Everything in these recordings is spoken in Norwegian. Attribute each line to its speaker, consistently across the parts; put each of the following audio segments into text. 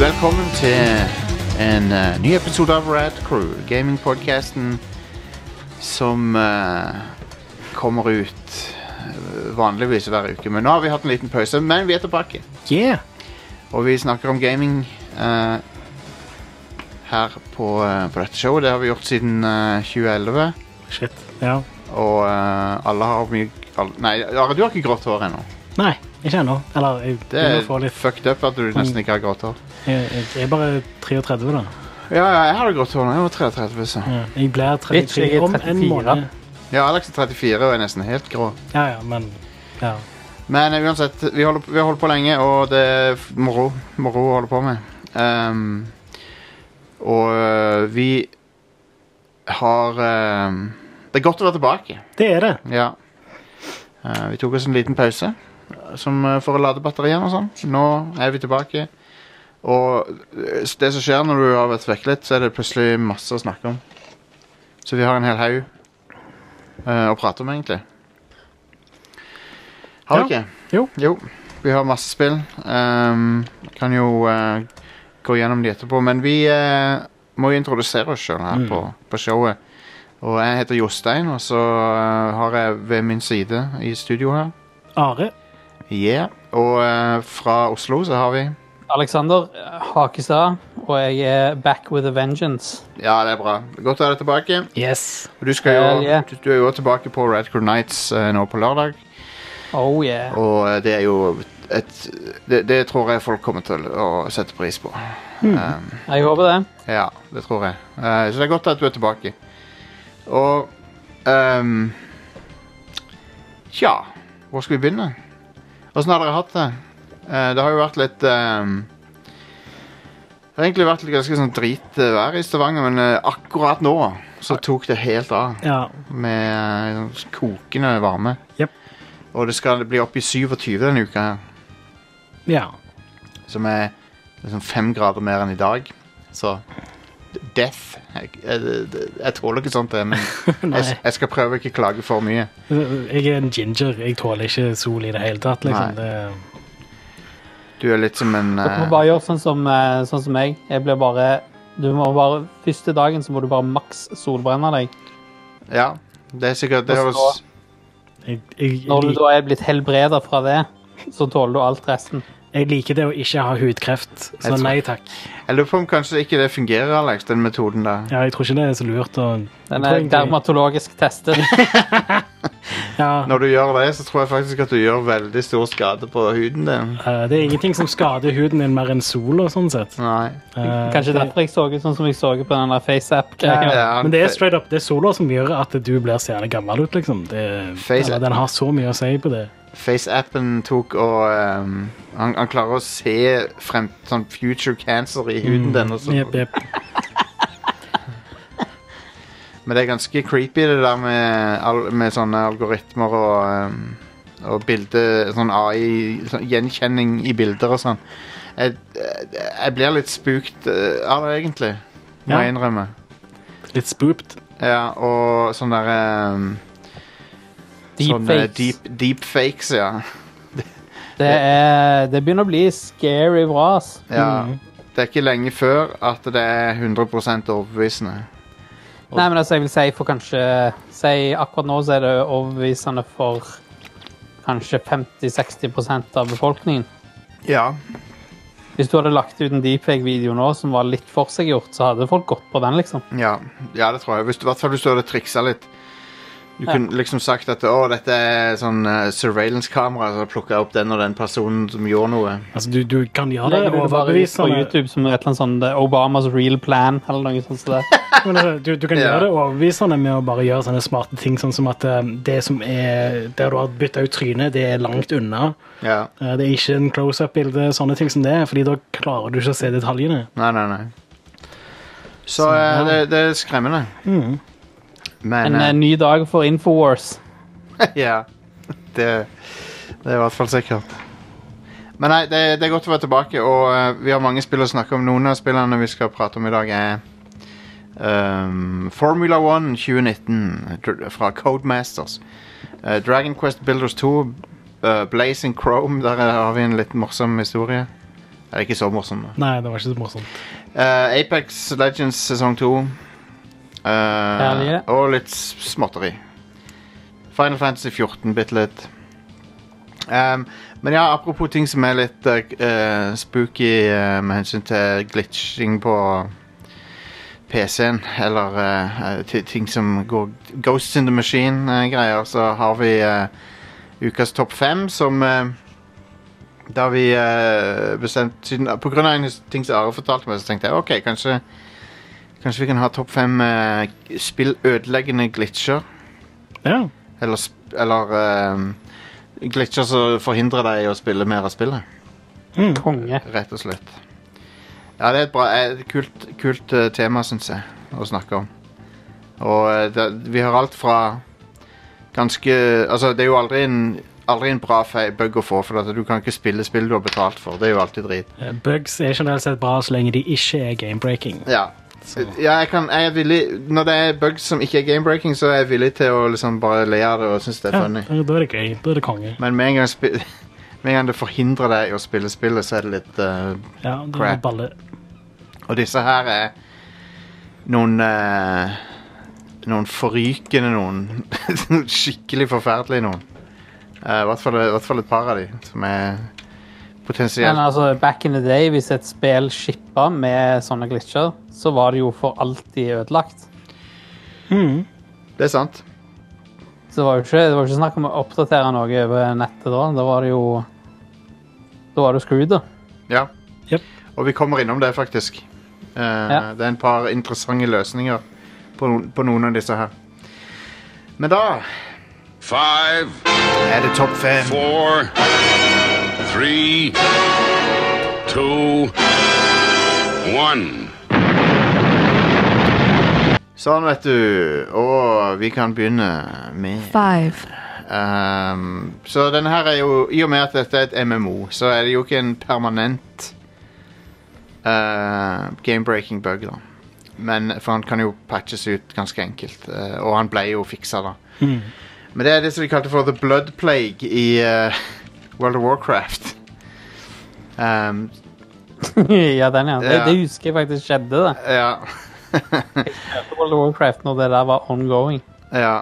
Speaker 1: Velkommen til en eh, ny episode av Rad Crew, gamingpodcasten som eh, kommer ut eh, vanligvis hver uke. Men nå har vi hatt en liten pause, men vi er tilbake.
Speaker 2: Yeah.
Speaker 1: Og vi snakker om gaming eh, her på, eh, på dette showet. Det har vi gjort siden eh, 2011.
Speaker 2: Shit. Ja.
Speaker 1: Og eh, alle har mye alle, Nei, Are, du har ikke grått hår ennå.
Speaker 2: Nei, ikke ennå. Eller jeg
Speaker 1: Det
Speaker 2: begynner å få
Speaker 1: er
Speaker 2: litt
Speaker 1: fucked up at du nesten ikke har grått hår.
Speaker 2: Jeg, jeg er bare 33, da.
Speaker 1: Ja, ja, jeg hadde grått hår da jeg var 33, så.
Speaker 2: Ja. Jeg blir 33
Speaker 3: Bitch, jeg er
Speaker 2: om en
Speaker 3: 34.
Speaker 2: måned.
Speaker 1: Ja, Alex er 34 og er nesten helt grå.
Speaker 2: Ja, ja, men ja.
Speaker 1: Men eh, uansett, vi holder, vi har holdt på lenge, og det er f- moro, moro å holde på med. Ehm, og eh, vi har ehm, Det er godt å være tilbake.
Speaker 2: Det er det.
Speaker 1: Ja. Eh, vi tok oss en liten pause eh, som, eh, for å lade batteriene og sånn. Nå er vi tilbake. Og eh, s- det som skjer når du har vært vekk litt, så er det plutselig masse å snakke om. Så vi har en hel haug eh, å prate om, egentlig. Har vi
Speaker 2: Ja.
Speaker 1: ikke?
Speaker 2: Jo.
Speaker 1: Vi har masse spill. Um, kan jo eh, gå gjennom de etterpå. Men vi eh, må jo introdusere oss sjøl her
Speaker 2: Mm.
Speaker 1: på, på showet. Og jeg heter Jostein, og så eh, har jeg ved min side i studio her
Speaker 2: Are.
Speaker 1: Yeah. Og eh, fra Oslo så har vi
Speaker 3: Alexander eh, Hakestad, og jeg er back with a vengeance.
Speaker 1: Ja, det er bra. Godt å ha deg tilbake.
Speaker 2: Yes.
Speaker 1: Og Du, skal jo,
Speaker 3: Hell yeah.
Speaker 1: du, du er jo tilbake på Red Crew Nights eh, nå på lørdag.
Speaker 3: Oh yeah.
Speaker 1: Og eh, det er jo et Det, det tror jeg folk kommer til å sette pris på.
Speaker 3: Hmm.
Speaker 1: Um,
Speaker 3: Jeg håper det.
Speaker 1: Ja, det tror jeg. Eh, så det er godt at du er tilbake. Og ehm, Tja, hvor skal vi begynne? Åssen har dere hatt det? Eh, det har jo vært litt ehm, Det har egentlig vært litt ganske sånn dritvær i Stavanger, men eh, akkurat nå så tok det helt av
Speaker 2: Ja.
Speaker 1: med eh, sånn kokende varme.
Speaker 2: Jep.
Speaker 1: Og det skal bli opp i 27 denne uka her,
Speaker 2: ja.
Speaker 1: som er liksom fem grader mer enn i dag. Så death Jeg, jeg, jeg tåler ikke sånt, jeg, men
Speaker 2: Nei.
Speaker 1: jeg, jeg skal prøve å ikke klage for mye.
Speaker 2: Jeg er en ginger. Jeg tåler ikke sol i det hele tatt,
Speaker 1: Nei.
Speaker 2: liksom. Det,
Speaker 1: Du er litt som en
Speaker 3: Dere må
Speaker 1: eh,
Speaker 3: bare gjøre sånn som, eh, sånn som jeg. Jeg blir bare du må bare, Første dagen så må du bare maks solbrenne deg.
Speaker 1: Ja, det er sikkert det
Speaker 3: Og
Speaker 1: høres,
Speaker 3: så-
Speaker 2: jeg, jeg,
Speaker 3: Når du
Speaker 2: lik,
Speaker 3: da er blitt helbreda fra det, så tåler du alt resten.
Speaker 2: jeg liker det å ikke ha hudkreft,
Speaker 1: Jeg
Speaker 2: så
Speaker 1: tror-
Speaker 2: nei takk.
Speaker 1: Jeg lurer på om kanskje ikke det fungerer, Alex, den metoden der.
Speaker 2: Ja, jeg tror ikke det er så lurt å
Speaker 3: Den
Speaker 2: Jeg tror
Speaker 3: er
Speaker 2: egentlig-
Speaker 3: dermatologisk testet.
Speaker 2: Ja.
Speaker 1: Når du gjør det, så tror jeg faktisk at du gjør veldig stor skade på huden din.
Speaker 2: eh, Det er ingenting som skader huden din mer enn sola, sånn sett.
Speaker 1: Nei.
Speaker 2: Eh,
Speaker 3: Kanskje
Speaker 2: det-
Speaker 3: derfor jeg så ut sånn som jeg så ut på den der
Speaker 2: Ja,
Speaker 3: FaceApp-greia.
Speaker 1: Ja,
Speaker 2: men det er straight up, det er sola som gjør at du blir seende gammel ut, liksom. Det,
Speaker 1: Face-
Speaker 2: eller, den har så mye å si på det.
Speaker 1: FaceAppen tok og ehm, han, han klarer å se frem, sånn future cancer i
Speaker 2: Mm.
Speaker 1: huden din. og så-
Speaker 2: Jep, jep.
Speaker 1: Men det er ganske creepy, det der med, al med sånne algoritmer og, ehm, og bilde Sånn AI, sånn gjenkjenning i bilder og sånn. Jeg, jeg, jeg blir litt spookt eh, av det, egentlig. Må
Speaker 2: Ja.
Speaker 1: jeg innrømme.
Speaker 2: Litt spooped.
Speaker 1: Ja, og sånn der ehm,
Speaker 2: sånn,
Speaker 1: sånne
Speaker 2: eh,
Speaker 3: Deepfakes.
Speaker 1: deep, deepfakes, ja.
Speaker 3: Det, er, det begynner å bli scary bra. ass.
Speaker 1: ja.
Speaker 2: Mhm.
Speaker 1: Det er ikke lenge før at det er 100 overbevisende. Og-
Speaker 3: Nei, men altså, jeg vil si for kanskje si Akkurat nå så er det overbevisende for kanskje 50-60 av befolkningen.
Speaker 1: Ja.
Speaker 3: Hvis du hadde lagt ut en deepfake-video nå som var litt forseggjort, så hadde folk gått på den, liksom.
Speaker 1: Ja, ja det tror jeg. Hvis du, I hvert fall hvis du hadde triksa litt. Du
Speaker 3: Ja.
Speaker 1: kunne liksom sagt at å, dette er sånn eh, surveillance-kamera, så plukka jeg opp den og den personen som gjorde noe.
Speaker 2: Altså, du, du kan gjøre det
Speaker 3: Legger du det bare ut på
Speaker 2: overbevisende.
Speaker 3: YouTube som et eller annet sånn eh, Obamas real plan eller noe sånt. som det.
Speaker 2: Men, altså, Du, du kan
Speaker 1: Ja.
Speaker 2: gjøre det overbevisende med å bare gjøre sånne smarte ting, sånn som at eh, det som er der du har bytta ut trynet, det er langt unna.
Speaker 1: Ja.
Speaker 2: Eh, Det er ikke en close-up-bilde, sånne ting som det, er, fordi da klarer du ikke å se detaljene.
Speaker 1: Nei, nei, nei. Så eh, det, det er skremmende.
Speaker 3: Mm.
Speaker 2: Mhm.
Speaker 3: En
Speaker 1: Men
Speaker 3: eh, ny dag for Infowars.
Speaker 1: eh, Ja. Det, det er i hvert fall sikkert. Men nei, det, det er godt å være tilbake, og eh, vi har mange spill å snakke om. Noen av spillene vi skal prate om i dag, er ehm, Formula 1 2019 dr- fra Codemasters. Eh, Dragon Quest Builders 2, eh, Blazing Chrome, der har vi en litt morsom historie Det er ikke så morsomt. da.
Speaker 2: Nei, det var ikke så morsomt.
Speaker 1: Eh, Apex Legends sesong 2.
Speaker 3: Herlig.
Speaker 1: og litt s- småtteri. Final Fantasy 14 bitte litt. Ehm, men ja, apropos ting som er litt eh, k- eh, spooky eh, med hensyn til glitching på PC-en, eller eh, eh, ti- ting som går Ghosts in the Machine-greier, så har vi eh, ukas topp fem som eh, da har vi eh, bestemt siden, På grunn av en his- ting som Are fortalte meg, så tenkte jeg ok, kanskje Kanskje vi kan ha topp fem eh, spillødeleggende glitcher.
Speaker 2: Ja.
Speaker 1: Eller, sp- eller eh, glitcher som forhindrer deg i å spille mer av spillet.
Speaker 2: Mm.
Speaker 3: Konge.
Speaker 1: Rett og slett. Ja, det er et bra, eh, et kult, kult eh, tema, syns jeg, å snakke om. Og eh, det, vi har alt fra ganske Altså, det er jo aldri en, aldri en bra fe- bug å få, for at du kan ikke spille spill du har betalt for. Det er jo alltid drit.
Speaker 2: Eh, Bugs er generelt sett bra så lenge de ikke er game-breaking.
Speaker 1: Ja.
Speaker 2: Så-
Speaker 1: Ja, jeg, kan, jeg er villig Når det er bugs som ikke er gamebreaking, så er jeg villig til å liksom bare le av det og synes det er
Speaker 2: Ja,
Speaker 1: funny.
Speaker 2: da er det gøy. Da er det konge.
Speaker 1: Men med en, gang spi- med en gang det forhindrer deg i å spille spillet, så er det litt eh,
Speaker 2: Ja, det er
Speaker 1: Crap.
Speaker 2: balle.
Speaker 1: Og disse her er noen eh, Noen forrykende noen. Noen Skikkelig forferdelige noen. Eh, I hvert fall- i hvert fall et par av de som er
Speaker 3: Men
Speaker 1: potensielt
Speaker 3: altså, back in the day, hvis et spill shippa med sånne glitcher, så var det jo for alltid ødelagt.
Speaker 2: Mm.
Speaker 1: Det er sant.
Speaker 3: Så det var jo ikke, det var jo ikke snakk om å oppdatere noe over nettet da. Da var det jo Da var det screwed, da.
Speaker 1: Ja.
Speaker 2: Jep.
Speaker 1: Og vi kommer innom det, faktisk. Eh, Det er en par interessante løsninger på, no på noen av disse her. Men da
Speaker 4: Five,
Speaker 1: er det topp fem.
Speaker 4: four, three, two, one.
Speaker 1: Sånn, vet du. Og vi kan begynne med
Speaker 5: Five.
Speaker 1: Ehm, Så denne her er jo I og med at dette er et MMO, så er det jo ikke en permanent eh, game-breaking bug, da. Men, for han kan jo patches ut ganske enkelt. eh, og han ble jo fiksa, da.
Speaker 2: Mm.
Speaker 1: Men det er det som de kalte for the blood plague i eh, World of Warcraft. Ehm,
Speaker 3: ja, den, ja. Det,
Speaker 1: Ja.
Speaker 3: det husker jeg faktisk skjedde, det.
Speaker 1: ja.
Speaker 3: Etter World of Warcraft, når det der var ongoing.
Speaker 1: ja.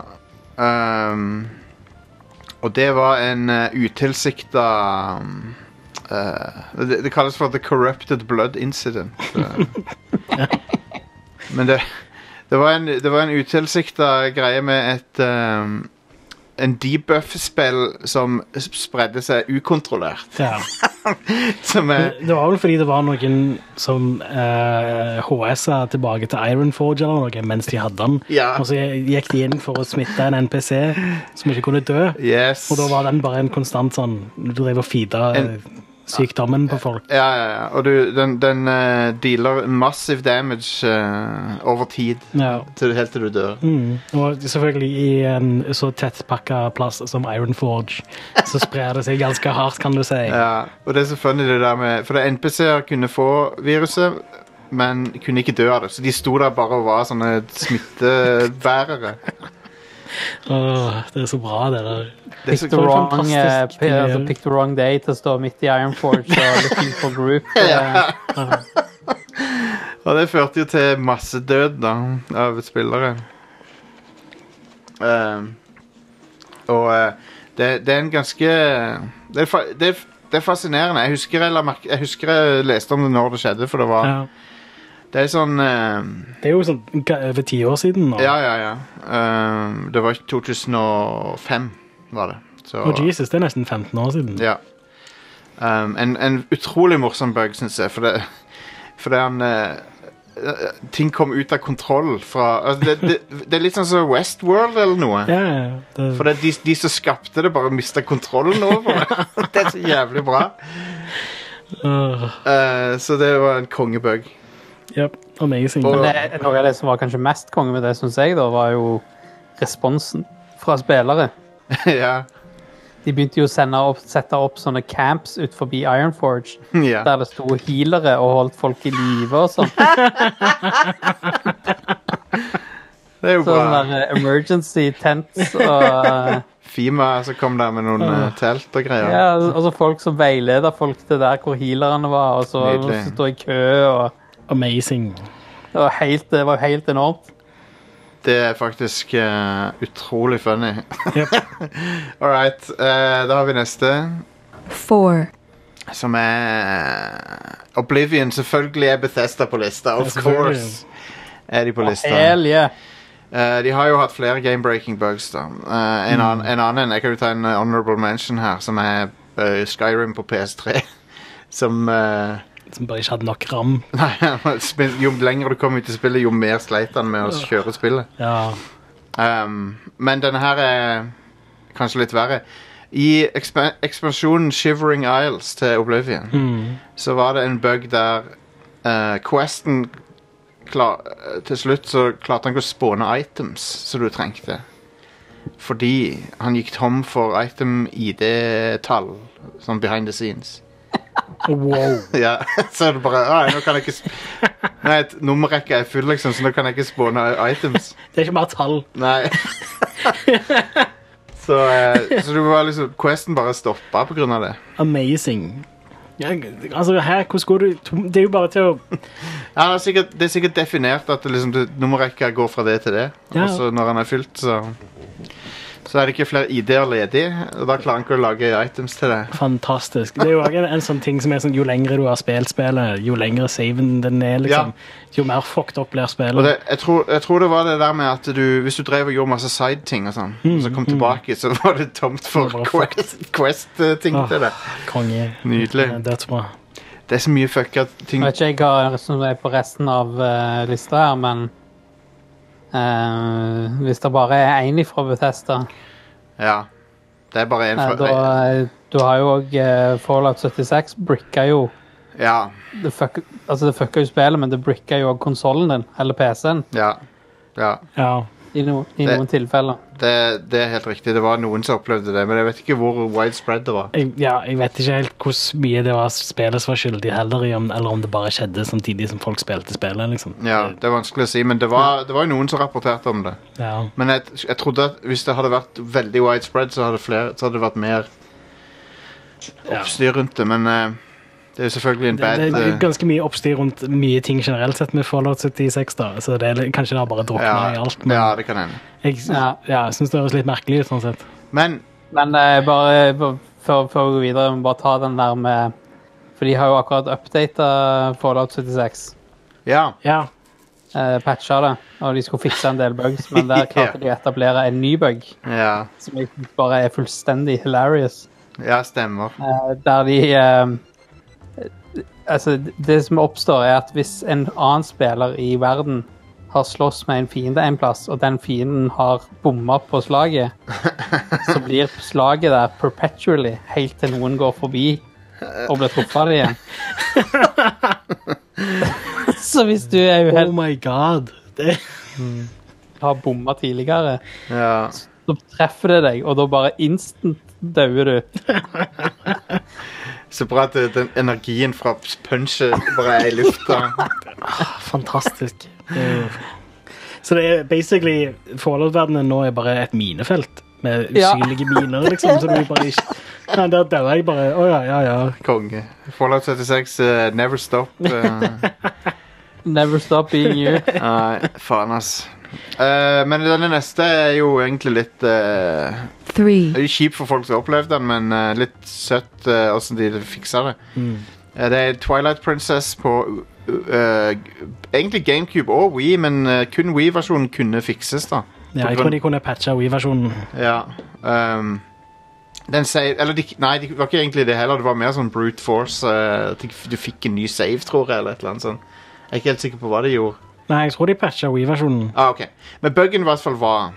Speaker 1: Ehm, og det var en uh, utilsikta um, eh, det, det kalles for the corrupted blood incident. eh. Men det, det var en, det var en utilsikta greie med et ehm, en debuff-spill som s- spredde seg ukontrollert.
Speaker 2: Ja.
Speaker 1: Som er
Speaker 2: Det det var vel fordi det var noen som eh, HS-a tilbake til Ironforge eller noe mens de hadde den.
Speaker 1: Ja.
Speaker 2: Og så gikk de inn for å smitte en NPC som ikke kunne dø.
Speaker 1: Yes.
Speaker 2: Og da var den bare en konstant sånn Du drev og feeda
Speaker 1: En-
Speaker 2: eh, sykdommen på folk.
Speaker 1: Ja, ja, ja. Og du, den, den eh, dealer massive damage eh, over tid,
Speaker 2: Ja.
Speaker 1: til, helt til du dør.
Speaker 2: Mm. Og selvfølgelig i en så tettpakka plass som Ironforge, så sprer det seg ganske hardt, kan du si.
Speaker 1: Ja, og det er så funny det der med For det er NPC-er kunne få viruset, men kunne ikke dø av det. Så de sto der bare og var sånne smittebærere.
Speaker 2: Åh, det er så bra, det der.
Speaker 1: Det er
Speaker 3: Pick the,
Speaker 1: så,
Speaker 2: var
Speaker 3: wrong,
Speaker 2: fantastisk
Speaker 3: eh, p-
Speaker 2: idé.
Speaker 3: altså, pick the wrong day til å stå midt i Ironforge og looking for group. eh,
Speaker 1: og det førte jo til massedød, da, av spillere. Ehm, og eh, det, det er en ganske det er, fa- det, er- det er fascinerende. Jeg husker jeg, la merke, jeg husker jeg leste om det når det skjedde, for det var
Speaker 2: Ja.
Speaker 1: Det er sånn ehm,
Speaker 2: Det er jo sånn ga- over ti år siden nå.
Speaker 1: Ja, ja, ja. Ehm, det var i 2005, var det. Så,
Speaker 2: Og Jesus, det er nesten 15 år siden.
Speaker 1: ja. Ehm, en, en utrolig morsom bug, syns jeg. For det, for det er en eh, eh, Ting kom ut av kontroll fra altså det, det, det er litt sånn som Westworld eller noe.
Speaker 2: Ja, ja, ja. det,
Speaker 1: For det, er de, de som skapte det, bare mista kontrollen over det. det er så jævlig bra.
Speaker 2: Åh,
Speaker 1: Eh, så det var en kongebug.
Speaker 2: ja, amazing.
Speaker 1: Og-
Speaker 3: Men det, noe av det som var kanskje mest konge med det, syns jeg, da, var jo responsen fra spillere.
Speaker 1: ja.
Speaker 3: De begynte jo å sende opp, sette opp sånne camps ut forbi Ironforge,
Speaker 1: ja.
Speaker 3: der det sto healere og holdt folk i live og sånn.
Speaker 1: Det er jo
Speaker 3: Sånne
Speaker 1: bra.
Speaker 3: Sånn der eh, emergency tents og eh,
Speaker 1: Fima som kom der med noen eh, telt og greier.
Speaker 3: Ja, altså folk som veileder folk til der hvor healerne var, og så
Speaker 1: Nydelig.
Speaker 3: så stå i kø, og
Speaker 2: Amazing.
Speaker 3: det var helt, det var helt enormt.
Speaker 1: Det er faktisk eh, utrolig funny.
Speaker 2: Yep.
Speaker 1: All right, eh, da har vi neste.
Speaker 5: four,
Speaker 1: Som er eh, Oblivion. Selvfølgelig er Bethesda på lista. Of course er de på lista.
Speaker 3: Hell yeah.
Speaker 1: Eh, de har jo hatt flere game-breaking bugs, da. Eh, en, annen, en annen Jeg kan jo ta en eh, honorable mention her, som er eh, Skyrim på PS3. Som eh,
Speaker 2: Som bare ikke hadde nok ram.
Speaker 1: Nei, spil- jo lenger du kom ut i spillet, jo mer sleit han med å kjøre spillet.
Speaker 2: Ja.
Speaker 1: Um, men denne her er kanskje litt verre. I ekspa- ekspansjonen Shivering Isles til Oblivion
Speaker 2: Mm.
Speaker 1: så var det en bug der eh, Questen kla- eh, Til slutt så klarte han ikke å spåne items som du trengte. Fordi han gikk tom for item-ID-tall, sånn behind the scenes.
Speaker 2: Oh, Wow.
Speaker 1: Ja, så er det bare Nei, nå kan jeg ikke sp Nei, et nummerrekke er full, liksom, så nå kan jeg ikke spåne items.
Speaker 2: Det er ikke bare tall.
Speaker 1: Nei. så, eh, så du var liksom Questen bare stoppa på grunn av det.
Speaker 2: Amazing. Ja, altså, her, hvordan går du tom? Det er jo bare til å
Speaker 1: Ja, det, er sikkert, det er sikkert definert at det liksom, det- nummerrekka går fra det til det.
Speaker 2: Ja.
Speaker 1: Og så når han er fylt, så Så er det ikke flere ID-er ledig, og da klarer han ikke å lage items til det.
Speaker 2: Fantastisk. Det er jo også en, en sånn ting som er sånn, Jo lengre du har spilt spillet, jo lengre saven den er, liksom, jo mer fucked up blir spillet.
Speaker 1: Og det, jeg, tror, jeg tror det var det der med at du, hvis du drev og gjorde masse side-ting og sånn, og så kom tilbake, så var det tomt for
Speaker 2: Det var
Speaker 1: Quest- Quest-ting
Speaker 2: Åh,
Speaker 1: til det.
Speaker 2: Konge.
Speaker 1: Nydelig.
Speaker 2: Ja, Dødsbra.
Speaker 1: Det er så mye fucka ting
Speaker 3: Jeg vet ikke jeg hva som er på resten av eh, lista her, men eh, hvis det bare er én ifra Bethesda
Speaker 1: Ja. Det er bare én
Speaker 3: eh, da,
Speaker 1: fra
Speaker 3: eh, Du har jo òg Fallout 76. Bricka jo
Speaker 1: Ja.
Speaker 3: Det fuck- altså det fucka jo spillet, men det bricka jo òg konsollen din, eller PC-en,
Speaker 1: Ja. ja.
Speaker 2: Ja.
Speaker 3: i, no, i
Speaker 1: Det-
Speaker 3: noen tilfeller.
Speaker 1: Det, det er helt riktig. Det var noen som opplevde det, men jeg vet ikke hvor widespread det var.
Speaker 2: Jeg, ja, jeg vet ikke helt hvor mye det var spillet som var skyldig heller, i om, eller om det bare skjedde samtidig som folk spilte spillet. liksom.
Speaker 1: Ja, Det er vanskelig å si, men det var, det var jo noen som rapporterte om det.
Speaker 2: Ja.
Speaker 1: Men jeg, jeg trodde at hvis det hadde vært veldig widespread, så hadde, flere, så hadde det vært mer oppstyr rundt det, men eh, det er jo selvfølgelig en
Speaker 2: Det,
Speaker 1: bad
Speaker 2: det er
Speaker 1: eh,
Speaker 2: ganske mye oppstyr rundt mye ting generelt sett med Fallout 76, da. så det er, litt- kanskje det har bare drukna i
Speaker 1: ja,
Speaker 2: alt. Men
Speaker 1: ja, det kan hende.
Speaker 2: jeg
Speaker 3: Ja.
Speaker 2: ja, syns det høres litt merkelig ut, sånn sett.
Speaker 1: Men
Speaker 3: Men eh, bare bare før, før vi går videre, jeg må bare ta den der med For de har jo akkurat updata Fallout 76.
Speaker 1: ja.
Speaker 2: Ja.
Speaker 3: Eh, patcha det, og de skulle fikse en del bugs, men der klarte de å etablere en ny bug
Speaker 1: Ja,
Speaker 3: som jeg synes bare er fullstendig hilarious.
Speaker 1: ja stemmer.
Speaker 3: Eh, der de eh, Altså, det som oppstår, er at hvis en annen spiller i verden har slåss med en fiende en plass, og den fienden har bomma på slaget, så blir slaget der perpetually helt til noen går forbi og blir truffet av det igjen. så hvis du er
Speaker 2: Oh
Speaker 3: uheldig
Speaker 2: my god. Det,
Speaker 3: og har bomma tidligere,
Speaker 1: Ja.
Speaker 3: så treffer det deg, og da bare instant dauer du.
Speaker 1: Så bra at eh, den energien fra punchet bare er i lufta.
Speaker 2: Fantastisk. Så det er basically Fallout-verdenen nå er bare et minefelt med
Speaker 3: Ja.
Speaker 2: usynlige miner, liksom. Som du bare ikke Nei, der dør jeg bare. Å ja, ja, ja.
Speaker 1: Konge. Fallout 76, eh, never stop. eh.
Speaker 3: Never stop being you.
Speaker 1: Nei, faen, ass. Eh, men denne neste er jo egentlig litt eh,
Speaker 5: three,
Speaker 1: det er jo Kjip for folk som har opplevd den, men eh, litt søtt eh, åssen de fiksa det. Eh, det er Twilight Princess på eh, Egentlig GameCube og Wii, men eh, kun Wii-versjonen kunne fikses, da.
Speaker 2: ja jeg tror de kunne patcha We-versjonen.
Speaker 1: Ja. ehm, den save, eller de, nei, det var ikke egentlig det heller. Det var mer sånn brute force. eh, at de- du fikk en ny save, tror jeg, eller et eller annet sånt. Jeg er ikke helt sikker på hva de gjorde.
Speaker 2: Nei, jeg tror de patcha We-versjonen.
Speaker 1: Ah, ok. Men buggen i hvert fall var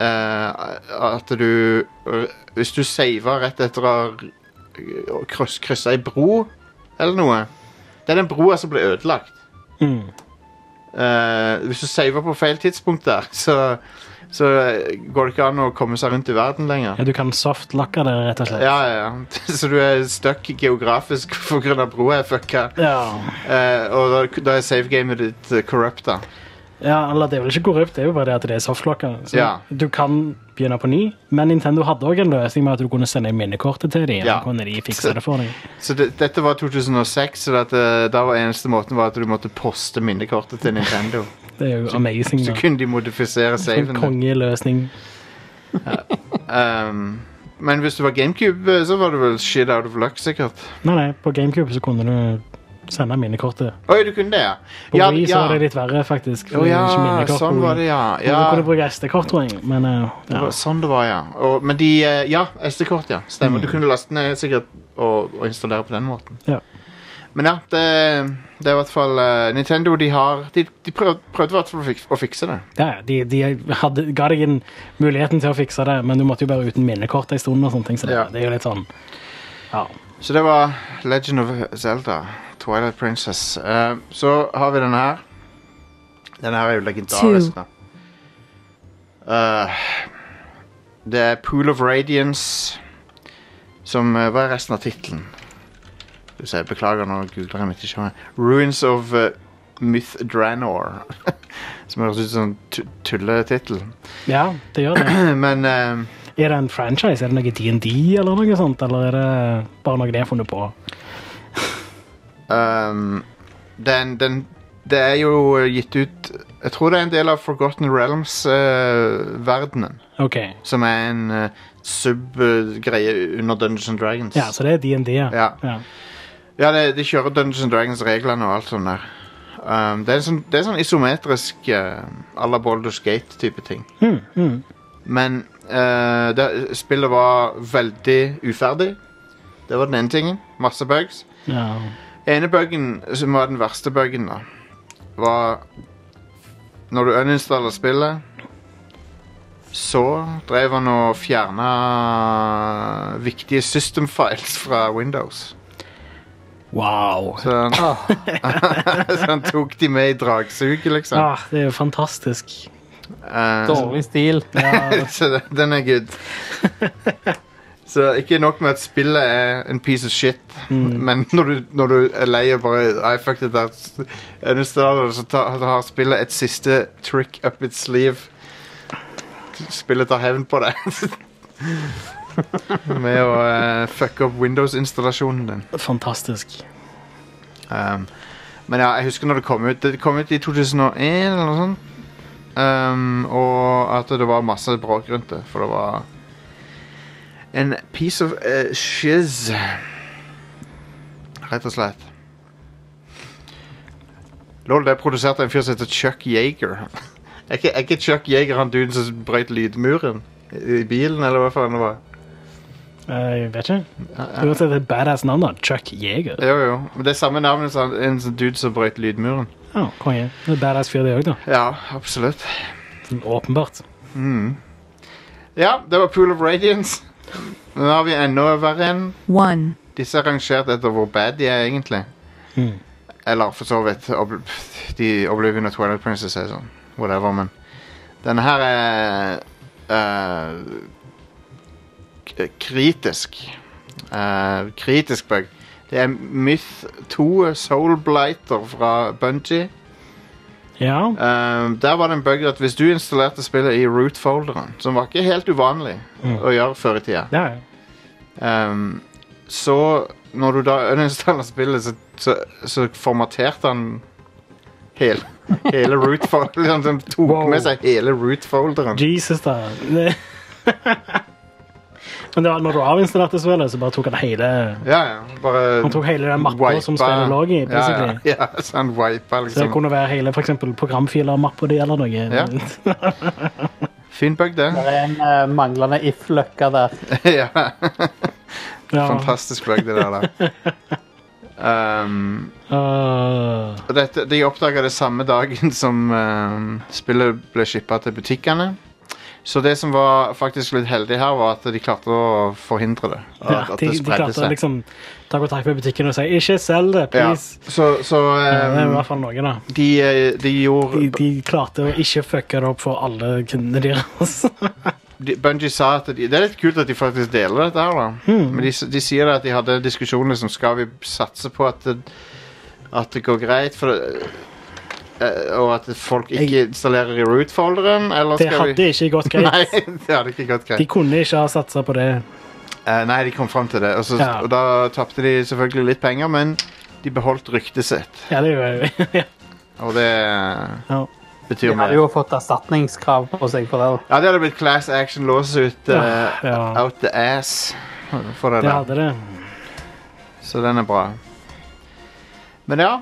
Speaker 1: eh, at du eh, Hvis du saver rett etter å ha kryss, kryssa ei bro eller noe Det er den broa som ble ødelagt.
Speaker 2: Mm.
Speaker 1: Eh, hvis du saver på feil tidspunkt der, så, så eh, går det ikke an å komme seg rundt i verden lenger.
Speaker 2: Ja, du kan softlocke det, rett og slett.
Speaker 1: Ja, ja, ja. Så du er stuck geografisk pga. broa er fucka.
Speaker 2: Ja.
Speaker 1: Eh, og eh, da, da er savegamet ditt uh, corrupta.
Speaker 2: Ja, eller Det er vel ikke korrupt, det er jo bare det at det er softlocker. Så
Speaker 1: Ja.
Speaker 2: Du kan begynne på ny, men Nintendo hadde òg en løsning med at du kunne sende inn minnekortet til dem.
Speaker 1: Ja.
Speaker 2: Ja. kunne de fikse det for deg.
Speaker 1: Så det, dette var 2006, så dette, da var eneste måten var at du måtte poste minnekortet til Nintendo.
Speaker 2: Det er jo amazing.
Speaker 1: Så
Speaker 2: da.
Speaker 1: kunne de modifisere
Speaker 2: En
Speaker 1: saven. din.
Speaker 2: kongeløsning.
Speaker 1: Um, men hvis du var GameCube, eh, så var det vel shit out of luck, sikkert.
Speaker 2: Nei, nei, på GameCube så kunne du sende minnekortet.
Speaker 1: Oi, du kunne det, ja.
Speaker 2: På
Speaker 1: ja,
Speaker 2: Wii så
Speaker 1: ja.
Speaker 2: var det litt verre, faktisk.
Speaker 1: Å
Speaker 2: for det
Speaker 1: ja,
Speaker 2: er ikke minnekort på
Speaker 1: sånn var
Speaker 2: Wii.
Speaker 1: det, ja.
Speaker 2: Men
Speaker 1: ja.
Speaker 2: Du kunne bruke SD-kort, tror jeg. Men eh,
Speaker 1: Det
Speaker 2: ja.
Speaker 1: var sånn det var, ja. Og, men de eh, Ja, SD-kort, ja. Stemmer. Du kunne laste ned sikkert og, og installere på den måten.
Speaker 2: Mm. Ja.
Speaker 1: Men ja, det, det er i hvert fall eh, Nintendo, de har De, de prøv, prøvde i hvert fall å fikse, å fikse det.
Speaker 2: Ja, ja, de, de hadde, ga deg en muligheten til å fikse det, men du måtte jo bare uten minnekort en stund. og sånne ting, så det,
Speaker 1: Ja.
Speaker 2: det er jo litt sånn... Ja.
Speaker 1: Så det var Legend of Zelda, Twilight Princess. Eh, så har vi denne her. Denne her er jo legendarisk, da. Eh, det er Pool of Radiance, som eh, Hva er resten av tittelen? Skal vi se, Beklager, nå googler jeg midt i showet. Ruins of uh, Mythdranor. som høres ut som en tu- tulletittel.
Speaker 2: ja, det gjør det.
Speaker 1: Men eh,
Speaker 2: Er det en franchise? Er det noe D&D eller noe sånt? Eller er det bare noe de har funnet på?
Speaker 1: Um, den, den, det er jo eh, gitt ut Jeg tror det er en del av Forgotten Realms-verdenen.
Speaker 2: Ok,
Speaker 1: som er en eh, sub-greie under Dungeons and Dragons.
Speaker 2: ja, altså. så det er D&D, ja.
Speaker 1: Ja.
Speaker 2: ja.
Speaker 1: Ja, det, de kjører Dungeons and Dragons-reglene og alt sånt der. Um, det, er en sånn, det er sånn isometrisk eh, à la Baldur's Gate-type ting.
Speaker 2: Mm, mm.
Speaker 1: Men eh, det, spillet var veldig uferdig. Det var den ene tingen. Masse bugs.
Speaker 2: ja.
Speaker 1: ene buggen, som var den verste buggen da, var når du uninstallerer spillet, så drev han og fjerna viktige system files fra Windows.
Speaker 2: Wow.
Speaker 1: Så han, så han tok de med i dragsuget, liksom.
Speaker 2: Ah, det er jo fantastisk.
Speaker 1: Eh,
Speaker 3: Dårlig stil.
Speaker 2: Ja,
Speaker 1: så den- den er good. Så ikke nok med at spillet er en piece of shit, men når du, når du er lei og bare I fucked it out, uninstaller det, så tar- så har spillet et siste trick up its sleeve. Spillet tar hevn på deg. med å eh, fucke opp Windows-installasjonen din.
Speaker 2: fantastisk.
Speaker 1: Um, men ja, jeg husker når det kom ut. Det kom ut i 2001 eller noe sånt. Um, og at det var masse bråk rundt det, for det var en piece of eh, shiz. Rett og slett. Lol, det er produsert av en fyr som heter Chuck Yeager. Er ikke, er ikke Chuck Yeager han duden som brøt lydmuren i i bilen, eller hva faen det var?
Speaker 2: Eh, Jeg vet ikke. Du har sett et badass navn da. Chuck Yeager.
Speaker 1: Jo, jo. Men det er samme navnet som en sånn dude som brøt lydmuren.
Speaker 2: Ja, konge. Det er badass fyr det også da.
Speaker 1: Ja, absolutt.
Speaker 2: Sånn Åpenbart.
Speaker 1: Ja, det var Pool of Radiance. Nå har vi enda verre en.
Speaker 5: one,
Speaker 1: Disse er rangert etter hvor bad de er, egentlig.
Speaker 2: Mm.
Speaker 1: Eller for så vidt Ob de Oblivion og Twilight Princess er sånn. Whatever, men Denne her er eh, k- kritisk. Eh, kritisk bug. Det er Myth 2 Soul Blighter fra Bungie.
Speaker 2: Ja,
Speaker 1: Um, der var det en bug at hvis du installerte spillet i root-folderen, som var ikke helt uvanlig
Speaker 2: Mm.
Speaker 1: å gjøre før i tida,
Speaker 2: det er jo.
Speaker 1: um, så når du da uninstallerer spillet, så, så, så formaterte han hele, hele root-folderen. Liksom, den tok
Speaker 2: Wow.
Speaker 1: med seg hele root-folderen.
Speaker 2: Jesus da. Det- Men det var, når du avinstallerte spillet, så bare tok han hele...
Speaker 1: Ja, ja. Bare
Speaker 2: Han tok hele den mappa som spillet lå i, basically.
Speaker 1: Ja, ja. ja så han wipa,
Speaker 2: Så det
Speaker 1: liksom.
Speaker 2: kunne være hele for eksempel, programfiler, mapper de eller noe.
Speaker 1: Ja. Fin bug, det.
Speaker 3: Det er en eh, manglende if-løkke der.
Speaker 1: ja.
Speaker 2: Ja.
Speaker 1: Fantastisk bug, det der. da. Um,
Speaker 2: Øh,
Speaker 1: Og dette, de oppdaga det samme dagen som eh, spillet ble shippa til butikkene. Så det som var faktisk litt heldig her, var at de klarte å forhindre det. At,
Speaker 2: ja,
Speaker 1: at
Speaker 2: de,
Speaker 1: det
Speaker 2: de
Speaker 1: spredde
Speaker 2: klarte å
Speaker 1: seg.
Speaker 2: liksom ta kontakt med butikken og si 'ikke selg det,
Speaker 1: ja.
Speaker 2: please'.
Speaker 1: Så, så
Speaker 2: Ja, det er i
Speaker 1: eh,
Speaker 2: hvert fall noe, da.
Speaker 1: de, eh, de
Speaker 2: De,
Speaker 1: gjorde
Speaker 2: de klarte å ikke fucke det opp for alle kundene deres.
Speaker 1: de, Bungie sa at de, Det er litt kult at de faktisk deler dette her, da.
Speaker 2: Hmm.
Speaker 1: Men de, s- de sier at de hadde diskusjoner som skal vi satse på at det, at det går greit, for det, eh, og at folk ikke installerer i root-folderen, eller skal
Speaker 2: Det
Speaker 1: vi
Speaker 2: hadde ikke gått greit.
Speaker 1: Nei, det hadde ikke gått greit.
Speaker 2: De kunne ikke ha satsa på det.
Speaker 1: Eh, nei, de kom fram til det, og, så,
Speaker 2: Ja.
Speaker 1: og da tapte de selvfølgelig litt penger, men de beholdt ryktet sitt,
Speaker 2: Ja, det er jo ja.
Speaker 1: og det
Speaker 2: Ja.
Speaker 1: betyr
Speaker 3: De
Speaker 1: mer.
Speaker 3: hadde jo fått erstatningskrav på seg for det. da.
Speaker 1: Ja, det hadde blitt class action låses ut eh,
Speaker 2: Ja.
Speaker 1: out the ass for det
Speaker 2: Det
Speaker 1: der.
Speaker 2: hadde det.
Speaker 1: Så den er bra. Men ja,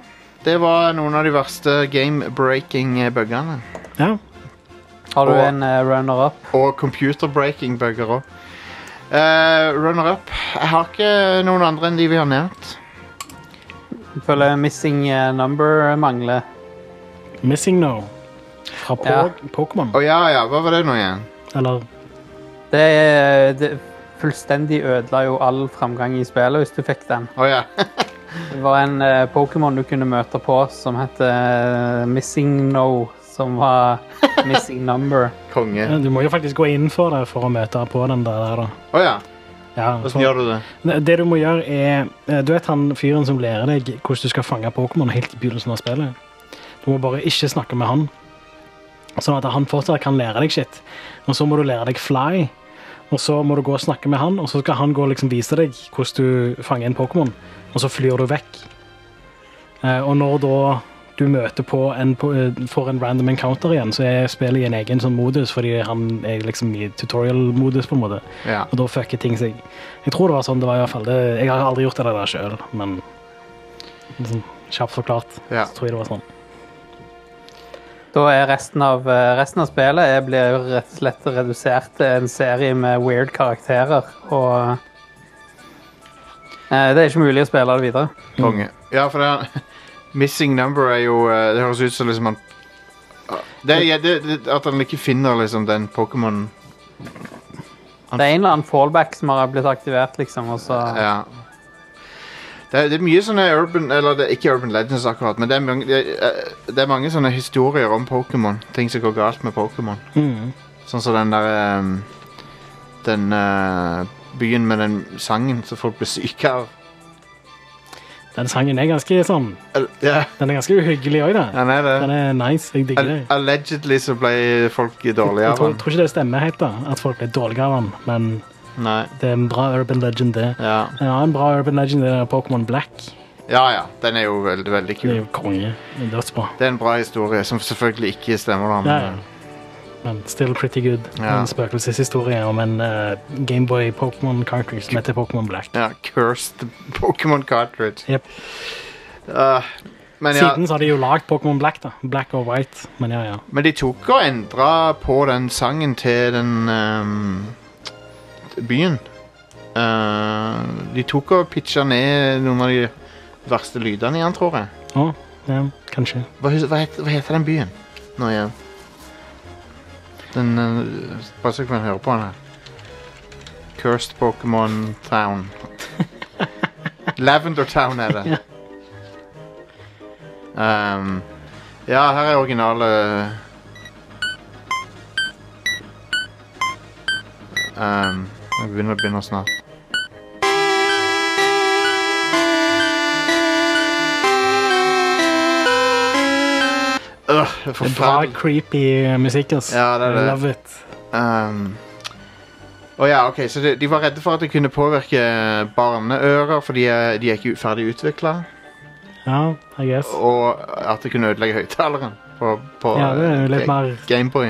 Speaker 1: det var noen av de verste game-breaking eh, buggene.
Speaker 2: Ja.
Speaker 3: Har du
Speaker 1: Og-
Speaker 3: en eh, runner-up?
Speaker 1: Og computer-breaking bugger òg. Runner-up. Jeg har ikke noen andre enn de vi har nevnt.
Speaker 3: Jeg Føler missing eh, number mangler.
Speaker 2: Missing No. Fra po
Speaker 3: Ja.
Speaker 2: Pokémon.
Speaker 1: Å ja, ja, hva var det nå igjen?
Speaker 2: Eller
Speaker 3: Det, er- det fullstendig ødela jo all framgang i spillet hvis du fikk den.
Speaker 1: Å ja.
Speaker 3: Det var en eh, Pokémon du kunne møte på som het eh, Missing No, som var Missing Number.
Speaker 1: Konge.
Speaker 2: ja, Du må jo faktisk gå inn for det for å møte på den der. der, da.
Speaker 1: Å ja.
Speaker 2: Ja,
Speaker 1: Åssen
Speaker 2: for,
Speaker 1: gjør du det?
Speaker 2: det du må gjøre, er eh, Du vet han fyren som lærer deg hvordan du skal fange Pokémon helt i begynnelsen av spillet? Du må bare ikke snakke med han, sånn at han fortsatt kan lære deg shit. Og så må du lære deg fly, og så må du gå og snakke med han, og så skal han gå og liksom vise deg hvordan du fanger en Pokémon, og så flyr du vekk. Eh, Og når da du møter på en, på- eh, får en random encounter igjen, så er spillet i en egen sånn modus, fordi han er liksom i tutorial-modus, på en måte.
Speaker 1: Ja.
Speaker 2: Og da fucker ting seg. Jeg tror det var sånn det var i hvert fall. Det, jeg har aldri gjort det der sjøl, men liksom, kjapt forklart
Speaker 1: Ja.
Speaker 2: så tror jeg det var sånn.
Speaker 3: Da er resten av, eh, resten av spillet jeg blir rett og slett redusert til en serie med weird karakterer. Og eh, det er ikke mulig å spille det videre.
Speaker 1: Konge. Mm. Ja, for det er, Missing number er jo eh, Det høres ut som liksom han det, er- ja, det, det, At han ikke finner liksom den Pokémonen.
Speaker 3: Det er en eller annen fallback som har blitt aktivert, liksom. Og så,
Speaker 1: Ja. Det, er- det er mye sånne urban Eller det er ikke Urban Legends akkurat, men det er mange, det, er- eh, det er mange sånne historier om Pokémon. Ting som går galt med Pokémon. Sånn som den der ehm, Den eh, byen med den sangen som folk blir syke av.
Speaker 2: Den sangen er ganske sånn
Speaker 1: Al- Ja,
Speaker 2: Den er ganske uhyggelig òg, da.
Speaker 1: han er
Speaker 2: Den
Speaker 1: det.
Speaker 2: er nice. Jeg digger det.
Speaker 1: Al- Allegedly så ble folk dårlige
Speaker 2: Jeg
Speaker 1: av
Speaker 2: tror,
Speaker 1: han.
Speaker 2: tror ikke det stemmer helt, da, at folk blir dårlige av den, men
Speaker 1: Nei.
Speaker 2: det er en bra urban legend, det.
Speaker 1: Ja.
Speaker 2: En annen bra urban legend er Pokémon Black.
Speaker 1: ja ja, den er jo veldig, veldig
Speaker 2: Det er
Speaker 1: kul.
Speaker 2: jo konge. Det er Dødsbra.
Speaker 1: Det er en bra historie, som selvfølgelig ikke stemmer. da,
Speaker 2: Ja,
Speaker 1: men,
Speaker 2: ja. Men still pretty good.
Speaker 1: Ja.
Speaker 2: En spøkelseshistorie om en eh, Gameboy Pokémon Country som heter Pokémon Black.
Speaker 1: ja, Cursed Pokémon Cartridge.
Speaker 2: Yep.
Speaker 1: Ah, men ja,
Speaker 2: Siden så har de jo lagd Pokémon Black, da. Black og White. Men ja, ja.
Speaker 1: Men de tok og endra på den sangen til den ehm, byen. Eh, de tok og pitcha ned noen av de verste lydene igjen, tror jeg.
Speaker 2: Å, ja, kanskje.
Speaker 1: Hva, hus- hva, heter, hva heter den byen nå igjen? Den eh, Bare så jeg kan høre på den her. Cursed Pokémon Town. Lavender Town er det. Ehm, ja, her er originale um, Jeg begynner, begynner snart. Øh, det er
Speaker 2: Det er bra
Speaker 1: forferdelig.
Speaker 2: creepy musikk, ass.
Speaker 1: Ja, eh, det er det.
Speaker 2: I Love it.
Speaker 1: Um, og ja, ok, så de, de var redde for at det kunne påvirke barneører, for de er, de er ikke ferdig utvikla,
Speaker 2: Ja, I guess.
Speaker 1: og at det kunne ødelegge høyttaleren på, på
Speaker 2: Ja, det er jo
Speaker 1: eh,
Speaker 2: litt mer
Speaker 1: Gameboy.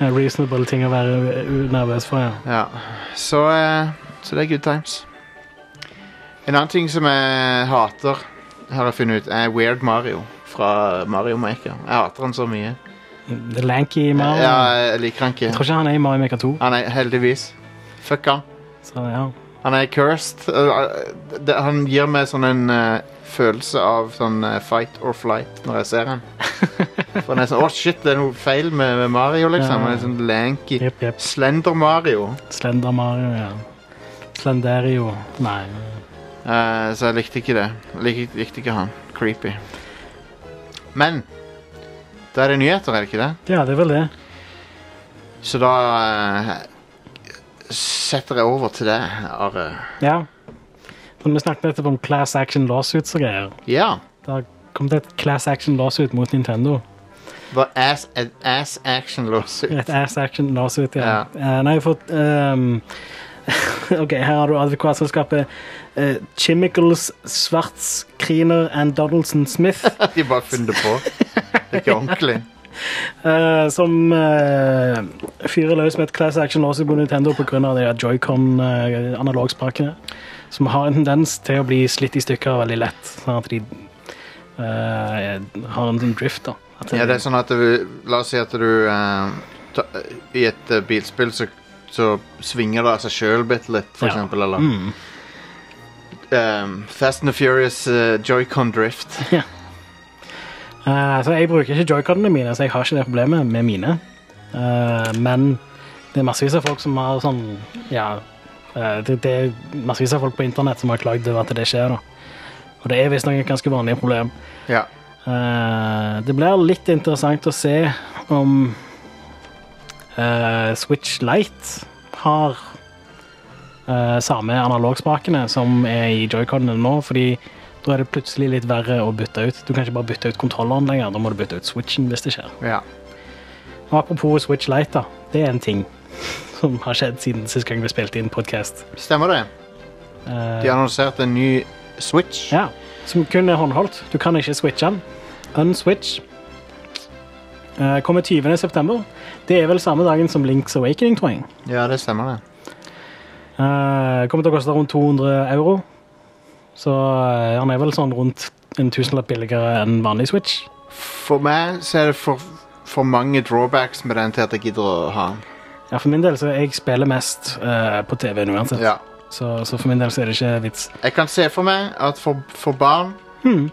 Speaker 2: eh, reasonable ting å være eh, nervøs for, ja.
Speaker 1: Ja. Så, eh, så det er good times. En annen ting som jeg hater, har jeg funnet ut, er Weird Mario fra Mario Maker. Jeg hater han så mye.
Speaker 2: The lanky Mario.
Speaker 1: Ja, jeg liker han
Speaker 2: Jeg tror
Speaker 1: ikke.
Speaker 2: ikke han er i Mario Maker 2,
Speaker 1: Han er heldigvis. Fuck han.
Speaker 2: så ja.
Speaker 1: Han er cursed. Uh, uh, det- Han gir meg sånn en uh, følelse av sånn uh, fight or flight når jeg ser han. For han er sånn, Å, shit, det er noe feil med, med Mario, liksom. Han er sånn lanky.
Speaker 2: Jepp, jepp.
Speaker 1: Slender Mario.
Speaker 2: Slender Mario, ja. Slenderio. Nei.
Speaker 1: Uh, så jeg likte ikke det. Jeg likte, likte ikke han. Creepy. Men da er det nyheter, er det ikke det?
Speaker 2: Ja, det er vel det.
Speaker 1: Så da uh, setter jeg over til deg, Are.
Speaker 2: Ja. Men vi snakket nettopp om class action lawsuits og greier.
Speaker 1: Ja.
Speaker 2: Det har kommet et class action lawsuit mot Nintendo.
Speaker 1: Bare ass, an ass action lawsuit.
Speaker 2: Et ass action lawsuit, ja. Eh, nei, for ehm, OK, her har du advokatselskapet eh, Chemicals Schwartz Kriner and Donaldson Smith,
Speaker 1: De bare funnet på. Det er ikke ordentlig.
Speaker 2: eh, som eh, fyrer løs med et class action lawsuit på Nintendo pga. Joy-Con-analogspakene. eh, som har en tendens til å bli slitt i stykker veldig lett, sånn at de eh, har en sånn drift, da. At
Speaker 1: Ja, det er sånn at du, La oss si at du eh, ta, I et eh, bilspill så, så svinger det av seg sjøl bitte litt, for
Speaker 2: Ja.
Speaker 1: eksempel. Eller
Speaker 2: Mm.
Speaker 1: eh, Fast and the Furious eh, Joy-Con Drift.
Speaker 2: Eh, så jeg bruker ikke joycodene mine, så jeg har ikke det problemet med mine. Eh, men det er massevis av folk som har sånn Ja, eh, det, det er massevis av folk på internett som har klagd over at det skjer. da. Og det er visstnok et ganske vanlig problem.
Speaker 1: Ja.
Speaker 2: Eh, det blir litt interessant å se om eh, Switch Lite har eh, samme analogspakene som er i joyconene nå, fordi da er det plutselig litt verre å bytte ut. Du kan ikke bare bytte ut kontrolleren lenger, da må du bytte ut switchen hvis det skjer.
Speaker 1: ja.
Speaker 2: Og apropos Switch Lite, da. Det er en ting som har skjedd siden sist gang vi spilte inn Eh, podkast.
Speaker 1: Stemmer det. De annonserte en ny Switch.
Speaker 2: Ja, som kun er håndholdt. Du kan ikke switche den. Unswitch. Eh, Kommer 20. september. Det er vel samme dagen som Links Awakening, tror jeg.
Speaker 1: Ja, det stemmer det.
Speaker 2: Eh, Kommer til å koste rundt 200 euro. Så eh, han er vel sånn rundt en tusenlapp billigere enn vanlig Switch.
Speaker 1: For meg så er det for, for mange drawbacks med den til at jeg gidder å ha den.
Speaker 2: Ja, For min del så jeg spiller mest eh, på TV-en uansett.
Speaker 1: Ja.
Speaker 2: Så, så for min del så er det ikke vits.
Speaker 1: Jeg kan se for meg at for, for barn
Speaker 2: Hmm.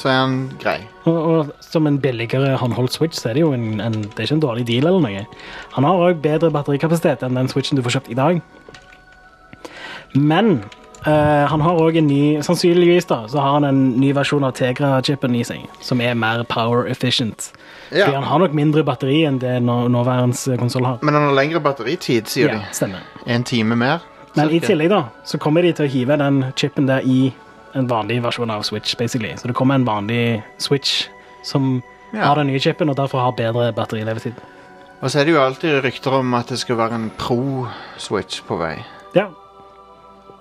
Speaker 1: så er den grei.
Speaker 2: Og, og som en billigere håndholdt Switch, så er det jo en, en, det er ikke en dårlig deal. eller noe. Han har òg bedre batterikapasitet enn den Switchen du får kjøpt i dag. Men eh, han har òg en ny Sannsynligvis da, så har han en ny versjon av Tegra-chipen i seg, som er mer power efficient.
Speaker 1: Ja.
Speaker 2: Fordi han har nok mindre batteri enn det nå, nåværende konsoll har.
Speaker 1: Men den har lengre batteritid, sier
Speaker 2: Ja, stemmer.
Speaker 1: de. En time mer.
Speaker 2: Men i
Speaker 1: cirka.
Speaker 2: tillegg da, så kommer de til å hive den chipen der i en vanlig versjon av Switch, basically. Så det kommer en vanlig Switch som
Speaker 1: Ja.
Speaker 2: har den nye chipen, og derfor har bedre batterilevetid.
Speaker 1: Og så er det jo alltid rykter om at det skal være en pro-switch på vei.
Speaker 2: Ja.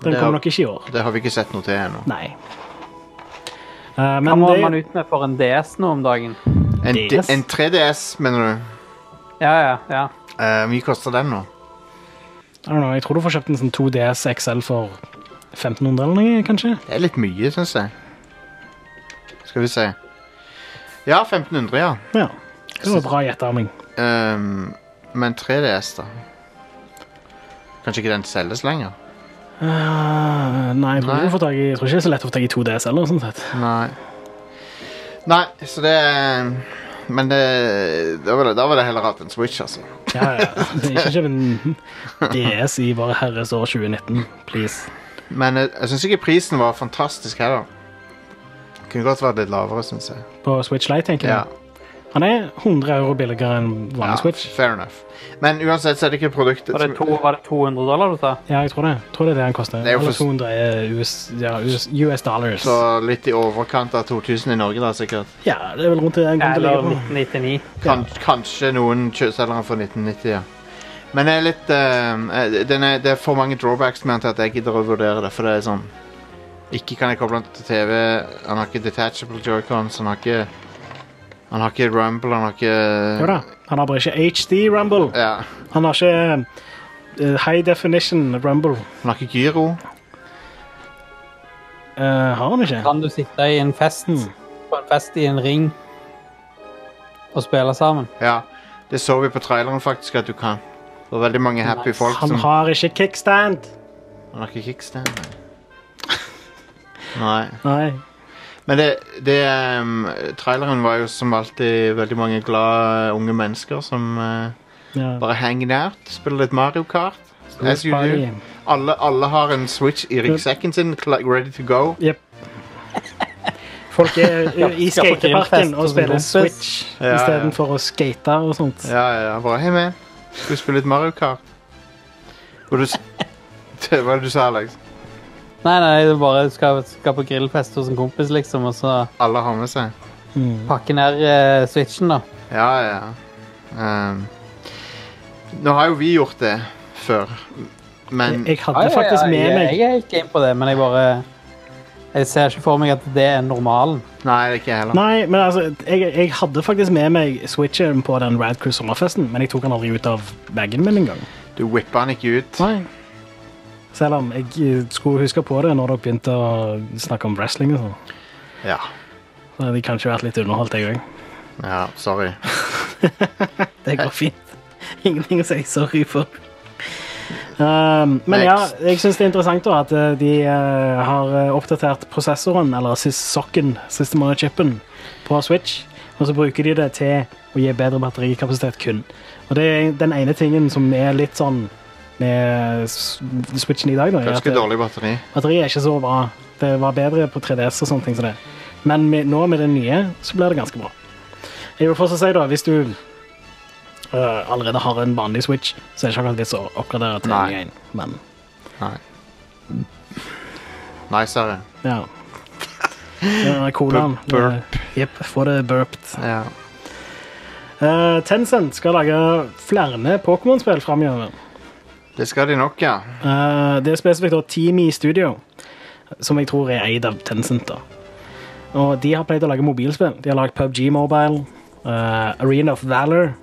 Speaker 2: Den
Speaker 1: Det er-
Speaker 2: kommer nok ikke i år.
Speaker 1: Det har vi ikke sett noe til ennå.
Speaker 2: Nei. Eh, men
Speaker 3: Hva må man
Speaker 2: det,
Speaker 3: ut med for en DS nå om dagen?
Speaker 1: En,
Speaker 2: DS?
Speaker 1: D- en 3DS, mener du?
Speaker 3: Ja, ja, ja.
Speaker 1: Eh, Hvor mye koster den nå?
Speaker 2: I don't know, jeg tror du får kjøpt en sånn 2DS XL for 1500 eller noe, kanskje?
Speaker 1: Det er litt mye, syns jeg. Skal vi se. Ja, 1500, ja.
Speaker 2: Ja. Det var bra gjettearming.
Speaker 1: Ehm, men 3DS, da? Kanskje ikke den selges lenger?
Speaker 2: Eh, nei, jeg tror,
Speaker 1: Nei.
Speaker 2: ikke du får tak i, jeg tror ikke det er så lett å få tak i 2DS eller sånn sett.
Speaker 1: Nei. Nei, så det er- Men det Da ville jeg heller hatt en Switch, altså.
Speaker 2: Ja, ja. Det er Ikke kjøp en DS i Våre Herres år 2019, please.
Speaker 1: Men jeg, jeg syns ikke prisen var fantastisk heller. Kunne godt vært litt lavere, syns jeg.
Speaker 2: På Switch Lite, tenker jeg. Han er 100 euro billigere enn vanlig
Speaker 1: Ja,
Speaker 2: Switch.
Speaker 1: Fair enough. Men uansett så er det ikke produktet
Speaker 3: Var det, to, var det 200 dollar du sa?
Speaker 2: Ja, jeg tror det. Jeg tror det er det han koster.
Speaker 1: Det er jo
Speaker 2: Eller
Speaker 1: for-
Speaker 2: 200 er US, ja, US, US dollars.
Speaker 1: Så litt i overkant av 2000 i Norge, da, sikkert.
Speaker 2: Ja, det er vel rundt det han kommer til å
Speaker 3: Eller
Speaker 2: ligge på.
Speaker 3: 1999?
Speaker 1: Kan, Kanskje noen kjø- selger den for 1990, ja. Men det er litt eh, eh, den er, Det er for mange drawbacks med den til at jeg gidder å vurdere det. For det er sånn Ikke kan jeg koble den til TV. Han har ikke detachable joycons. Han har ikke Han har ikke rumble. Han har
Speaker 2: Jo da.
Speaker 1: ikke
Speaker 2: Han har bare ikke HD Rumble.
Speaker 1: Ja.
Speaker 2: Han har ikke eh, High Definition Rumble.
Speaker 1: Han har ikke gyro.
Speaker 2: Eh, har han ikke?
Speaker 3: Kan du sitte i en fest,
Speaker 2: Hmm.
Speaker 3: på en fest i en ring, og spille sammen?
Speaker 1: Ja, det så vi på traileren faktisk at du kan. Det var veldig mange happy folk
Speaker 2: Han
Speaker 1: som
Speaker 2: har ikke kickstand.
Speaker 1: Han har ikke kickstand. Nei.
Speaker 2: Nei.
Speaker 1: Men det, det ehm, Traileren var jo som alltid veldig mange glade unge mennesker som eh,
Speaker 2: Ja.
Speaker 1: bare henger nært. Spiller litt Mario Kart. As you do.
Speaker 2: Party.
Speaker 1: Alle, alle har en Switch i ryggsekken sin, kla- ready to go.
Speaker 2: Yep. Folk er i
Speaker 3: Skal på
Speaker 2: skateparken og sånn
Speaker 3: grillfest hos
Speaker 2: spiller
Speaker 3: en kompis.
Speaker 2: Switch
Speaker 1: Ja, ja.
Speaker 2: istedenfor å skate og sånt.
Speaker 1: Ja, ja, ja, bare Hei, man. Skal vi spille litt Mario Kart? Og du s- Hva var det du sa, Alex?
Speaker 3: Nei, nei, du bare skal, skal på grillfest hos en kompis, liksom, og så
Speaker 1: Alle har med seg.
Speaker 2: Mm.
Speaker 3: pakke ned eh, switchen, da.
Speaker 1: Ja, ja. Ehm, nå har jo vi gjort det før, men
Speaker 2: Jeg, jeg hadde faktisk med
Speaker 3: jeg,
Speaker 2: meg
Speaker 3: jeg er ikke inne på det, men jeg bare Jeg ser ikke for meg at det er normalen.
Speaker 1: Nei, det er ikke jeg heller.
Speaker 2: Nei, men altså, jeg, jeg hadde faktisk med meg Switchen på den Radcruise sommerfesten, men jeg tok den aldri ut av bagen min engang.
Speaker 1: Du whipper han ikke ut.
Speaker 2: Selv om jeg eh, skulle huske på det når dere begynte å snakke om wrestling og sånn.
Speaker 1: Ja.
Speaker 2: Så hadde jeg kanskje vært litt underholdt, jeg òg.
Speaker 1: ja sorry.
Speaker 2: Det går fint. Ingenting å si sorry for. Um, men ja,
Speaker 1: Next.
Speaker 2: jeg syns det er interessant da, at eh, de eh, har eh, oppdatert prosessoren, eller sys- sokken, siste måned chipen, på Switch. Og så bruker de det til å gi bedre batterikapasitet kun. Og det er den ene tingen som er litt sånn med s- Switchen i dag, da. er at
Speaker 1: Ganske
Speaker 2: det-
Speaker 1: dårlig batteri.
Speaker 2: Batteriet er ikke så bra. Det var bedre på 3DS og sånne ting som det. Men med, nå med det nye så blir det ganske bra. Jeg vil fortsatt si da, hvis du øh, allerede har en vanlig Switch, så er det ikke akkurat vits å oppgradere til
Speaker 1: Nei.
Speaker 2: en ny en. Men
Speaker 1: Nei. Nicere.
Speaker 2: ja. Uh, Colaen.
Speaker 1: Burp, burp.
Speaker 2: eh, Jepp, få det burped.
Speaker 1: Ja.
Speaker 2: Eh, Tencent skal lage flere Pokémon-spill framover.
Speaker 1: Det skal de nok, ja.
Speaker 2: Eh, det er spesifikt da Teamy Studio, som jeg tror er eid av Tencent. da. Og de har pleid å lage mobilspill. De har lagd PubG Mobile, eh, Arena of Valor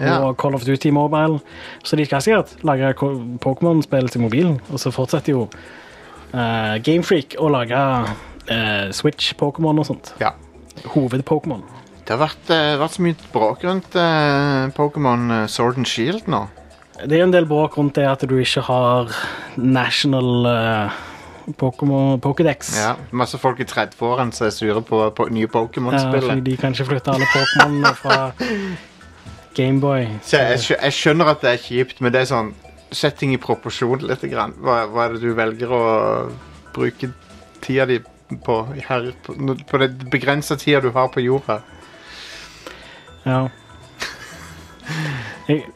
Speaker 1: Ja.
Speaker 2: og Call of Duty Mobile. Så de skal sikkert lage ko- Pokémon-spill til mobilen, og så fortsetter jo eh, Game Freak å lage eh, Switch-Pokémon og sånt.
Speaker 1: ja.
Speaker 2: Hoved-Pokémon.
Speaker 1: Det har vært, eh, vært så mye bråk rundt eh, Pokémon eh, Sword and Shield nå.
Speaker 2: Det er jo en del bråk rundt det at du ikke har national eh, Pokémon Pokédex.
Speaker 1: Ja. Masse folk i 30-årene som er sure på, på nye
Speaker 2: Ja,
Speaker 1: Pokémon-spill.
Speaker 2: fordi de kan ikke flytte alle Pokémonene fra Gameboy.
Speaker 1: Så jeg, skjø- jeg skjønner at det er kjipt, men det er sånn Sett ting i proporsjon litt. Grann. Hva, hva er det du velger å bruke tida di på her På, på den begrensa tida du har på jorda.
Speaker 2: Ja. Jeg,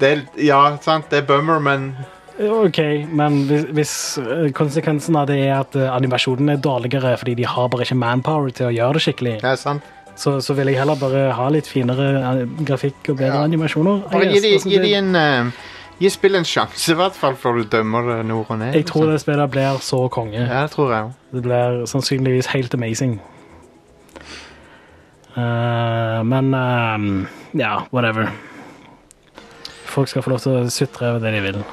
Speaker 1: Det er, ja, sant, det er bummer, men
Speaker 2: ok, men hvis, hvis eh, konsekvensen av det er at eh, animasjonen er dårligere fordi de har bare ikke manpower til å gjøre det skikkelig,
Speaker 1: det er sant.
Speaker 2: så, så vil jeg heller bare ha litt finere eh, grafikk og bedre
Speaker 1: Ja.
Speaker 2: animasjoner. I
Speaker 1: Bare gi
Speaker 2: guess.
Speaker 1: de,
Speaker 2: Altså,
Speaker 1: gi
Speaker 2: det-
Speaker 1: de en eh, Gi spillet en sjanse, i hvert fall, før du dømmer det nord og ned.
Speaker 2: Jeg tror det spillet blir så konge.
Speaker 1: Ja, det tror jeg òg.
Speaker 2: Det blir sannsynligvis helt amazing. Eh, men ehm, ja, whatever. Folk skal få lov til å sutre over det de vil.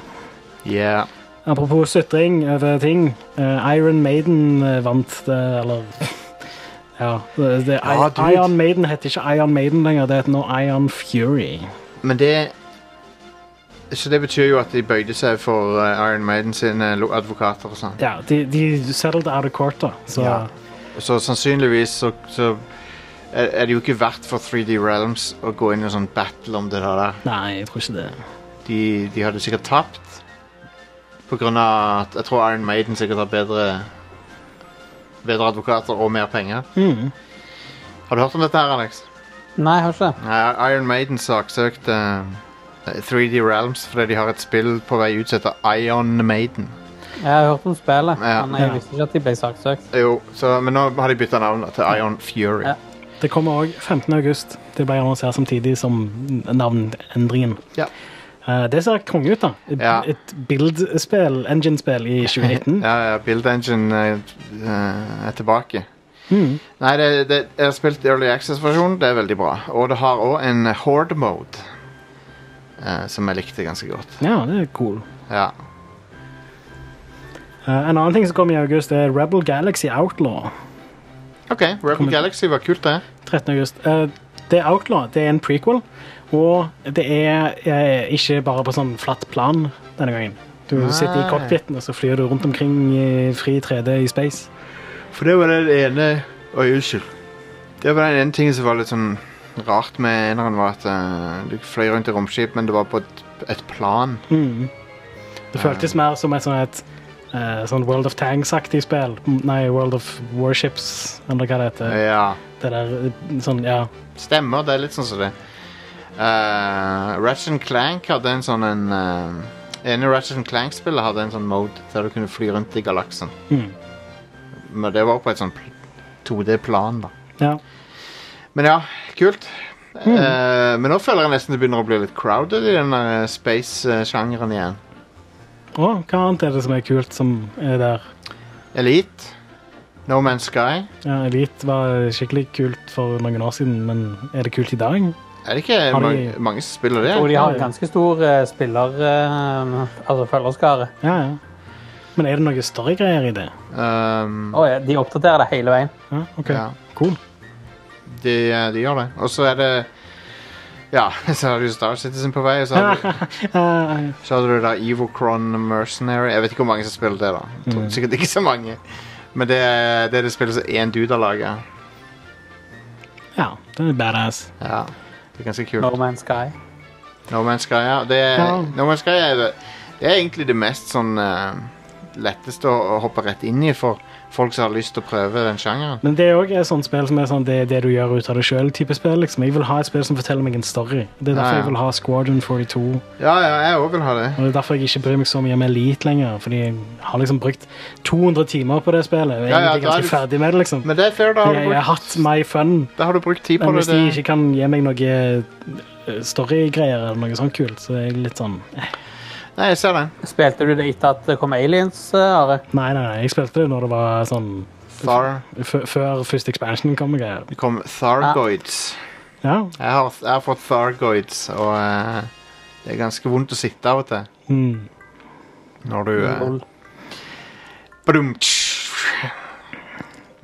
Speaker 1: Yeah.
Speaker 2: Apropos sutring over ting. eh, Iron Maiden eh, vant det, eller Ja. Det, det,
Speaker 1: Ja, dude.
Speaker 2: Iron Maiden heter ikke Iron Maiden lenger, det heter nå Iron Fury.
Speaker 1: Men det Så det betyr jo at de bøyde seg for eh, Iron Maiden sine lo- advokater og sånn.
Speaker 2: Ja, de, de settled out of court, da. Så
Speaker 1: Ja. Så sannsynligvis så, så er er det jo ikke verdt for 3D Realms å gå inn i en sånn battle om det der.
Speaker 2: nei, jeg tror ikke det.
Speaker 1: De, de hadde sikkert tapt. På grunn av at jeg tror Iron Maiden sikkert har bedre Bedre advokater og mer penger.
Speaker 2: Mhm.
Speaker 1: Har du hørt om dette her, Alex?
Speaker 3: Nei, jeg har ikke det.
Speaker 1: Nei, Iron Maiden saksøkte eh, 3D Realms fordi de har et spill på vei ut som heter Ion Maiden.
Speaker 3: Jeg har hørt om spillet,
Speaker 1: Ja.
Speaker 3: men jeg
Speaker 2: Ja.
Speaker 3: visste ikke at de ble saksøkt.
Speaker 1: Jo, så, men nå har de bytta navn da, til Ion Fury.
Speaker 3: Ja.
Speaker 2: Det kommer òg 15. august. Det ble annonsert samtidig som navnendringen.
Speaker 1: Ja.
Speaker 2: Eh, det ser konge ut, da. Et,
Speaker 1: Ja.
Speaker 2: et build-spill, engine-spill i 2019.
Speaker 1: Ja, ja, Build Engine eh, eh, er tilbake.
Speaker 2: Mhm.
Speaker 1: Nei, det, det, jeg har spilt Early Access-versjonen. Det er veldig bra. Og det har òg en Horde Mode, eh, som jeg likte ganske godt.
Speaker 2: ja, det er cool.
Speaker 1: Ja.
Speaker 2: Eh, en annen ting som kom i august, er Rebel Galaxy Outlaw.
Speaker 1: OK, Rebel
Speaker 2: Kommer-
Speaker 1: Galaxy var kult, det.
Speaker 2: 13. august. Eh, det er Outlaw. Det er en prequel. Og det er eh, ikke bare på sånn flatt plan denne gangen. Du
Speaker 1: Nei.
Speaker 2: sitter i cockpiten og så flyr du rundt omkring i fri 3D i space.
Speaker 1: For det var den ene Oi, unnskyld. Det var den ene tingen som var litt sånn rart med eneren, var at eh, du fløy rundt i romskip, men det var på et, et plan.
Speaker 2: Mhm. Det føltes mer som et sånn et eh, sånn World of Tanks-aktig spill. M- Nei, World of Warships, eller hva det heter.
Speaker 1: Ja.
Speaker 2: Det der, eh, sånn, ja.
Speaker 1: Stemmer, det er litt sånn som det. Uh, Ratchet Clank hadde en sånn en eh, ene Ratchet Clank-spillet hadde en sånn mode der du kunne fly rundt i galaksen.
Speaker 2: Mm.
Speaker 1: Men det var på et sånn pl- 2D-plan, da.
Speaker 2: ja.
Speaker 1: Men ja, kult.
Speaker 2: Mm.
Speaker 1: Eh, men nå føler jeg nesten det begynner å bli litt crowded i den der eh, space-sjangeren igjen.
Speaker 2: Å, hva annet er det som er kult som er der?
Speaker 1: Elite. No Man's Sky.
Speaker 2: Ja, Elite var skikkelig kult for noen år siden, men er det kult i dag?
Speaker 1: Er det ikke
Speaker 2: Har de-
Speaker 1: mange, mange som spiller det?
Speaker 3: Og de
Speaker 2: Ja,
Speaker 3: har
Speaker 2: ja.
Speaker 3: en ganske stor eh, spiller... eh, altså følgerskare.
Speaker 2: Ja, ja. Men er det noe større greier i det?
Speaker 1: Um,
Speaker 3: Å ja, de oppdaterer det hele veien.
Speaker 2: Ja, ok.
Speaker 1: Ja.
Speaker 2: Cool.
Speaker 1: de, eh, de gjør det. Og så er det Ja, så har du Star Citizen på vei, og så har du,
Speaker 2: Eh,
Speaker 1: så har du da Evocron Mercenary. Jeg vet ikke hvor mange som spiller det, da. Jeg
Speaker 2: Mm.
Speaker 1: tror Sikkert ikke så mange. Men det er det, er det spillet som én dude har laga.
Speaker 2: ja, det er badass.
Speaker 1: Ja, det er ganske kult.
Speaker 3: No Man's Sky.
Speaker 1: No Man's Sky, ja. Det er,
Speaker 2: Ja.
Speaker 1: No Man's Sky er, det, det er egentlig det mest sånn eh, letteste å, å hoppe rett inn i for folk som har lyst til å prøve den sjangeren.
Speaker 2: Men det er også et sånt spill som er sånn, det, er det du gjør ut av deg sjøl. Liksom. Jeg vil ha et spill som forteller meg en story. Det er
Speaker 1: Ja,
Speaker 2: derfor
Speaker 1: ja.
Speaker 2: jeg vil ha Squadron 42. Og
Speaker 1: Ja, ja, jeg òg vil ha det.
Speaker 2: det er derfor jeg ikke bryr meg så mye om Elite lenger. Fordi jeg har liksom brukt 200 timer på det spillet. Jeg
Speaker 1: Ja,
Speaker 2: er
Speaker 1: ja,
Speaker 2: egentlig
Speaker 1: da er
Speaker 2: ganske
Speaker 1: du-
Speaker 2: ferdig med det, liksom.
Speaker 1: Men det er fair, da har
Speaker 2: Jeg,
Speaker 1: du
Speaker 2: jeg har
Speaker 1: brukt,
Speaker 2: hatt my fun.
Speaker 1: da har du brukt tid på
Speaker 2: Men
Speaker 1: det.
Speaker 2: hvis de
Speaker 1: det.
Speaker 2: ikke kan gi meg noe eh, storygreier eller noe sånt kult, så er jeg litt sånn eh.
Speaker 1: Nei, jeg ser den.
Speaker 3: Spilte du det etter at det kom Aliens, eh, Are?
Speaker 2: Nei, nei, nei. Jeg spilte det når det var sånn
Speaker 1: Thar.
Speaker 2: f- Før første expansion kom og greier.
Speaker 1: Det kom Thargoids.
Speaker 2: Ja.
Speaker 1: Jeg har, jeg har fått Thargoids, og eh, det er ganske vondt å sitte av og til.
Speaker 2: Mm.
Speaker 1: Når du eh,
Speaker 3: Lol.
Speaker 1: badum, tsch.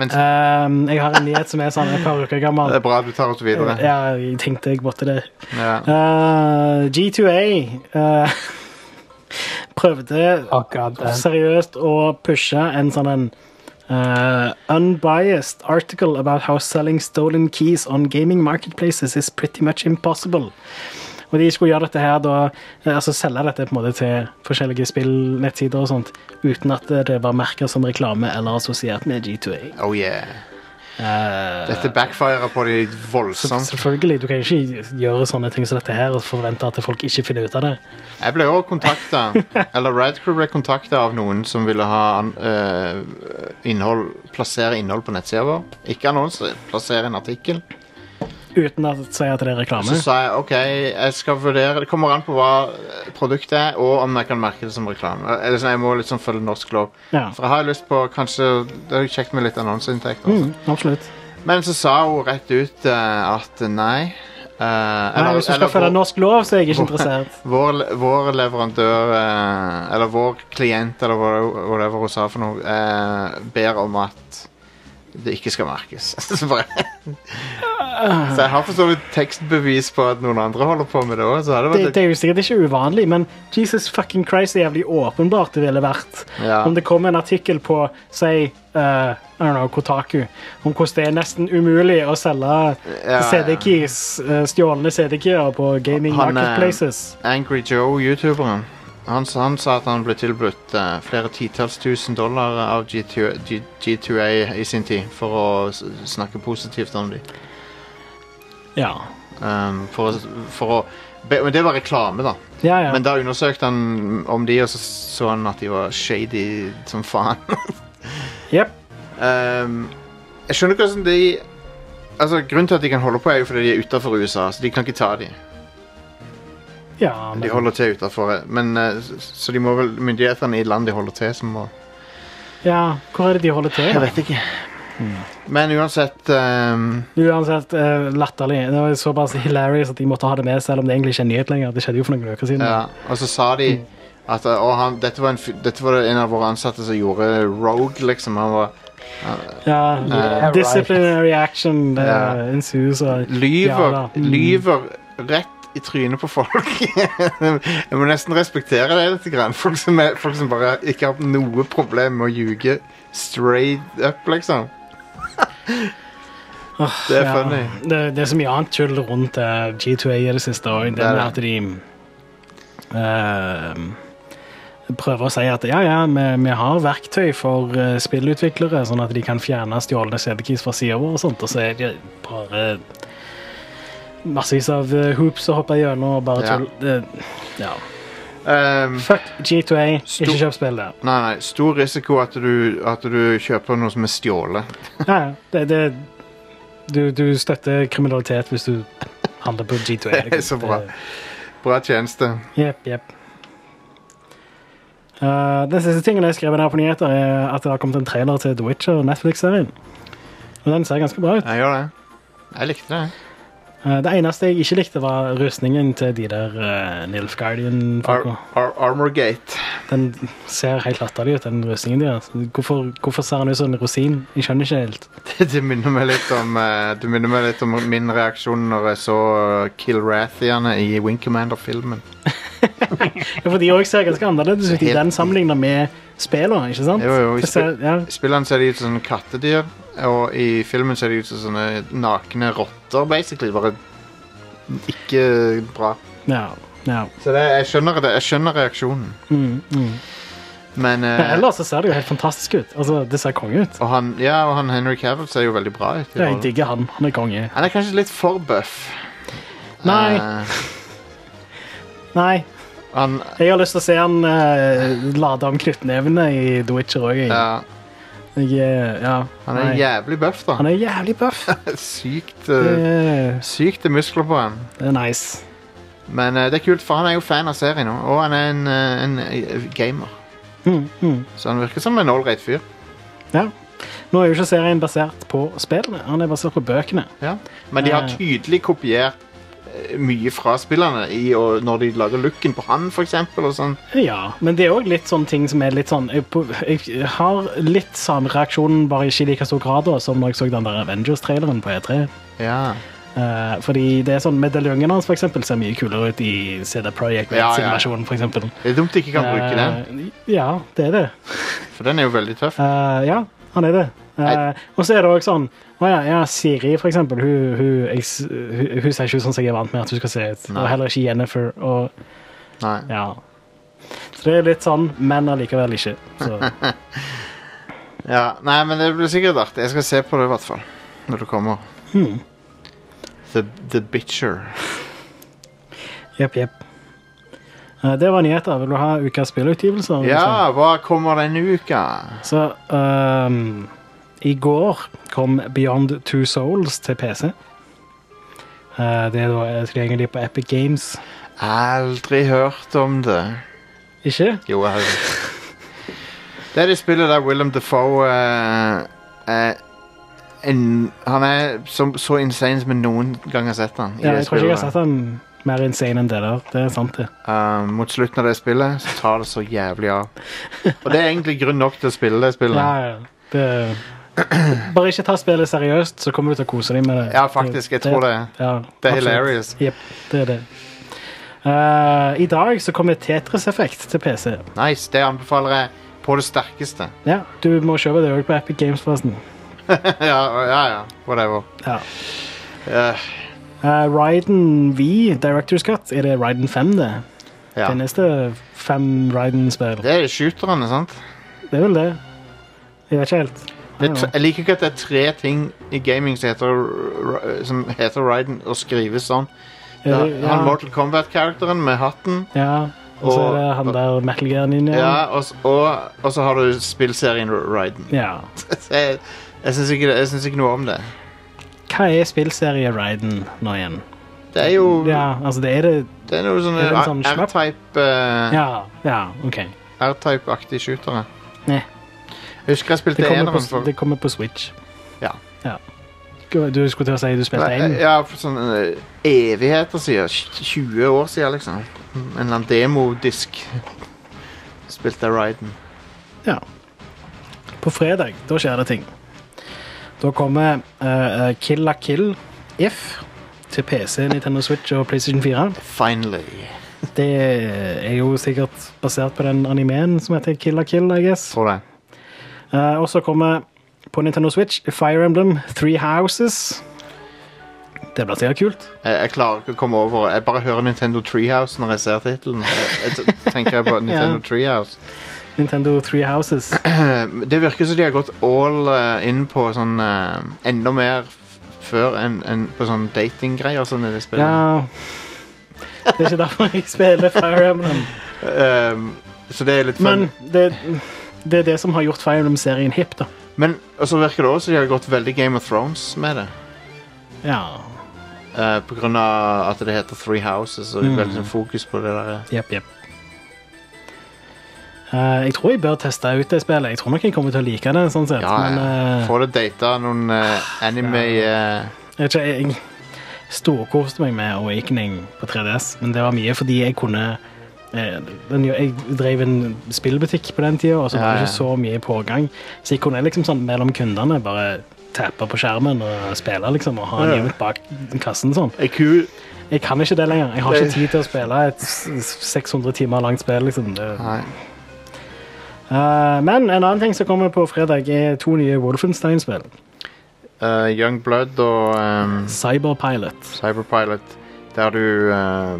Speaker 2: Ehm, jeg har en nyhet som er sånn et par uker gammel.
Speaker 1: Det er bra at du tar oss videre.
Speaker 2: Ja, jeg tenkte jeg måtte det.
Speaker 1: Ja.
Speaker 2: Eh, G2A eh, prøvde
Speaker 3: Å, god damn.
Speaker 2: seriøst å pushe en sånn en eh, unbiased article about how selling stolen keys on gaming marketplaces is pretty much impossible. Og de skulle gjøre dette her da, eh, altså selge dette på en måte til forskjellige spillnettsider og sånt, uten at det var merket som reklame eller assosiert med G2A.
Speaker 1: Oh yeah.
Speaker 2: Eh,
Speaker 1: Dette backfirer på de voldsomt.
Speaker 2: Selvfølgelig, Du kan ikke gjøre sånne ting som dette her og forvente at folk ikke finner ut av det.
Speaker 1: Jeg ble også kontaktet Eller Radcrew ble kontaktet av noen som ville ha an- eh, innhold, plassere innhold på nettsida vår. Ikke annonser, plassere en artikkel.
Speaker 2: Uten å si at det er reklame.
Speaker 1: Så sa jeg OK, jeg skal vurdere Det kommer an på hva eh, produktet er, og om jeg kan merke det som reklame. Eller sånn, Jeg må liksom følge norsk lov.
Speaker 2: Ja,
Speaker 1: For jeg har jo lyst på kanskje Det er jo kjekt med litt annonseinntekt. altså.
Speaker 2: mm, Absolutt.
Speaker 1: Men så sa hun rett ut eh, at nei. eh,
Speaker 2: Nei,
Speaker 1: eller-
Speaker 2: hvis du
Speaker 1: eller
Speaker 2: skal følge
Speaker 1: vår-
Speaker 2: norsk lov, så er jeg ikke interessert.
Speaker 1: Vår, le- vår leverandør, eh, eller vår klient, eller hva- whatever hun sa for noe, eh, ber om at det ikke skal merkes. så, bare, så jeg har for så vidt tekstbevis på at noen andre holder på med det òg. Så hadde det
Speaker 2: Det,
Speaker 1: vært
Speaker 2: det er jo sikkert ikke uvanlig, men Jesus fucking Christ er jævlig åpenbart det ville vært.
Speaker 1: Ja.
Speaker 2: Om det kom en artikkel på, si, eh, I don't know, Kotaku, om hvordan det er nesten umulig å selge
Speaker 1: ja,
Speaker 2: CD-keys, eh, stjålne CD-keyer på gaming
Speaker 1: Han, eh,
Speaker 2: marketplaces.
Speaker 1: Angry Joe, youtuberen, han, sa- han sa at han ble tilbudt eh, flere titalls tusen dollar av G2, G, G2A i sin tid for å s- snakke positivt om dem.
Speaker 2: Ja.
Speaker 1: Um, for, å- for å be, Men det var reklame, da.
Speaker 2: Ja, ja.
Speaker 1: Men da undersøkte han om de, og så så han at de var shady som faen.
Speaker 2: Jep.
Speaker 1: Ehm, jeg skjønner ikke hvordan de Altså, Grunnen til at de kan holde på, er jo fordi de er utafor USA, så de kan ikke ta de.
Speaker 2: Ja,
Speaker 1: De
Speaker 2: men-
Speaker 1: holder til utafor. Men eh, s- så de må vel myndighetene i landet de holder til, som må
Speaker 2: Ja, hvor er det de holder til?
Speaker 1: vet ikke. Men uansett ehm,
Speaker 2: Uansett, eh, latterlig. Det var såpass hilarious at de måtte ha det med, selv om det egentlig ikke er en nyhet lenger. Det skjedde jo for noen uker siden.
Speaker 1: Ja, og så sa de at eh, å, han, dette, var en, fyr- dette var en av våre ansatte som gjorde rogue, liksom. Han var
Speaker 2: Ja,
Speaker 3: Yeah,
Speaker 2: disciplinary action det
Speaker 1: Ja.
Speaker 2: ensues. Og, Ja
Speaker 1: Lyver,
Speaker 2: da. Mm.
Speaker 1: lyver rett i trynet på folk. jeg må nesten respektere det litt. Grann. Folk, som er, folk som bare ikke har noe problem med å ljuge straight up, liksom. Det er
Speaker 2: ja,
Speaker 1: funny.
Speaker 2: Det, det er så mye annet tull rundt eh, G2A i det siste òg. Det
Speaker 1: Det er
Speaker 2: med
Speaker 1: det.
Speaker 2: at de eh, prøver å si at ja, ja, vi, vi har verktøy for eh, spillutviklere, sånn at de kan fjerne stjålne CD-keys fra sida vår og sånt, og så er det bare massevis av eh, hoops å hoppe gjennom og bare
Speaker 1: Ja.
Speaker 2: tull. Det, ja.
Speaker 1: Ehm,
Speaker 2: Fuck G2A,
Speaker 1: Stor-
Speaker 2: ikke kjøp spill der.
Speaker 1: nei, nei, stor risiko at du, at du kjøper noe som er stjålet.
Speaker 2: Ja, ja. det, det, Du, du støtter kriminalitet hvis du handler på G2E.
Speaker 1: Det er
Speaker 2: liksom.
Speaker 1: så bra.
Speaker 2: Det-
Speaker 1: Bra tjeneste.
Speaker 2: Jepp, jepp. Eh, den siste tingen jeg skrev der på nyheter, er at det har kommet en trailer til The Witcher, Netflix-serien. Og den ser ganske bra ut.
Speaker 1: Jeg gjør det. Jeg likte det.
Speaker 2: Eh, det eneste jeg ikke likte, var rustningen til de der uh, Nilfgaardian-folka.
Speaker 1: Ar Ar Armorgate.
Speaker 2: Den ser helt latterlig ut, den rustningen deres. Hvorfor, hvorfor ser den ut som en rosin? Jeg skjønner ikke helt.
Speaker 1: Det minner meg litt om eh, Det minner meg litt om min reaksjon når jeg så eh, Kill Rathiane i Wing Commander-filmen.
Speaker 2: Ja, for de òg ser ganske annerledes ut i den sammenligna med spillene, ikke sant?
Speaker 1: Jo, jo, i
Speaker 2: Det ser, ja.
Speaker 1: I spillene ser de ut som sånne kattedyr, og i filmen ser de ut som sånne nakne rotter, basically. Bare ikke bra.
Speaker 2: ja, ja.
Speaker 1: Så det, jeg skjønner det. Jeg skjønner reaksjonen.
Speaker 2: Mm, mm.
Speaker 1: Men eh,
Speaker 2: Men ellers så ser det jo helt fantastisk ut. Altså, Det ser konge ut.
Speaker 1: og han, ja, og han Henry Cavill ser jo veldig bra ut. i
Speaker 2: Ja, Jeg
Speaker 1: rollen.
Speaker 2: digger han. Han er konge.
Speaker 1: Han er kanskje litt for buff.
Speaker 2: Nei.
Speaker 1: Eh,
Speaker 2: Nei,
Speaker 1: han,
Speaker 2: jeg har lyst til å se han eh, lade om knyttnevene i The Witcher òg.
Speaker 1: ja,
Speaker 2: eh, Ja,
Speaker 1: han er
Speaker 2: nei.
Speaker 1: jævlig buff, da.
Speaker 2: han er jævlig buff.
Speaker 1: Sykt
Speaker 2: Det
Speaker 1: eh,
Speaker 2: er-
Speaker 1: Sykt det er muskler på han.
Speaker 2: det er nice.
Speaker 1: Men eh, det er kult, for han er jo fan av serien òg. Og han er en, eh, en eh, gamer.
Speaker 2: Mm, mm.
Speaker 1: Så han virker som en ålreit fyr.
Speaker 2: Ja. Nå er jo ikke serien basert på spillene, han er basert på bøkene.
Speaker 1: Ja. Men de har
Speaker 2: Ja.
Speaker 1: tydelig kopiert eh, mye fra spillerne i, og når de lager looken på han, for eksempel. Og sånn.
Speaker 2: Ja, men det er òg litt sånne ting som er litt sånn Jeg, på- jeg har litt samme reaksjonen, bare ikke i like stor grad da, som når jeg så den der Avengers-traileren på E3.
Speaker 1: Ja.
Speaker 2: Eh, fordi det er sånn medaljongen hans for eksempel, ser mye kulere ut i CD Projekt
Speaker 1: Ja, ja, ja.
Speaker 2: Red-situasjonen. for eksempel.
Speaker 1: Det er dumt de ikke kan bruke den,
Speaker 2: Eh, Ja, det er det.
Speaker 1: for den er jo veldig tøff.
Speaker 2: Eh, ja, han er det. Eh,
Speaker 1: Nei.
Speaker 2: og så er det òg sånn å ja, ja, Siri, for eksempel. Hun, hun, jeg, s- hun, hun ser ikke ut som jeg er vant med at hun skal se ut.
Speaker 1: Nei.
Speaker 2: Og heller ikke Jennifer. og...
Speaker 1: Nei.
Speaker 2: Ja. Så det er litt sånn, men allikevel ikke. Så,
Speaker 1: Ja. Nei, men det blir sikkert artig. Jeg skal se på det, i hvert fall. Når det kommer.
Speaker 2: hmm.
Speaker 1: The, the Bitcher.
Speaker 2: Jepp, jepp. Eh, Det var nyheter. Vil du ha ukas spillutgivelser? liksom?
Speaker 1: Ja, hva kommer denne uka?
Speaker 2: Så ehm, I går kom Beyond Two Souls til PC. Eh, det er da tilgjengelig på Epic Games.
Speaker 1: Aldri hørt om det.
Speaker 2: Ikke?
Speaker 1: Jo, jeg har det. Det er det spillet der Willem Dafoe eh, er en, Han er som, så insane som jeg noen gang har sett han. i
Speaker 2: Ja,
Speaker 1: det
Speaker 2: jeg tror ikke jeg har
Speaker 1: spillet
Speaker 2: sett den mer insane enn det der. Det er sant, det.
Speaker 1: der. Eh, mot slutten av det spillet så tar det så jævlig av. Og det er egentlig grunn nok til å spille det spillet.
Speaker 2: Ja, ja. det bare ikke ta spillet seriøst, så kommer du til å kose deg med det.
Speaker 1: Ja, faktisk. Jeg tror det.
Speaker 2: Ja,
Speaker 1: Det er
Speaker 2: absolutt.
Speaker 1: hilarious.
Speaker 2: Jepp, det er det. Eh, I dag så kommer Tetris Effect til PC.
Speaker 1: Nice. Det anbefaler jeg på det sterkeste.
Speaker 2: Ja, Du må kjøpe det òg på Epic Games, forresten.
Speaker 1: ja, ja, ja. Whatever.
Speaker 2: Ja.
Speaker 1: Eh,
Speaker 2: Eh, Raiden V, Director's Cut, er det Raiden 5, det?
Speaker 1: ja.
Speaker 2: Finnes det fem Raiden-spill?
Speaker 1: Det er shooterne, sant?
Speaker 2: Det er vel det. Jeg vet ikke helt.
Speaker 1: Det er tre, jeg liker ikke at det er tre ting i gaming som heter, Ra- som heter Raiden og skrives sånn.
Speaker 2: Er
Speaker 1: Ja,
Speaker 2: det-
Speaker 1: han Mortal Kombat-karakteren med hatten.
Speaker 2: ja. Og så er
Speaker 1: og-
Speaker 2: det han der Metal Gear Ninja.
Speaker 1: Ja, og, s- og, og så har du spillserien Raiden.
Speaker 2: ja.
Speaker 1: Jeg, jeg syns ikke, det- jeg syns ikke noe om det.
Speaker 2: Hva er spillserie Raiden nå igjen?
Speaker 1: Det er jo
Speaker 2: Ja, altså det er det
Speaker 1: Det er noe sånne
Speaker 2: Er det en sånn
Speaker 1: R-
Speaker 2: slapp?
Speaker 1: R-type eh,
Speaker 2: Ja, ja OK.
Speaker 1: R-type-aktige shootere.
Speaker 2: Nei.
Speaker 1: Jeg husker jeg
Speaker 2: Det
Speaker 1: spilte
Speaker 2: kommer,
Speaker 1: eneren
Speaker 2: på,
Speaker 1: for
Speaker 2: det kommer på Switch.
Speaker 1: Ja.
Speaker 2: Du skulle til å si du spilte én?
Speaker 1: Nei, Ja, for sånn eh, evigheter siden. tj- 20 år siden, liksom. En eller annen demodisk spilte jeg Raiden.
Speaker 2: Ja. På fredag, da skjer det ting. Da kommer eh, eh, Kill la Kill If til PC, Nintendo Switch og PlayStation 4.
Speaker 1: Finally.
Speaker 2: Det er jo sikkert basert på den animeen som heter Kill la Kill, I guess.
Speaker 1: Tror det.
Speaker 2: Eh, og så kommer på Nintendo Switch Fire Emblem Three Houses. Det blir sikkert kult.
Speaker 1: Jeg, jeg klarer ikke å komme over Jeg bare hører Nintendo Treehouse når jeg ser tittelen. Jeg, jeg t- tenker på Nintendo Treehouse.
Speaker 2: Nintendo Three Houses.
Speaker 1: Eh, Det virker som de har gått all eh, inn på sånn eh, enda mer f- før enn enn på sånn datinggreier. Sånn i det spillet.
Speaker 2: Ja Eh, Det er ikke derfor jeg spiller Fire Emblem.
Speaker 1: Eh, så det er litt fun.
Speaker 2: Men det, det er det som har gjort Fire Emblem-serien hip, da.
Speaker 1: Men og så virker det også som de har gått veldig Game of Thrones med det.
Speaker 2: Ja.
Speaker 1: eh, på grunn av at det heter Three Houses,
Speaker 2: Mm.
Speaker 1: og det er veldig sånn fokus på det der.
Speaker 2: Jepp, jepp. Eh, jeg tror jeg bør teste ut det spillet. Jeg tror nok jeg kommer til å like det. sånn sett.
Speaker 1: Ja,
Speaker 2: Men
Speaker 1: ja.
Speaker 2: eh,
Speaker 1: Få det data noen eh, anime eh,
Speaker 2: jeg, vet ikke, jeg storkoste meg med Awakening på 3DS, men det var mye fordi jeg kunne eh, den, Jeg drev en spillbutikk på den tida, og så
Speaker 1: Ja,
Speaker 2: var det
Speaker 1: ja.
Speaker 2: ikke så mye pågang. Så jeg kunne liksom sånn mellom kundene bare tappe på skjermen og spille liksom, og ha
Speaker 1: Ja,
Speaker 2: en
Speaker 1: ja.
Speaker 2: gimmick bak kassen. sånn.
Speaker 1: er kul.
Speaker 2: Jeg kan ikke det lenger. Jeg har
Speaker 1: Nei.
Speaker 2: ikke tid til å spille et s- 600 timer langt spill. liksom. Det,
Speaker 1: Nei.
Speaker 2: Eh, men en annen ting som kommer på fredag, er to nye Wolfenstein-spill.
Speaker 1: Eh, Young Blood og ehm,
Speaker 2: Cyberpilot.
Speaker 1: Cyberpilot, der du eh,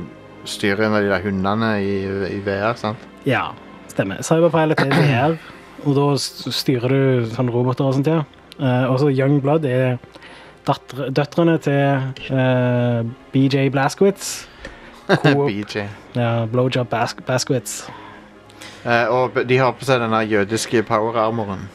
Speaker 1: styrer en av de der hundene i, i VR, sant?
Speaker 2: Ja, stemmer. Cyberpilot er VR, og da s- styrer du sånne roboter og sånt. ja. Uh, og så Young Blood er datter, døtrene til eh, BJ Blazkowicz. Co-op-
Speaker 1: BJ.
Speaker 2: ja, Blowjob Bas Baskowitz.
Speaker 1: Eh, og b- de har på seg den der jødiske power-armoren,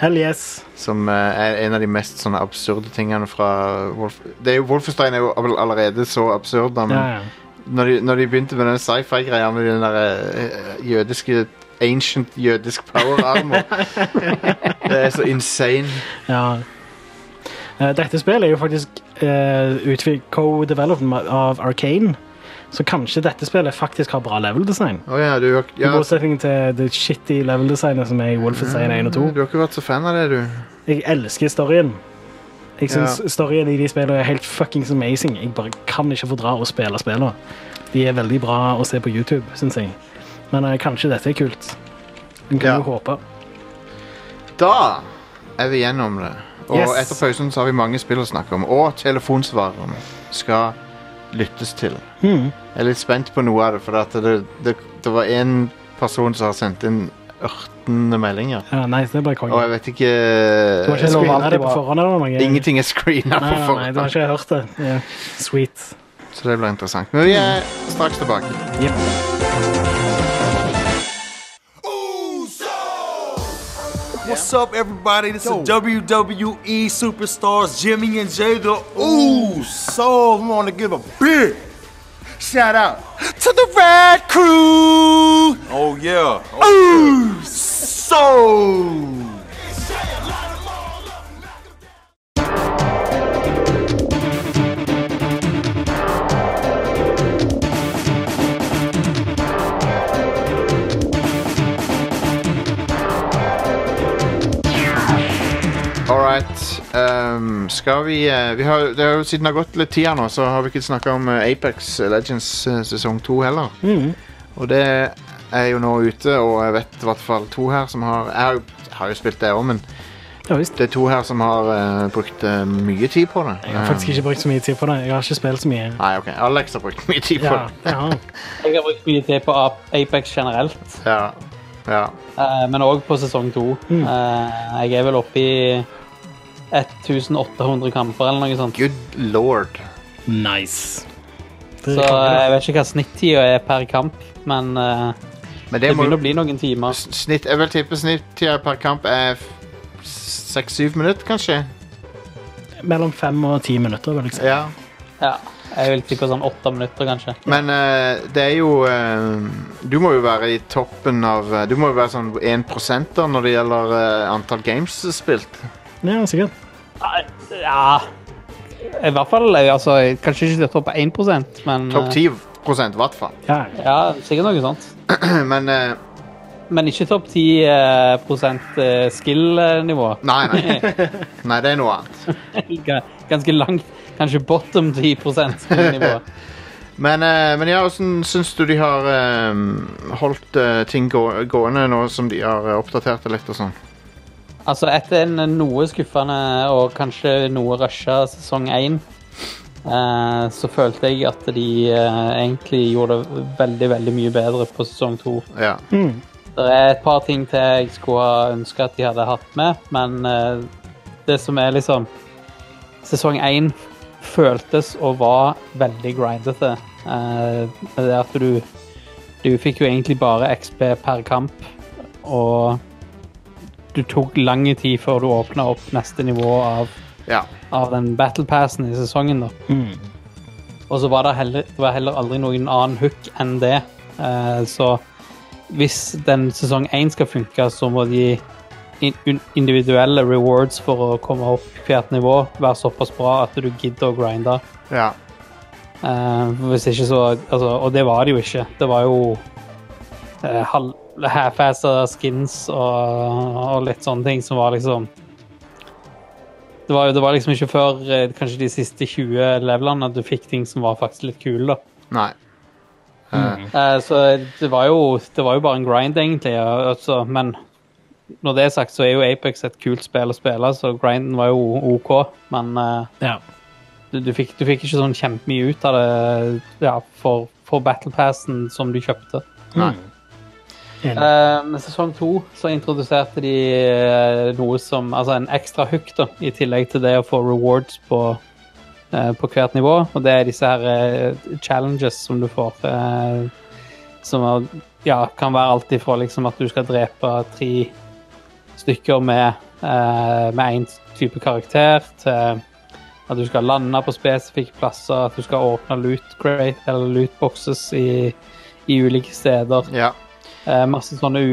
Speaker 2: Hell yes.
Speaker 1: som eh, er en av de mest sånne absurde tingene fra Wolf... Det er jo, Wolfenstein er jo all- allerede så absurd, da, men
Speaker 2: Ja, ja.
Speaker 1: når, de, når de begynte med den sci-fi-greia med den der eh, jødiske Ancient jødisk power-armor Det er så insane.
Speaker 2: Ja. Eh, Dette spillet er jo faktisk eh, utvik- co-development av Arcane, så kanskje dette spillet faktisk har bra level design.
Speaker 1: Å ja, du, har-
Speaker 2: I
Speaker 1: ja,
Speaker 2: motsetning til det shitty level-designet som er i Wolfenstein 1 og 2.
Speaker 1: Mm, du har ikke vært så fan av det, du.
Speaker 2: Jeg elsker storyen. Jeg synes
Speaker 1: Ja.
Speaker 2: storyen i de spillene er helt fuckings amazing. Jeg bare kan ikke fordra å spille spillene. De er veldig bra å se på YouTube, synes jeg. Men eh, kanskje dette er kult. En kan
Speaker 1: Ja.
Speaker 2: jo håpe.
Speaker 1: Da er vi gjennom det. Og
Speaker 2: Yes.
Speaker 1: etter pausen så har vi mange spill å snakke om. Og telefonsvareren skal lyttes til.
Speaker 2: Hmm.
Speaker 1: Jeg er litt spent på noe av det, for at det, det, det var én person som har sendt inn ørtende meldinger.
Speaker 2: Ja, nei, det ble
Speaker 1: Og
Speaker 2: konge.
Speaker 1: jeg vet ikke
Speaker 2: Du har ikke
Speaker 3: Jeg
Speaker 2: lova
Speaker 3: screener
Speaker 2: det
Speaker 3: det
Speaker 2: på
Speaker 3: bare.
Speaker 2: forhånd eller noe?
Speaker 1: Ingenting er screena
Speaker 2: Nei,
Speaker 1: på
Speaker 2: nei, nei, du
Speaker 1: forhånd,
Speaker 2: har ikke hørt det. Ja. Sweet.
Speaker 1: så det blir interessant. Men vi er straks tilbake.
Speaker 5: What's up, everybody? This is WWE superstars Jimmy and Jay, the Ooh Soul. We want to give a big shout out to the Red Crew. Oh yeah, Ooh Soul.
Speaker 1: All right. ehm, skal vi, eh, vi har, det har jo Siden det har gått litt tid her nå, så har vi ikke snakka om eh, Apex Legends eh, sesong to heller.
Speaker 2: Mm.
Speaker 1: Og det er jo nå ute, og jeg vet i hvert fall to her som har Jeg har, jo- jeg har jo spilt det òg, men
Speaker 2: Ja visst.
Speaker 1: det er to her som har eh, brukt eh, mye tid på det. Eh,
Speaker 2: Jeg har faktisk ikke brukt så mye tid på det. Jeg har ikke spilt så mye.
Speaker 1: Nei, OK. Alex har brukt mye tid på
Speaker 2: Ja,
Speaker 1: det.
Speaker 2: jeg har.
Speaker 3: Jeg har brukt mye tid på Ap- Apex generelt,
Speaker 1: Ja. ja.
Speaker 3: eh, men òg på sesong to. Eh, Jeg er vel oppe i 1800 kamper eller noe sånt.
Speaker 1: Good lord.
Speaker 2: Nice. Det er
Speaker 3: Så
Speaker 2: konge,
Speaker 3: eh,
Speaker 2: det.
Speaker 3: jeg vet ikke hva snittida er per kamp, men eh,
Speaker 1: Men
Speaker 3: det
Speaker 1: det må
Speaker 3: begynner å bli noen timer.
Speaker 1: s- snitt, Jeg vil tippe snittida per kamp er seks-syv minutter, kanskje.
Speaker 2: Mellom fem og ti minutter, vil jeg si.
Speaker 1: Ja.
Speaker 3: Ja, jeg vil tippe sånn åtte minutter, kanskje.
Speaker 1: Men eh, det er jo eh, Du må jo være i toppen av eh, Du må jo være sånn 1 da når det gjelder eh, antall games spilt.
Speaker 2: Ja, sikkert.
Speaker 3: Nei, Ja I hvert fall eh, altså, Kanskje ikke topp 1 men
Speaker 1: Topp
Speaker 3: eh,
Speaker 1: 10 i hvert fall.
Speaker 2: Ja.
Speaker 3: Ja, sikkert noe sånt.
Speaker 1: Men eh,
Speaker 3: Men ikke topp 10 eh, prosent eh, skill-nivå.
Speaker 1: nei, nei. Nei, det er noe annet.
Speaker 3: Ga- Ganske langt. Kanskje bottom 10 skill-nivå.
Speaker 1: Men, eh, men ja, hvordan syns du de har eh, holdt eh, ting gå gående nå som de har eh, oppdatert det litt og sånn?
Speaker 3: Altså, etter en noe skuffende og kanskje noe rusha sesong 1, eh, så følte jeg at de eh, egentlig gjorde det veldig, veldig mye bedre på sesong 2.
Speaker 1: Ja.
Speaker 3: Det er et par ting til jeg skulle ha ønska at de hadde hatt med, men eh, det som er liksom Sesong én føltes og var veldig grindete. Eh, det er at du Du fikk jo egentlig bare XP per kamp, og du tok lang tid før du åpna opp neste nivå av
Speaker 1: Ja.
Speaker 3: av den battle passen i sesongen. da.
Speaker 2: Mm.
Speaker 3: Og så var det heller, det var heller aldri noen annen hook enn det. Eh, så hvis den sesong 1 skal funke, så må de in un- individuelle rewards for å komme opp hvert nivå være såpass bra at du gidder å grinde.
Speaker 1: ja.
Speaker 3: Eh, hvis ikke så altså, Og det var det jo ikke. Det var jo eh, halv- half-assede skins og, og litt sånne ting som var liksom det var, jo- det var liksom ikke før eh, kanskje de siste 20 levelene at du fikk ting som var faktisk litt kule, da.
Speaker 1: Nei. Eh,
Speaker 3: Eh, så det var, jo, det var jo bare en grind, egentlig. og- Altså, men når det er sagt, så er jo Apex et kult spill å spille, så grinden var jo OK. Men eh,
Speaker 2: Ja.
Speaker 3: du, du, fikk, du fikk ikke sånn kjempemye ut av det ja, for, for Battle Passen som du kjøpte.
Speaker 1: Nei.
Speaker 2: Enig.
Speaker 3: Eh, Med sesong to så introduserte de eh, noe som Altså en ekstra hook, da, i tillegg til det å få rewards på eh, på hvert nivå, og det er disse her eh, challenges som du får. eh, Som er, ja, kan være alt ifra liksom at du skal drepe tre stykker med eh, med én type karakter, til at du skal lande på spesifikke plasser, at du skal åpne loot crate eller loot boxes i, i ulike steder.
Speaker 1: Ja.
Speaker 3: Eh, masse sånne u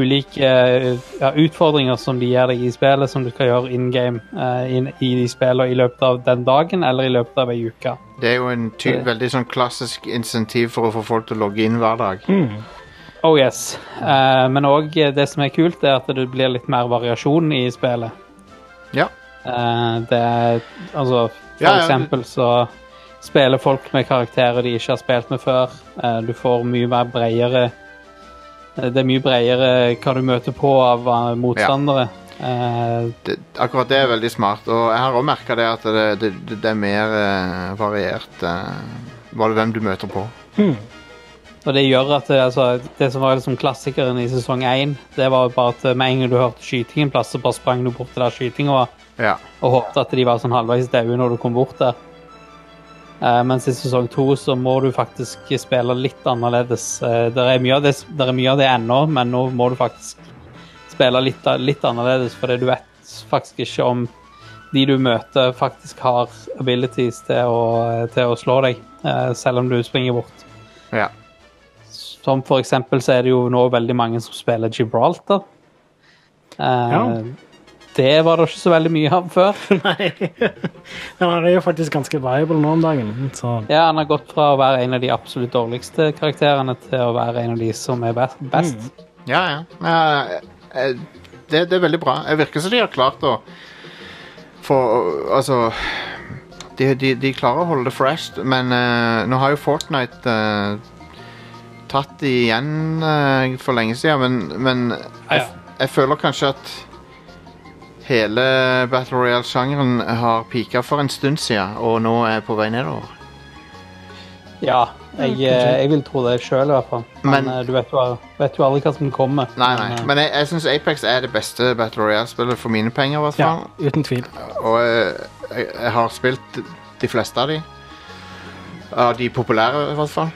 Speaker 3: ulike eh, ja, utfordringer som de gir deg i spillet, som du skal gjøre in game eh, inn- i de spillene i løpet av den dagen eller i løpet av ei uke.
Speaker 1: Det er jo en ty
Speaker 3: Det-
Speaker 1: veldig sånn klassisk insentiv for å få folk til å logge inn hver dag.
Speaker 2: Mm.
Speaker 3: Oh yes. Eh, men òg det som er kult, er at det blir litt mer variasjon i spillet.
Speaker 1: Ja.
Speaker 3: Eh, det er altså For
Speaker 1: Ja, ja.
Speaker 3: eksempel så spiller folk med karakterer de ikke har spilt med før. Eh, du får mye mer bredere eh, Det er mye bredere hva du møter på av eh, motstandere. Eh,
Speaker 1: det, akkurat det er veldig smart. Og jeg har òg merka det at det, det, det, det er mer eh, variert eh, hva det, hvem du møter på.
Speaker 2: Mm.
Speaker 3: Og det gjør at det, altså, det som var liksom klassikeren i sesong 1, det var bare at eh, med en gang du hørte skyting en plass, så bare sprang du bort til der skytinga var,
Speaker 1: Ja.
Speaker 3: og håpte at de var sånn halvveis daue når du kom bort der. Eh, mens i sesong 2 så må du faktisk spille litt annerledes. Eh, der, er mye av det, der er mye av det ennå, men nå må du faktisk spille litt, litt annerledes, fordi du vet faktisk ikke om de du møter, faktisk har abilities til å, til å slå deg, eh, selv om du springer bort.
Speaker 1: ja.
Speaker 3: Som for eksempel så er det jo nå veldig mange som spiller Gibraltar. Eh,
Speaker 2: Ja.
Speaker 3: Det var det ikke så veldig mye av før.
Speaker 2: Nei. Men han er jo faktisk ganske viable nå om dagen. Så
Speaker 3: Ja, Han har gått fra å være en av de absolutt dårligste karakterene til å være en av de som er best. best.
Speaker 1: Ja, ja. Eh, eh, det, det er veldig bra. Det virker som de har klart å få Altså de, de, de klarer å holde det fresh, men eh, nå har jo Fortnite eh, tatt de igjen eh, for lenge siden, men, men
Speaker 3: Ja,
Speaker 1: jeg,
Speaker 3: ja.
Speaker 1: jeg føler kanskje at hele Battle Royale-sjangeren har pika for en stund siden, og nå er jeg på vei nedover.
Speaker 3: Ja, jeg, eh, jeg vil tro det sjøl, i hvert fall. Men,
Speaker 1: Men-
Speaker 3: eh, du vet jo, vet jo aldri hva som kommer.
Speaker 1: Nei, nei.
Speaker 3: Men, eh,
Speaker 1: Men jeg, jeg syns Apex er det beste Battle Royale-spillet for mine penger, i hvert
Speaker 2: ja,
Speaker 1: fall.
Speaker 2: uten tvil.
Speaker 1: Og jeg, jeg, jeg har spilt de fleste av de. Av de populære, i hvert fall.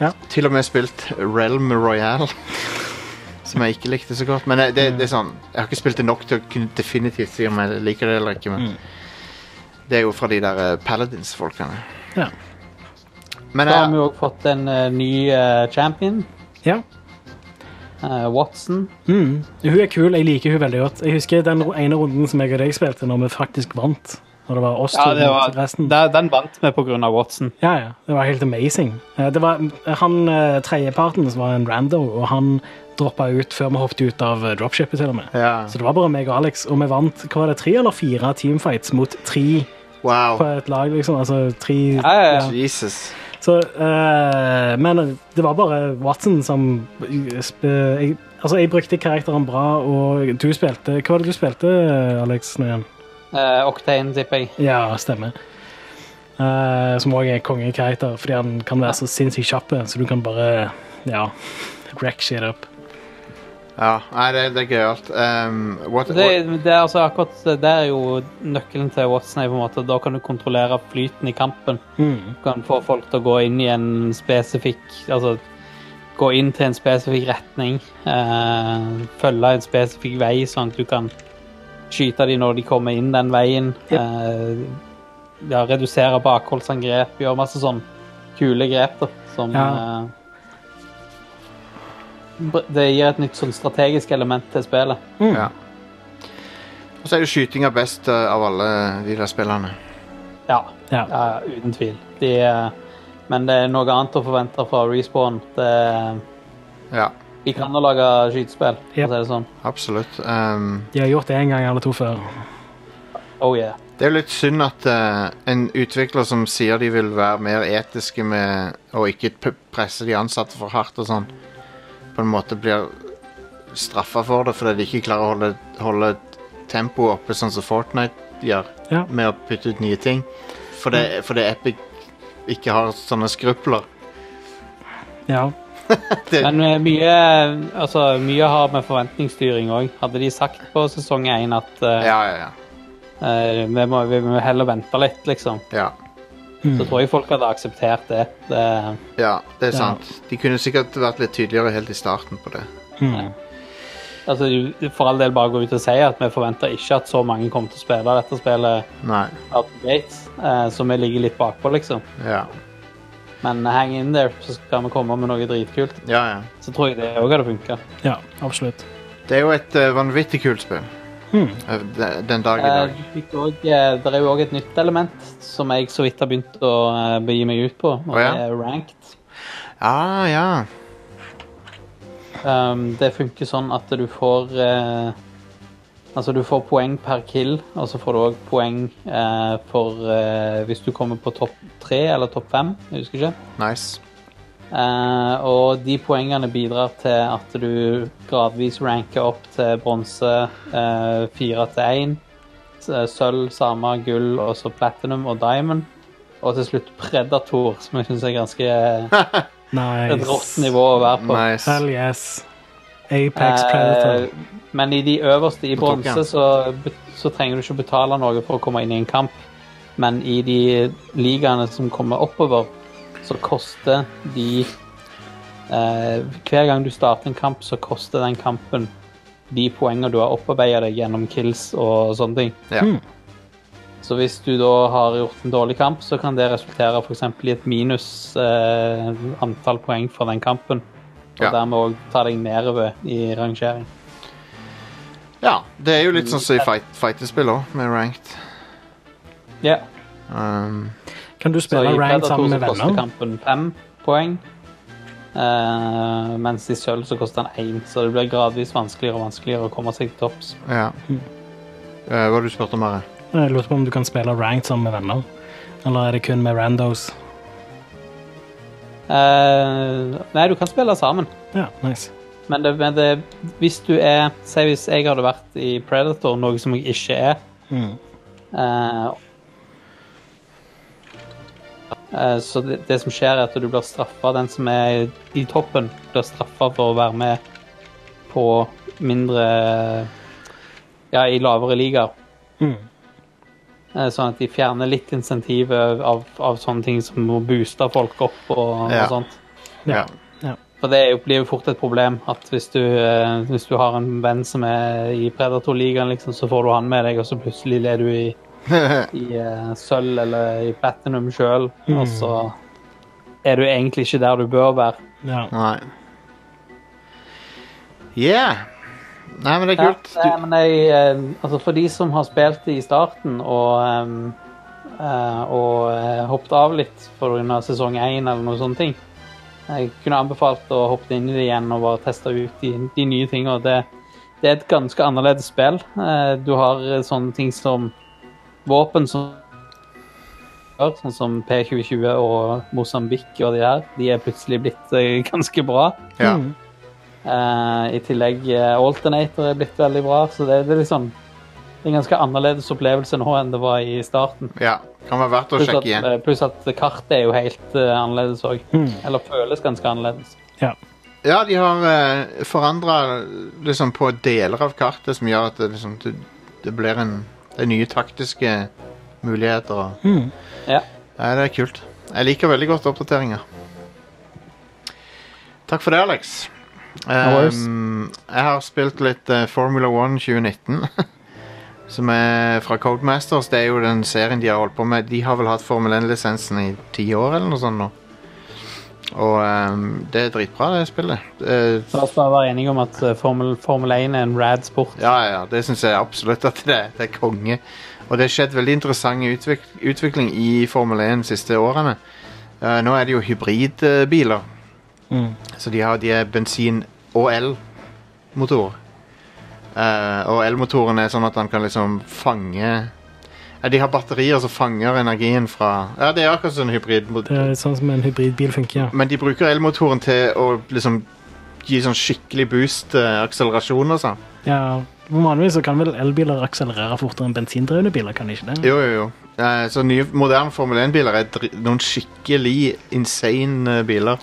Speaker 2: Ja.
Speaker 1: Til og med spilt Realm Royale. Som jeg ikke likte så godt. Men jeg- det, det er sånn, jeg har ikke spilt det nok til å kunne definitivt si om jeg liker det eller ikke. Men
Speaker 3: Mm.
Speaker 1: det er jo fra de der eh, Paladins-folkene.
Speaker 2: Ja.
Speaker 1: Men
Speaker 3: Da har vi
Speaker 1: jeg,
Speaker 3: jo også fått en eh, ny eh, champion,
Speaker 2: ja.
Speaker 3: eh, Watson.
Speaker 2: Mm. Hun er kul. Jeg liker hun veldig godt. Jeg husker den ro- ene runden som jeg og deg spilte, når vi faktisk vant. Når det var oss to mot resten.
Speaker 3: den vant vi på grunn av Watson.
Speaker 2: Ja, ja. Det var helt amazing. Eh, Det var han eh, tredjeparten som var en rando, og han droppa ut før vi hoppet ut av eh, dropshipet, til og med.
Speaker 1: Ja.
Speaker 2: Så det var bare meg og Alex, og vi vant hva var det, tre eller fire teamfights mot tre på
Speaker 1: wow.
Speaker 2: et lag, liksom. Altså tre
Speaker 3: Ja, ja, ja.
Speaker 1: Jesus.
Speaker 2: Så eh, Men det var bare Watson som sp- jeg, Altså, jeg brukte karakteren bra, og du spilte Hva var det du spilte, Alex? nå igjen?
Speaker 3: Eh, Octane, tipper jeg.
Speaker 2: Ja, stemmer. Eh, som òg er kongekarakter, fordi han kan være så sinnssykt kjapp, så du kan bare ja, rack shit up.
Speaker 1: Ja, nei, det, det er gøyalt. Um, what,
Speaker 3: Det,
Speaker 1: what,
Speaker 3: det er altså akkurat det er jo nøkkelen til Watson. er på en måte. Da kan du kontrollere flyten i kampen.
Speaker 2: Mm.
Speaker 3: Du kan få folk til å gå inn i en spesifikk Altså gå inn til en spesifikk retning. Eh, følge en spesifikk vei, sånn at du kan skyte de når de kommer inn den veien.
Speaker 2: Yep.
Speaker 3: Eh, ja, redusere bakholdsangrep, gjøre masse sånn kule grep da, som
Speaker 2: Ja.
Speaker 3: eh, br- Det gir et nytt sånn strategisk element til spillet.
Speaker 1: Ja. Mm. Og så er jo skytinga best eh, av alle de der spillene.
Speaker 3: Ja,
Speaker 2: Ja.
Speaker 3: ja uten tvil. De, eh, men det er noe annet å forvente fra Respawn. Det, eh,
Speaker 1: Ja,
Speaker 3: de kan jo lage skytespill, for
Speaker 2: Yep.
Speaker 3: å si det sånn.
Speaker 1: absolutt. Um,
Speaker 2: De har gjort det en gang eller to før.
Speaker 3: Oh yeah.
Speaker 1: det er jo litt synd at eh, en utvikler som sier de vil være mer etiske med å ikke p presse de ansatte for hardt og sånn, på en måte blir straffa for det fordi de ikke klarer å holde, holde tempoet oppe, sånn som Fortnite gjør,
Speaker 2: Ja.
Speaker 1: med å putte ut nye ting. Fordi, fordi Epic ikke har sånne skrupler.
Speaker 2: Ja.
Speaker 3: Men eh, mye, altså, mye har med forventningsstyring òg. Hadde de sagt på sesong én at eh,
Speaker 1: Ja, ja, ja.
Speaker 3: eh, vi, må, vi må heller vente litt, liksom,
Speaker 1: ja.
Speaker 3: så tror jeg folk hadde akseptert det. det
Speaker 1: Ja, det er
Speaker 2: Ja.
Speaker 1: sant. De kunne sikkert vært litt tydeligere helt i starten på det.
Speaker 3: altså, du- for all del bare gå ut og si at vi forventer ikke at så mange kommer til å spille dette spillet
Speaker 1: Nei.
Speaker 3: out the gate, eh, så vi ligger litt bakpå, liksom.
Speaker 1: Ja,
Speaker 3: Men hang in there, så skal vi komme med noe dritkult.
Speaker 1: ja. ja.
Speaker 3: Så tror jeg det òg hadde funka.
Speaker 2: ja, absolutt.
Speaker 1: Det er jo et eh, vanvittig kult spill.
Speaker 3: Hmm.
Speaker 1: Eh, de- Den dag i
Speaker 3: Eh,
Speaker 1: dag.
Speaker 3: Det er jo òg et nytt element som jeg så vidt har begynt å eh, begi meg ut på, og
Speaker 1: Å, ja?
Speaker 3: det er ranked.
Speaker 1: Ah, ja.
Speaker 3: Um, det funker sånn at du får eh, Altså, du får poeng per kill, og så får du òg poeng eh, for eh, hvis du kommer på topp tre eller topp fem. Jeg husker ikke.
Speaker 1: Nice.
Speaker 3: Eh, og de poengene bidrar til at du gradvis ranker opp til bronse eh, fire til én. s- Sølv, samme, gull, og så platinum og diamond. Og til slutt predator, som jeg syns er ganske eh, et rått
Speaker 2: Nice.
Speaker 3: nivå å være på.
Speaker 1: Nice.
Speaker 2: Hell yes. Apex Predator.
Speaker 3: Eh, Men i de øverste i
Speaker 1: På toppen, ja.
Speaker 3: bronse så, så trenger du ikke betale noe for å komme inn i en kamp. Men i de ligaene som kommer oppover, så koster de eh, Hver gang du starter en kamp, så koster den kampen de poengene du har opparbeida deg gjennom kills og sånne ting.
Speaker 1: Ja.
Speaker 3: Så hvis du da har gjort en dårlig kamp, så kan det resultere for eksempel i et minus eh, antall poeng for den kampen. Og
Speaker 1: Ja.
Speaker 3: dermed òg ta deg nedover i rangering.
Speaker 1: ja. Det er jo litt sånn som i fight, fightespill òg, med ranked.
Speaker 3: Ja.
Speaker 1: Um,
Speaker 2: Kan du
Speaker 3: Så
Speaker 2: spille
Speaker 3: i
Speaker 2: ranked
Speaker 3: Predator
Speaker 2: sammen med
Speaker 3: så koster
Speaker 2: venner?
Speaker 3: kampen fem poeng. Eh, mens i sølv så koster den én, så det blir gradvis vanskeligere og vanskeligere å komme seg til topps.
Speaker 1: ja.
Speaker 3: Hmm.
Speaker 1: Eh, hva var det du spurte om, Are?
Speaker 2: Jeg lurte Eh, på om du kan spille ranked sammen med venner. Eller er det kun med randos?
Speaker 3: Eh, nei, du kan spille sammen,
Speaker 2: Ja, nice.
Speaker 3: men, det, men det, hvis du er Si hvis jeg hadde vært i Predator, noe som jeg ikke er
Speaker 2: Mm.
Speaker 3: eh, eh, Så det, det som skjer, er at du blir straffa. Den som er i toppen, blir straffa for å være med på mindre Ja, i lavere ligaer.
Speaker 2: Mm.
Speaker 3: Eh, Sånn at de fjerner litt insentivet av, av sånne ting som å booste folk opp og,
Speaker 1: Ja.
Speaker 3: og sånt.
Speaker 1: Ja.
Speaker 2: Ja. ja.
Speaker 3: For det er jo- blir jo fort et problem at hvis du, eh, hvis du har en venn som er i Predator-ligaen, liksom, så får du han med deg, og så plutselig er du i, i eh, sølv eller i platinum sjøl, og så er du egentlig ikke der du bør være.
Speaker 2: ja.
Speaker 1: Nei. Yeah. Nei, men det er
Speaker 3: Ja,
Speaker 1: kult.
Speaker 3: nei, men jeg, eh, altså for de som har spilt det i starten og, ehm, eh, og eh, hoppet av litt pga. sesong én eller noen sånne ting, jeg kunne anbefalt å hoppe inn i det igjen og bare teste ut de, de nye tingene. Det, det er et ganske annerledes spill. Eh, Du har eh, sånne ting som våpen som Sånn som P2020 og Mosambik og de her. De er plutselig blitt eh, ganske bra.
Speaker 1: Du, ja.
Speaker 3: Hmm.
Speaker 2: Mm.
Speaker 3: Eh, I tillegg eh, Alternator er blitt veldig bra, så det, det er liksom det er en ganske annerledes opplevelse nå enn det var i starten.
Speaker 1: ja. Kan være verdt å
Speaker 3: Pluss at,
Speaker 1: sjekke igjen.
Speaker 3: eh, pluss at kartet er jo helt eh, annerledes òg. Eller føles ganske annerledes.
Speaker 2: ja.
Speaker 1: Ja, de har uh, forandra liksom, på deler av kartet som gjør at det, liksom, det, det blir en Det er nye taktiske muligheter. Og,
Speaker 3: Mm. Ja.
Speaker 1: Nei, det er kult. Jeg liker veldig godt oppdateringer. Takk for det, Alex. Ehm,
Speaker 3: worries.
Speaker 1: Um, jeg har spilt litt eh, Formula One 2019. som er fra Codemasters. Det er jo den serien de har holdt på med. De har vel hatt Formel 1-lisensen i ti år eller noe sånt nå. Og ehm, det er dritbra, det spillet. Eh,
Speaker 3: La oss bare være enige om at eh, Formel, Formel 1 er en rad sport.
Speaker 1: ja, ja, det syns jeg absolutt at det er. Det er konge. Og det har skjedd veldig interessant utvik utvikling i Formel 1 de siste årene. Eh, nå er det jo hybridbiler.
Speaker 2: Mm.
Speaker 1: Så de, har, de er bensin- og elmotor. Eh, og elmotoren er sånn at han kan liksom fange ja, De har batterier som fanger energien fra Ja, det er akkurat sånn
Speaker 2: Det
Speaker 1: hybridmotor.
Speaker 2: er sånn som en hybridbil funker, ja.
Speaker 1: Men de bruker elmotoren til å liksom gi sånn skikkelig boost eh, akselerasjon og sånn.
Speaker 2: ja. Vanligvis så kan vel elbiler akselerere fortere enn bensindrevne biler, kan de ikke det?
Speaker 1: Jo, jo, jo. Eh, så nye moderne Formel 1-biler er dri noen skikkelig insane eh, biler.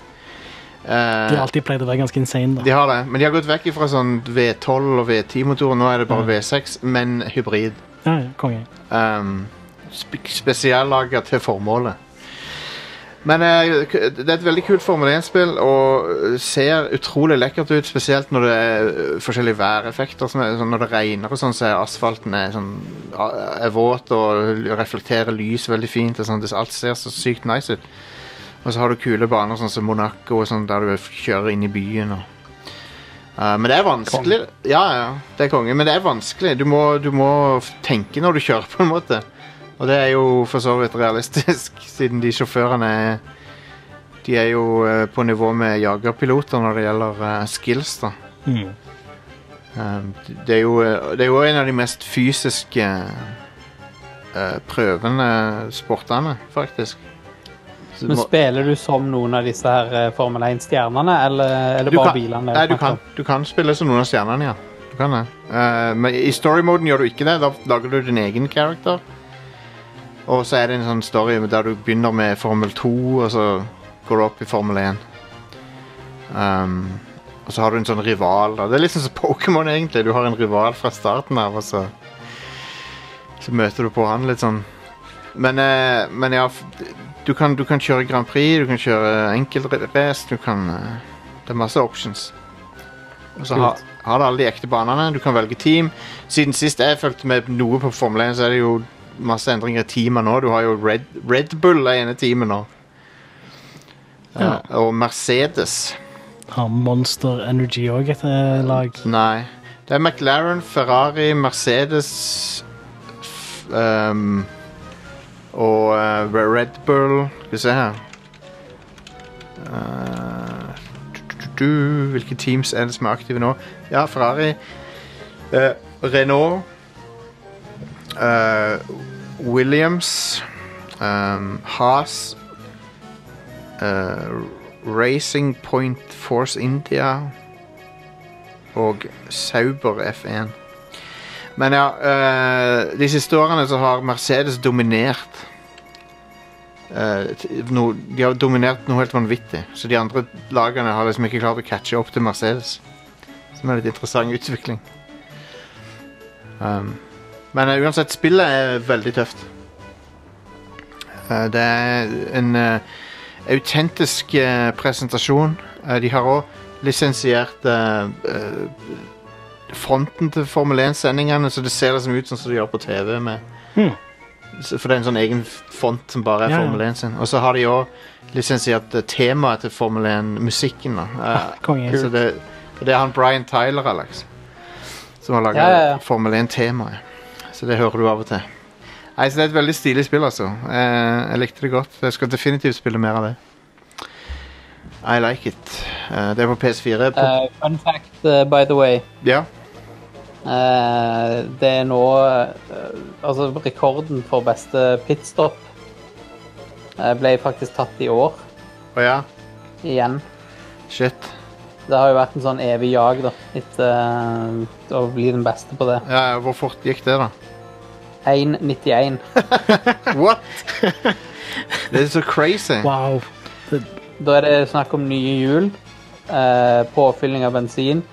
Speaker 1: Eh,
Speaker 2: De har alltid pleid å være ganske insane, da.
Speaker 1: De har det, men de har gått vekk fra sånn V12 og V10-motor. Nå er det
Speaker 2: Mm.
Speaker 1: bare V6, men hybrid.
Speaker 2: Ja, ja, konge.
Speaker 1: Um, sp Spesiallaga til formålet. Men eh, k- det er et veldig kult Formel 1-spill og eh, ser utrolig lekkert ut. Spesielt når det er eh, forskjellige væreffekter. Som er, sånn når det regner og sånn, så er asfalten er, sånn, a- er våt og l- reflekterer lys veldig fint. Og sånn, det, alt ser så sykt nice ut. Og så har du kule baner sånn som Monaco, og sånn, der du f- kjører inn i byen. og Eh, men det er vanskelig. Ja, ja, det er konge, men det er vanskelig. Du må, du må f- tenke når du kjører, på en måte. Og det er jo for så vidt realistisk, siden de sjåførene er De er jo eh, på nivå med jagerpiloter når det gjelder eh, skills, da.
Speaker 2: Mm.
Speaker 1: Um, det, er jo, eh, det er jo en av de mest fysiske eh, prøvende sportene, faktisk. Så du
Speaker 3: Men
Speaker 1: må-
Speaker 3: spiller du som noen av disse her eh, Formel 1-stjernene, eller er det
Speaker 1: Du kan-
Speaker 3: bare bilene?
Speaker 1: Nei, du kan, du kan spille som noen av stjernene, ja. Du kan det. Eh, men i story-moden gjør du ikke det. Da lager du din egen character. Og så er det en sånn story der du begynner med Formel 2, og så går du opp i Formel 1. Um, og så har du en sånn rival. Da. Det er litt sånn som Pokémon, egentlig. Du har en rival fra starten av, og så Så møter du på han litt sånn. Men, eh, men ja f- du kan, du kan kjøre Grand Prix, du kan kjøre enkeltrace, du kan eh, det er masse options. Og så har, har det alle de ekte banene. Du kan velge team. Siden sist jeg fulgte med noe på Formel 1, så er det jo masse endringer i teamet nå. Du har jo Red, Red Bull er ene teamet nå.
Speaker 2: Ja.
Speaker 1: Eh, og Mercedes.
Speaker 2: Har Monster Energy òg et eh, lag?
Speaker 1: Nei. Det er McLaren, Ferrari, Mercedes f, ehm, Og eh, Red Bull Skal vi se her Eh, du, du, du, Hvilke teams er det som er aktive nå? Ja, Ferrari eh, Renault eh, Williams ehm, Haas eh, Racing Point Force India og Sauber F1. Men ja, eh, de siste årene så har Mercedes dominert. Eh, t- no, de har dominert noe helt vanvittig, så de andre lagene har liksom ikke klart å catche opp til Mercedes. Som er litt interessant utvikling. Um, men eh, uansett, spillet er veldig tøft. Eh, det er en eh, autentisk eh, presentasjon. Eh, de har òg lisensiert eh, eh, fronten til Formel 1-sendingene, så det ser liksom ut sånn som det gjør på TV. Med,
Speaker 2: Hmm.
Speaker 1: Så- For det er en sånn egen font som bare er
Speaker 2: Ja, ja.
Speaker 1: Formel 1 sin. Og så har de òg lisensiert eh, temaet til Formel 1-musikken. da. Eh,
Speaker 2: Ah, konge.
Speaker 1: så det, og det er han Brian Tyler, Alex, som har laga
Speaker 3: Ja, ja, ja.
Speaker 1: Formel 1-temaet. Så det hører du av og til. Nei, så Det er et veldig stilig spill, altså. Eh, jeg likte det godt. Jeg skal definitivt spille mer av det. I like it. Eh, det er på PS4. På,
Speaker 3: Eh, fun fact, eh, by the way.
Speaker 1: ja.
Speaker 3: Eh, det er nå eh, Altså, rekorden for beste pitstop eh, ble faktisk tatt i år
Speaker 1: Å ja.
Speaker 3: igjen.
Speaker 1: Shit.
Speaker 3: Det har jo vært en sånn evig jag da, etter eh, å bli den beste på det.
Speaker 1: Ja, hvor fort gikk det, da?
Speaker 3: 1,91.
Speaker 1: What?! det er så crazy.
Speaker 2: Wow. Det,
Speaker 3: Da er det snakk om nye hjul, eh, påfylling av bensin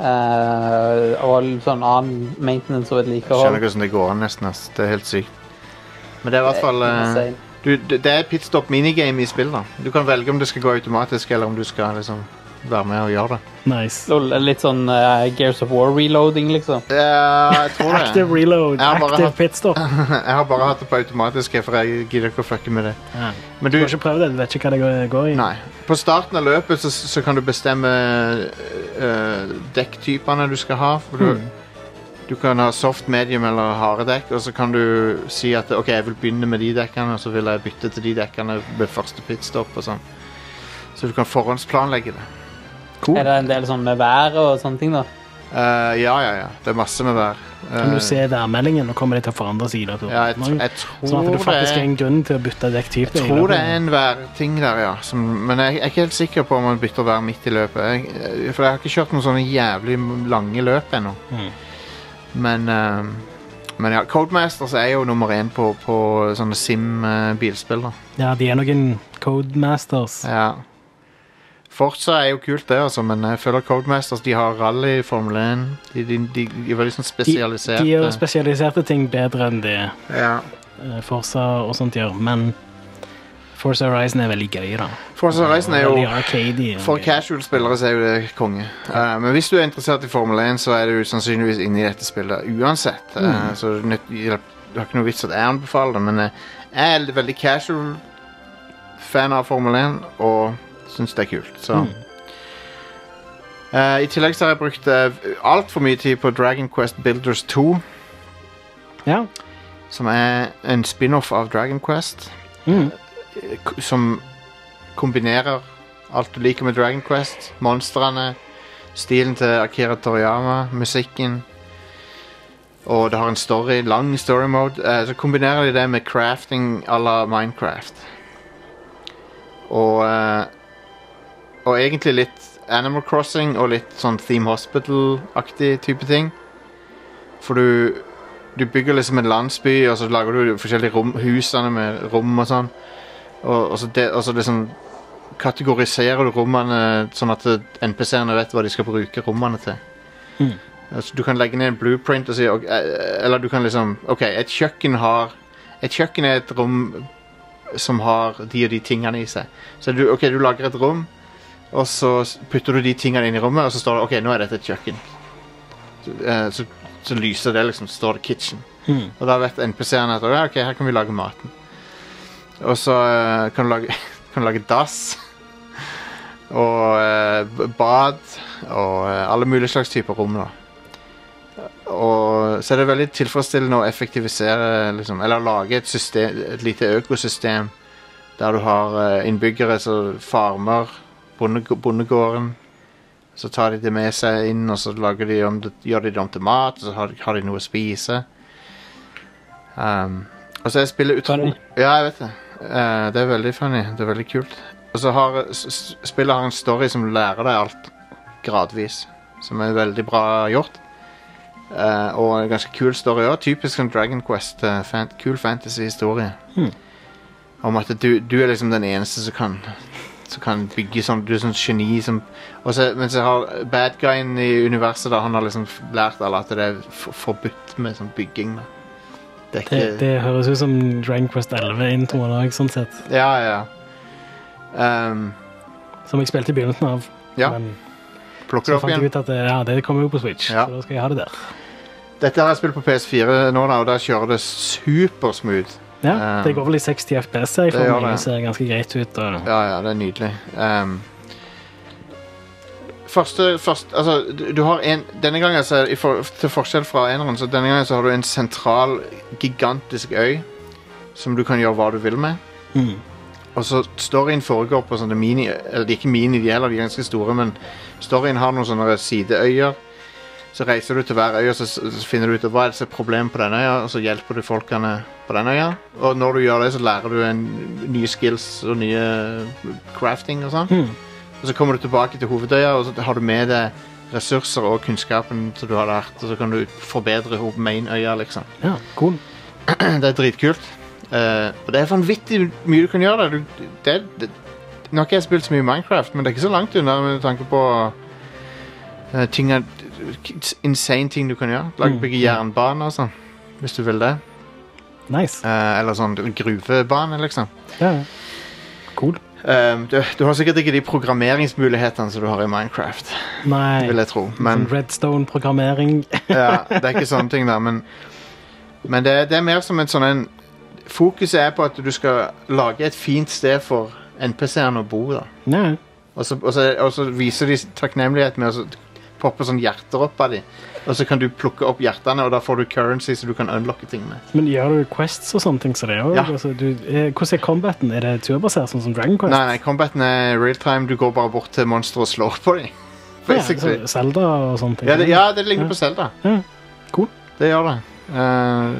Speaker 3: eh, og sånn annen maintenance og
Speaker 1: Jeg skjønner
Speaker 3: vedlikehold.
Speaker 1: ikke hvordan det går an, nesten. ass. Det er helt sykt. Men det er i hvert fall eh,
Speaker 3: Insane.
Speaker 1: du, det- Det er pitstop minigame i spill, da. Du kan velge om det skal gå automatisk, eller om du skal liksom være med og gjøre det.
Speaker 2: Nice.
Speaker 3: Lol, Litt sånn eh, Gears of War-reloading, liksom.
Speaker 1: Eh, jeg tror det.
Speaker 2: Active reload,
Speaker 1: Jeg har bare
Speaker 2: active
Speaker 1: hatt-
Speaker 2: pitstop. Du
Speaker 1: Jeg har bare hatt det på automatisk, for jeg gidder ikke å fucke med det.
Speaker 2: Ja.
Speaker 1: Men du,
Speaker 2: har ikke prøvd det, du vet ikke hva det går- går i.
Speaker 1: nei. På starten av løpet så, så kan du bestemme eh, dekktypene du skal ha. For du, du kan ha soft, medium eller harde dekk, og så kan du si at OK, jeg vil begynne med de dekkene, og så vil jeg bytte til de dekkene ved første pitstop og sånn. Så du kan forhåndsplanlegge det.
Speaker 3: Er det en del sånn med været og sånne ting, da?
Speaker 1: Eh, ja, ja, ja. Det er masse med hver.
Speaker 2: Kan
Speaker 1: Eh,
Speaker 2: du se værmeldingen, og kommer de til å forandre seg i løpet av
Speaker 1: ja, jeg,
Speaker 2: året?
Speaker 1: jeg
Speaker 2: Sånn at
Speaker 1: tror
Speaker 2: du faktisk
Speaker 1: det
Speaker 2: har
Speaker 1: er
Speaker 2: en grunn til å bytte dekktype. i
Speaker 1: Jeg tror
Speaker 2: løpet
Speaker 1: det
Speaker 2: av-
Speaker 1: er en værting der, ja. Som, men jeg, jeg er ikke helt sikker på om man bytter vær midt i løpet. Jeg, jeg- for jeg har ikke kjørt noen sånne jævlig lange løp ennå.
Speaker 2: Mhm.
Speaker 1: Men, eh, men ja, Codemasters er jo nummer én på, på sånne Sim-bilspill. da.
Speaker 2: Ja, de er noen Codemasters.
Speaker 1: Ja. Forza er jo kult, det, altså, men jeg føler Codemasters de har rally i Formel 1. De, de, de, de er veldig sånn
Speaker 2: De,
Speaker 1: spesialiserte.
Speaker 2: de gjør spesialiserte ting bedre enn det
Speaker 1: ja.
Speaker 2: eh, Forza og sånt gjør, men Forza Horizon er veldig gøy, da.
Speaker 1: Forza Horizon er jo
Speaker 2: Veldig arcade.
Speaker 1: For casual-spillere så er jo det konge. Eh, men hvis du er interessert i Formel 1, så er du sannsynligvis inne i dette spillet uansett. Eh, så det er nytt- det har ikke noe vits at jeg anbefaler det, men eh, jeg er veldig casual fan av Formel 1 og syns det er kult. Så. Eh, I tillegg så har jeg brukt uh, altfor mye tid på Dragon Quest Builders 2,
Speaker 2: Ja.
Speaker 1: som er en spin-off av Dragon Quest.
Speaker 2: Mm.
Speaker 1: k- som kombinerer alt du liker med Dragon Quest. Monstrene, stilen til Akira Toriyama, musikken. Og det har en story, lang story mode. Eh, så kombinerer de det med crafting à la Minecraft. Og eh, Og egentlig litt Animal Crossing og litt sånn Theme Hospital-aktig type ting. For du du bygger liksom en landsby, og så lager du forskjellige rom, husene med rom og sånn. Og, og, så det- og så liksom kategoriserer du rommene sånn at NPC-ene vet hva de skal bruke rommene til.
Speaker 2: Mhm.
Speaker 1: Altså, du kan legge ned en blueprint og si ok, eh, Eller du kan liksom OK, et kjøkken har Et kjøkken er et rom som har de og de tingene i seg. Så du, OK, du lager et rom, og så putter du de tingene inn i rommet, og så står det OK, nå er dette et kjøkken. Så, eh, så, så lyser det, liksom. Så står det 'kitchen'.
Speaker 2: Mm.
Speaker 1: Og da vet NPC-ene at ja, ok, her kan vi lage maten. Og så eh, kan, du lage, kan du lage dass. Og eh, b- bad. Og eh, alle mulige slags typer rom. da. Og så er det veldig tilfredsstillende å effektivisere liksom, Eller lage et, system, et lite økosystem der du har eh, innbyggere som farmer bonde, bondegården. Så tar de det med seg inn, og så lager de om, det- gjør de det om til mat. Og så har, de- har de noe å spise. Um, og så er spillet utrolig
Speaker 3: Funny.
Speaker 1: Ja, jeg vet det. Eh, det er veldig funny. Det er veldig kult. Og så har s- s- spillet har en story som lærer deg alt gradvis. Som er veldig bra gjort. Eh, og en ganske kul story òg. Typisk sånn Dragon Quest. eh, fan, kul fantasy-historie.
Speaker 2: Hmm.
Speaker 1: Om at du, du er liksom den eneste som kan Som kan bygge sånn Du er sånn geni som og så, Men så har bad guyen i universet, da, han har liksom f- lært alle at det er f forbudt med sånn bygging. Da. Det er
Speaker 2: Det,
Speaker 1: ikke
Speaker 2: det høres ut som Dragon Quest 11-introen òg, sånn sett.
Speaker 1: Ja, ja. Um,
Speaker 2: Som jeg spilte i begynnelsen av.
Speaker 1: Ja.
Speaker 2: Men
Speaker 1: plukker
Speaker 2: så
Speaker 1: det opp
Speaker 2: fant
Speaker 1: igjen.
Speaker 2: jeg ut at eh, ja, det kommer jo på Switch,
Speaker 1: Ja.
Speaker 2: så da skal jeg ha det der.
Speaker 1: Dette har jeg spilt på PS4 nå, da, og der kjører det supersmooth.
Speaker 2: Ja,
Speaker 1: Um,
Speaker 2: Det går vel i 60 FPS, jeg
Speaker 1: det
Speaker 2: får
Speaker 1: gjør
Speaker 2: meg,
Speaker 1: det.
Speaker 2: det ser ganske greit ut. Og,
Speaker 1: Ja, ja, det er nydelig. Ehm, første, første Altså, du- du har en Denne gangen, altså, i for, til forskjell fra eneren, så denne gangen så har du en sentral, gigantisk øy som du kan gjøre hva du vil med.
Speaker 2: mm.
Speaker 1: Og så storyen foregår på sånne mini Eller de er ikke mini, de heller, de er ganske store, men storyen har noen sånne sideøyer. Så reiser du til hver øy og så, så finner du ut av hva er det som er problemet på denne øya, og så hjelper du folkene på denne øya. Og når du gjør det, så lærer du en nye skills og nye crafting og sånn.
Speaker 2: Mm.
Speaker 1: Og så kommer du tilbake til hovedøya, og så har du med deg ressurser og kunnskapen som du har lært, og så kan du forbedre ho- mainøya, liksom.
Speaker 2: ja, cool.
Speaker 1: Det er dritkult. Eh, og det er vanvittig mye du kan gjøre der. Du, det, det, nå har ikke jeg spilt så mye Minecraft, men det er ikke så langt unna med tanke på eh, ting, at- insane ting du kan gjøre. Lage,
Speaker 2: Mm.
Speaker 1: bygge jernbane og sånn, hvis du vil det.
Speaker 2: Nice.
Speaker 1: Eh, eller sånn gruvebane, liksom.
Speaker 2: Ja, ja. Cool.
Speaker 1: Ehm, du, du har sikkert ikke de programmeringsmulighetene som du har i Minecraft, vil
Speaker 2: Nei.
Speaker 1: jeg tro.
Speaker 2: Sånn
Speaker 1: Men
Speaker 2: Redstone-programmering.
Speaker 1: ja, det er ikke sånne ting der, men, men det, er- det er mer som en sånn en Fokuset er på at du skal lage et fint sted for NPC-ene å bo. da.
Speaker 2: Nei.
Speaker 1: Og så, og, så, og så viser de takknemlighet med å så poppe sånn hjerter opp av dem. Og så kan du plukke opp hjertene, og da får du currency som du kan unlocke ting med.
Speaker 2: Men gjør du quests og sånne ting som det òg?
Speaker 1: Ja.
Speaker 2: Altså, du- eh, hvordan er combaten? Er det turbasert, sånn som Dragon Quest?
Speaker 1: Nei, nei, combaten er real time. Du går bare bort til monstre og slår på dem. Basically.
Speaker 2: Ja, så Zelda og sånne ting.
Speaker 1: Ja, det, ja, det ligner
Speaker 2: Ja.
Speaker 1: på Zelda.
Speaker 2: Ja. Cool.
Speaker 1: Det gjør det. Eh,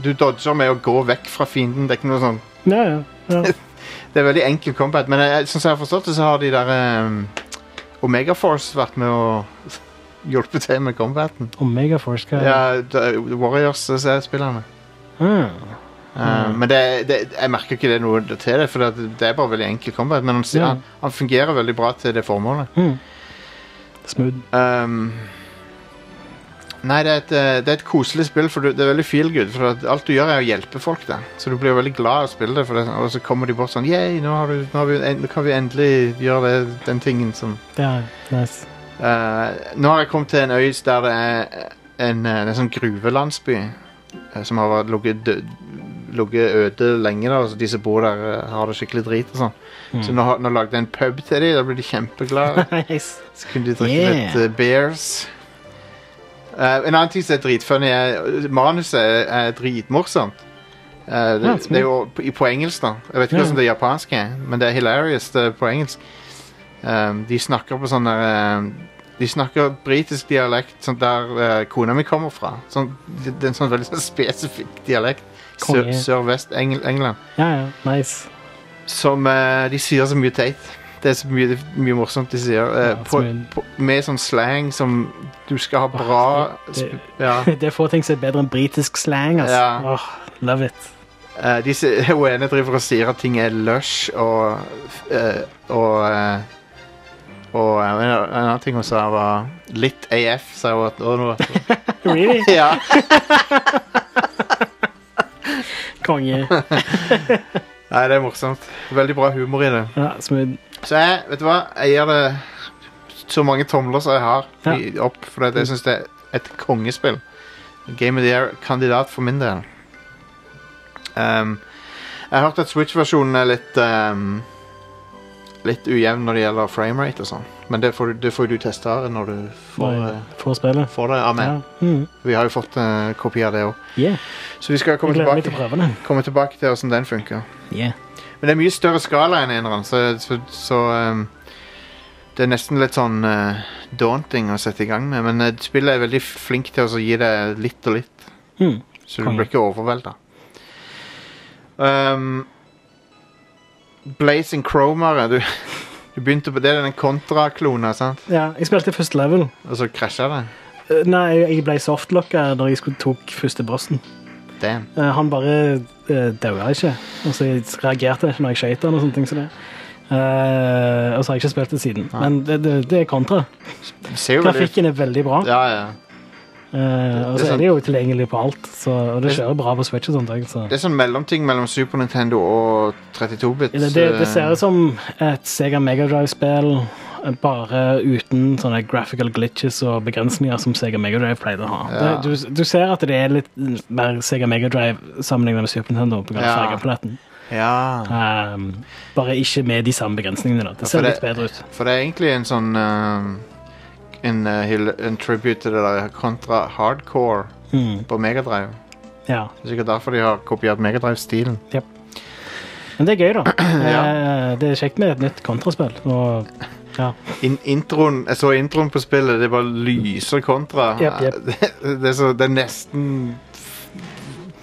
Speaker 1: du dodger med å gå vekk fra fienden. Det er ikke noe sånn
Speaker 2: Ja, ja, ja.
Speaker 1: Det er veldig enkel combat, men jeg, sånn som jeg har forstått det, så har de der eh, Omega Force vært med og hjulpet til med combaten.
Speaker 2: Omega Force, hva er det?
Speaker 1: Ja, da- Warriors-spillerne.
Speaker 2: Ah,
Speaker 1: Eh, Men det, det, jeg merker ikke det noe til det, for det, det er bare veldig enkel combat. Men han,
Speaker 2: Ja.
Speaker 1: han, han fungerer veldig bra til det formålet.
Speaker 2: hmm. smooth.
Speaker 1: Ehm, nei, det er, et, eh, det er et koselig spill, for du, det er veldig feel good. For at alt du gjør, er å hjelpe folk. Da. Så du blir veldig glad av å spille det, for det, er sånn- og så kommer de bort sånn Yay, nå, har du, nå, har vi, en- nå kan vi endelig gjøre det, den tingen som
Speaker 2: Ja, nice.
Speaker 1: Eh, Nå har jeg kommet til en øy der det er en, eh, en sånn gruvelandsby eh, som har vært- ligget død- ligget øde lenge. da, altså De som bor der, eh, har det skikkelig drit og sånn. Så nå, har- nå lagde jeg en pub til dem, da blir de kjempeglade.
Speaker 2: nice.
Speaker 1: Så kunne de drikke
Speaker 2: Yeah.
Speaker 1: litt eh, beers. Eh, en annen ting som er dritfunny, er manuset er, er dritmorsomt. Eh, det,
Speaker 2: Ja, Ah, smooth.
Speaker 1: det er jo på, på engelsk, da. Jeg vet ikke
Speaker 2: Ja.
Speaker 1: hvordan det japanske er, men det er hilarious det er på engelsk. Um, de snakker på sånn der um, De snakker britisk dialekt sånn der eh, kona mi kommer fra. Sånn, det, det er en sånn veldig sånn spesifikk dialekt. Sør-
Speaker 2: Konge.
Speaker 1: Sørvest-England.
Speaker 2: Ja, ja, nice.
Speaker 1: Som eh, de sier så mye teit. Det er så mye, mye morsomt de sier. eh,
Speaker 2: Ja,
Speaker 1: på,
Speaker 2: som-
Speaker 1: på, med sånn slang som du skal ha bra
Speaker 2: det-
Speaker 1: sp- ja.
Speaker 2: Det er få ting som er bedre enn britisk slang, altså.
Speaker 1: Ja.
Speaker 2: Åh, love it.
Speaker 1: Eh, de sier- Hun ene driver og sier at ting er lush og eh, Og, eh, og eh, en, en annen ting hun sa, var litt AF. Sa hun at, og noe.
Speaker 2: Really?
Speaker 1: Ja.
Speaker 2: Konge.
Speaker 1: Nei, det er morsomt. Veldig bra humor i det.
Speaker 2: Ja, smooth.
Speaker 1: Så jeg, vet du hva, jeg gir det så mange tomler som jeg har
Speaker 2: Ja.
Speaker 1: i, opp, for at jeg syns det er et kongespill. Game of the Year-kandidat for min del. Um, jeg har hørt at Switch-versjonen er litt um, Litt ujevn når det gjelder framerate og sånn, men det får, du- det får du teste når du får,
Speaker 2: Får,
Speaker 1: eh,
Speaker 2: får spillet.
Speaker 1: får det av meg.
Speaker 2: Ja. Mm.
Speaker 1: Vi har jo fått eh, kopi av det òg.
Speaker 2: Yeah.
Speaker 1: Så vi skal
Speaker 2: Jeg
Speaker 1: komme
Speaker 2: gleder meg til å
Speaker 1: tilbake,
Speaker 2: prøve den.
Speaker 1: komme tilbake til åssen den funker.
Speaker 2: Yeah.
Speaker 1: Men det er mye større skala enn eneren, så, så, så um, det er nesten litt sånn eh, daunting å sette i gang med. Men eh, spillet er veldig flink til å gi deg litt og litt,
Speaker 2: Mm.
Speaker 1: så
Speaker 2: Konge.
Speaker 1: du blir ikke overvelda. Um, Blazing Chromere du, du begynte på det, er den kontraklona, sant?
Speaker 2: Ja, jeg spilte først level.
Speaker 1: Og så krasja det.
Speaker 2: Eh, Nei, jeg ble softlocka da jeg skulle tok første bossen.
Speaker 1: Damn.
Speaker 2: Eh, Han bare uh, daua ikke. Og så reagerte jeg ikke når jeg skøyt han og sånne ting som det. Eh, og så har jeg ikke spilt det siden. Men det, det, det er kontra.
Speaker 1: Det ser jo veldig ut.
Speaker 2: Grafikken er veldig bra.
Speaker 1: Ja, ja.
Speaker 2: Eh, og
Speaker 1: Det er
Speaker 2: så
Speaker 1: sant.
Speaker 2: er det jo tilgjengelig på alt. Så, og det kjører bra på Switch og sånt. også, Så.
Speaker 1: Det er sånn mellomting mellom Super Nintendo og eh, 32-bit.
Speaker 2: Det, det, det ser ut som et Sega Megadrive-spill, bare uten sånne graphical glitches og begrensninger som Sega Megadrive pleide å ha.
Speaker 1: Ja.
Speaker 2: Det, du, du ser at det er litt mer Sega Megadrive sammenlignet med Super Nintendo på grunn av
Speaker 1: Ja.
Speaker 2: fargepaletten.
Speaker 1: Ja.
Speaker 2: Ehm, bare ikke med de samme begrensningene. da. Det
Speaker 1: for
Speaker 2: ser
Speaker 1: det-
Speaker 2: litt bedre ut.
Speaker 1: For det er egentlig en sånn eh, en, eh, hyll- en tribute til det der kontra hardcore
Speaker 2: Mm,
Speaker 1: på Megadrive.
Speaker 2: ja.
Speaker 1: Det er sikkert derfor de har kopiert Megadrive-stilen.
Speaker 2: Men det er gøy, da.
Speaker 1: Ja.
Speaker 2: Eh, det er kjekt med et nytt kontraspill. Og ja.
Speaker 1: In introen, jeg så introen på spillet, det bare lyser kontra.
Speaker 2: Jep, jep.
Speaker 1: Det, det, er så, det er nesten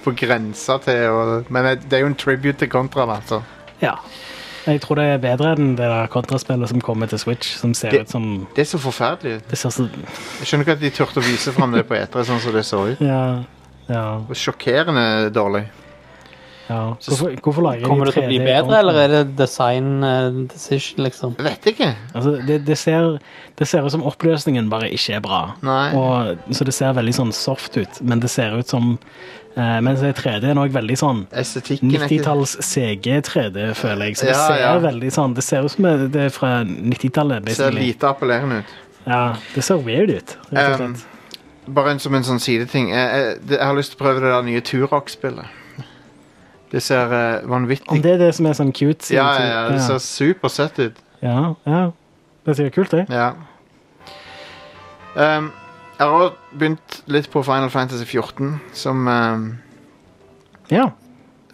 Speaker 1: på grensa til å Men det er jo en tribute til kontra, da. Så.
Speaker 2: ja. Jeg tror det er bedre enn det der kontraspillet som kommer til Switch, som ser
Speaker 1: Det-
Speaker 2: ut som
Speaker 1: Det er så forferdelig. ut.
Speaker 2: Det ser så
Speaker 1: Jeg skjønner ikke at de turte å vise fram det på E3 sånn som det så ut.
Speaker 2: Ja. ja.
Speaker 1: Det var Sjokkerende dårlig.
Speaker 2: Ja. Hvorfor, hvorfor lager de 3D?
Speaker 3: Kommer det til å bli bedre,
Speaker 2: ordentlig?
Speaker 3: eller er det design eh, decision, liksom?
Speaker 1: Jeg vet ikke.
Speaker 2: Altså, det, det, ser, det ser ut som oppløsningen bare ikke er bra.
Speaker 1: Nei.
Speaker 2: Og, så det ser veldig sånn soft ut, men det ser ut som eh, Mens 3D er òg veldig sånn
Speaker 1: Estetikken er ikke
Speaker 2: 90-talls CG 3D, føler jeg. Så det
Speaker 1: Ja,
Speaker 2: ser
Speaker 1: ja.
Speaker 2: veldig sånn Det ser ut som det er fra
Speaker 1: ser
Speaker 2: 90-tallet. basically.
Speaker 1: lite appellerende ut.
Speaker 2: Ja, det ser weird ut, rett og
Speaker 1: Um,
Speaker 2: slett.
Speaker 1: Bare en, som en sånn sideting. Jeg, jeg, det- jeg har lyst til å prøve det der nye Turok-spillet. Det ser eh,
Speaker 2: Om
Speaker 1: vanvittig
Speaker 2: det er det som er sånn cute. sier
Speaker 1: ja,
Speaker 2: du
Speaker 1: ja,
Speaker 2: til-
Speaker 1: ja, det ser supersett ut.
Speaker 2: ja, ja. Det ser kult ut.
Speaker 1: Ja. Ehm, jeg har også begynt litt på Final Fantasy 14, som, ehm,
Speaker 2: Ja.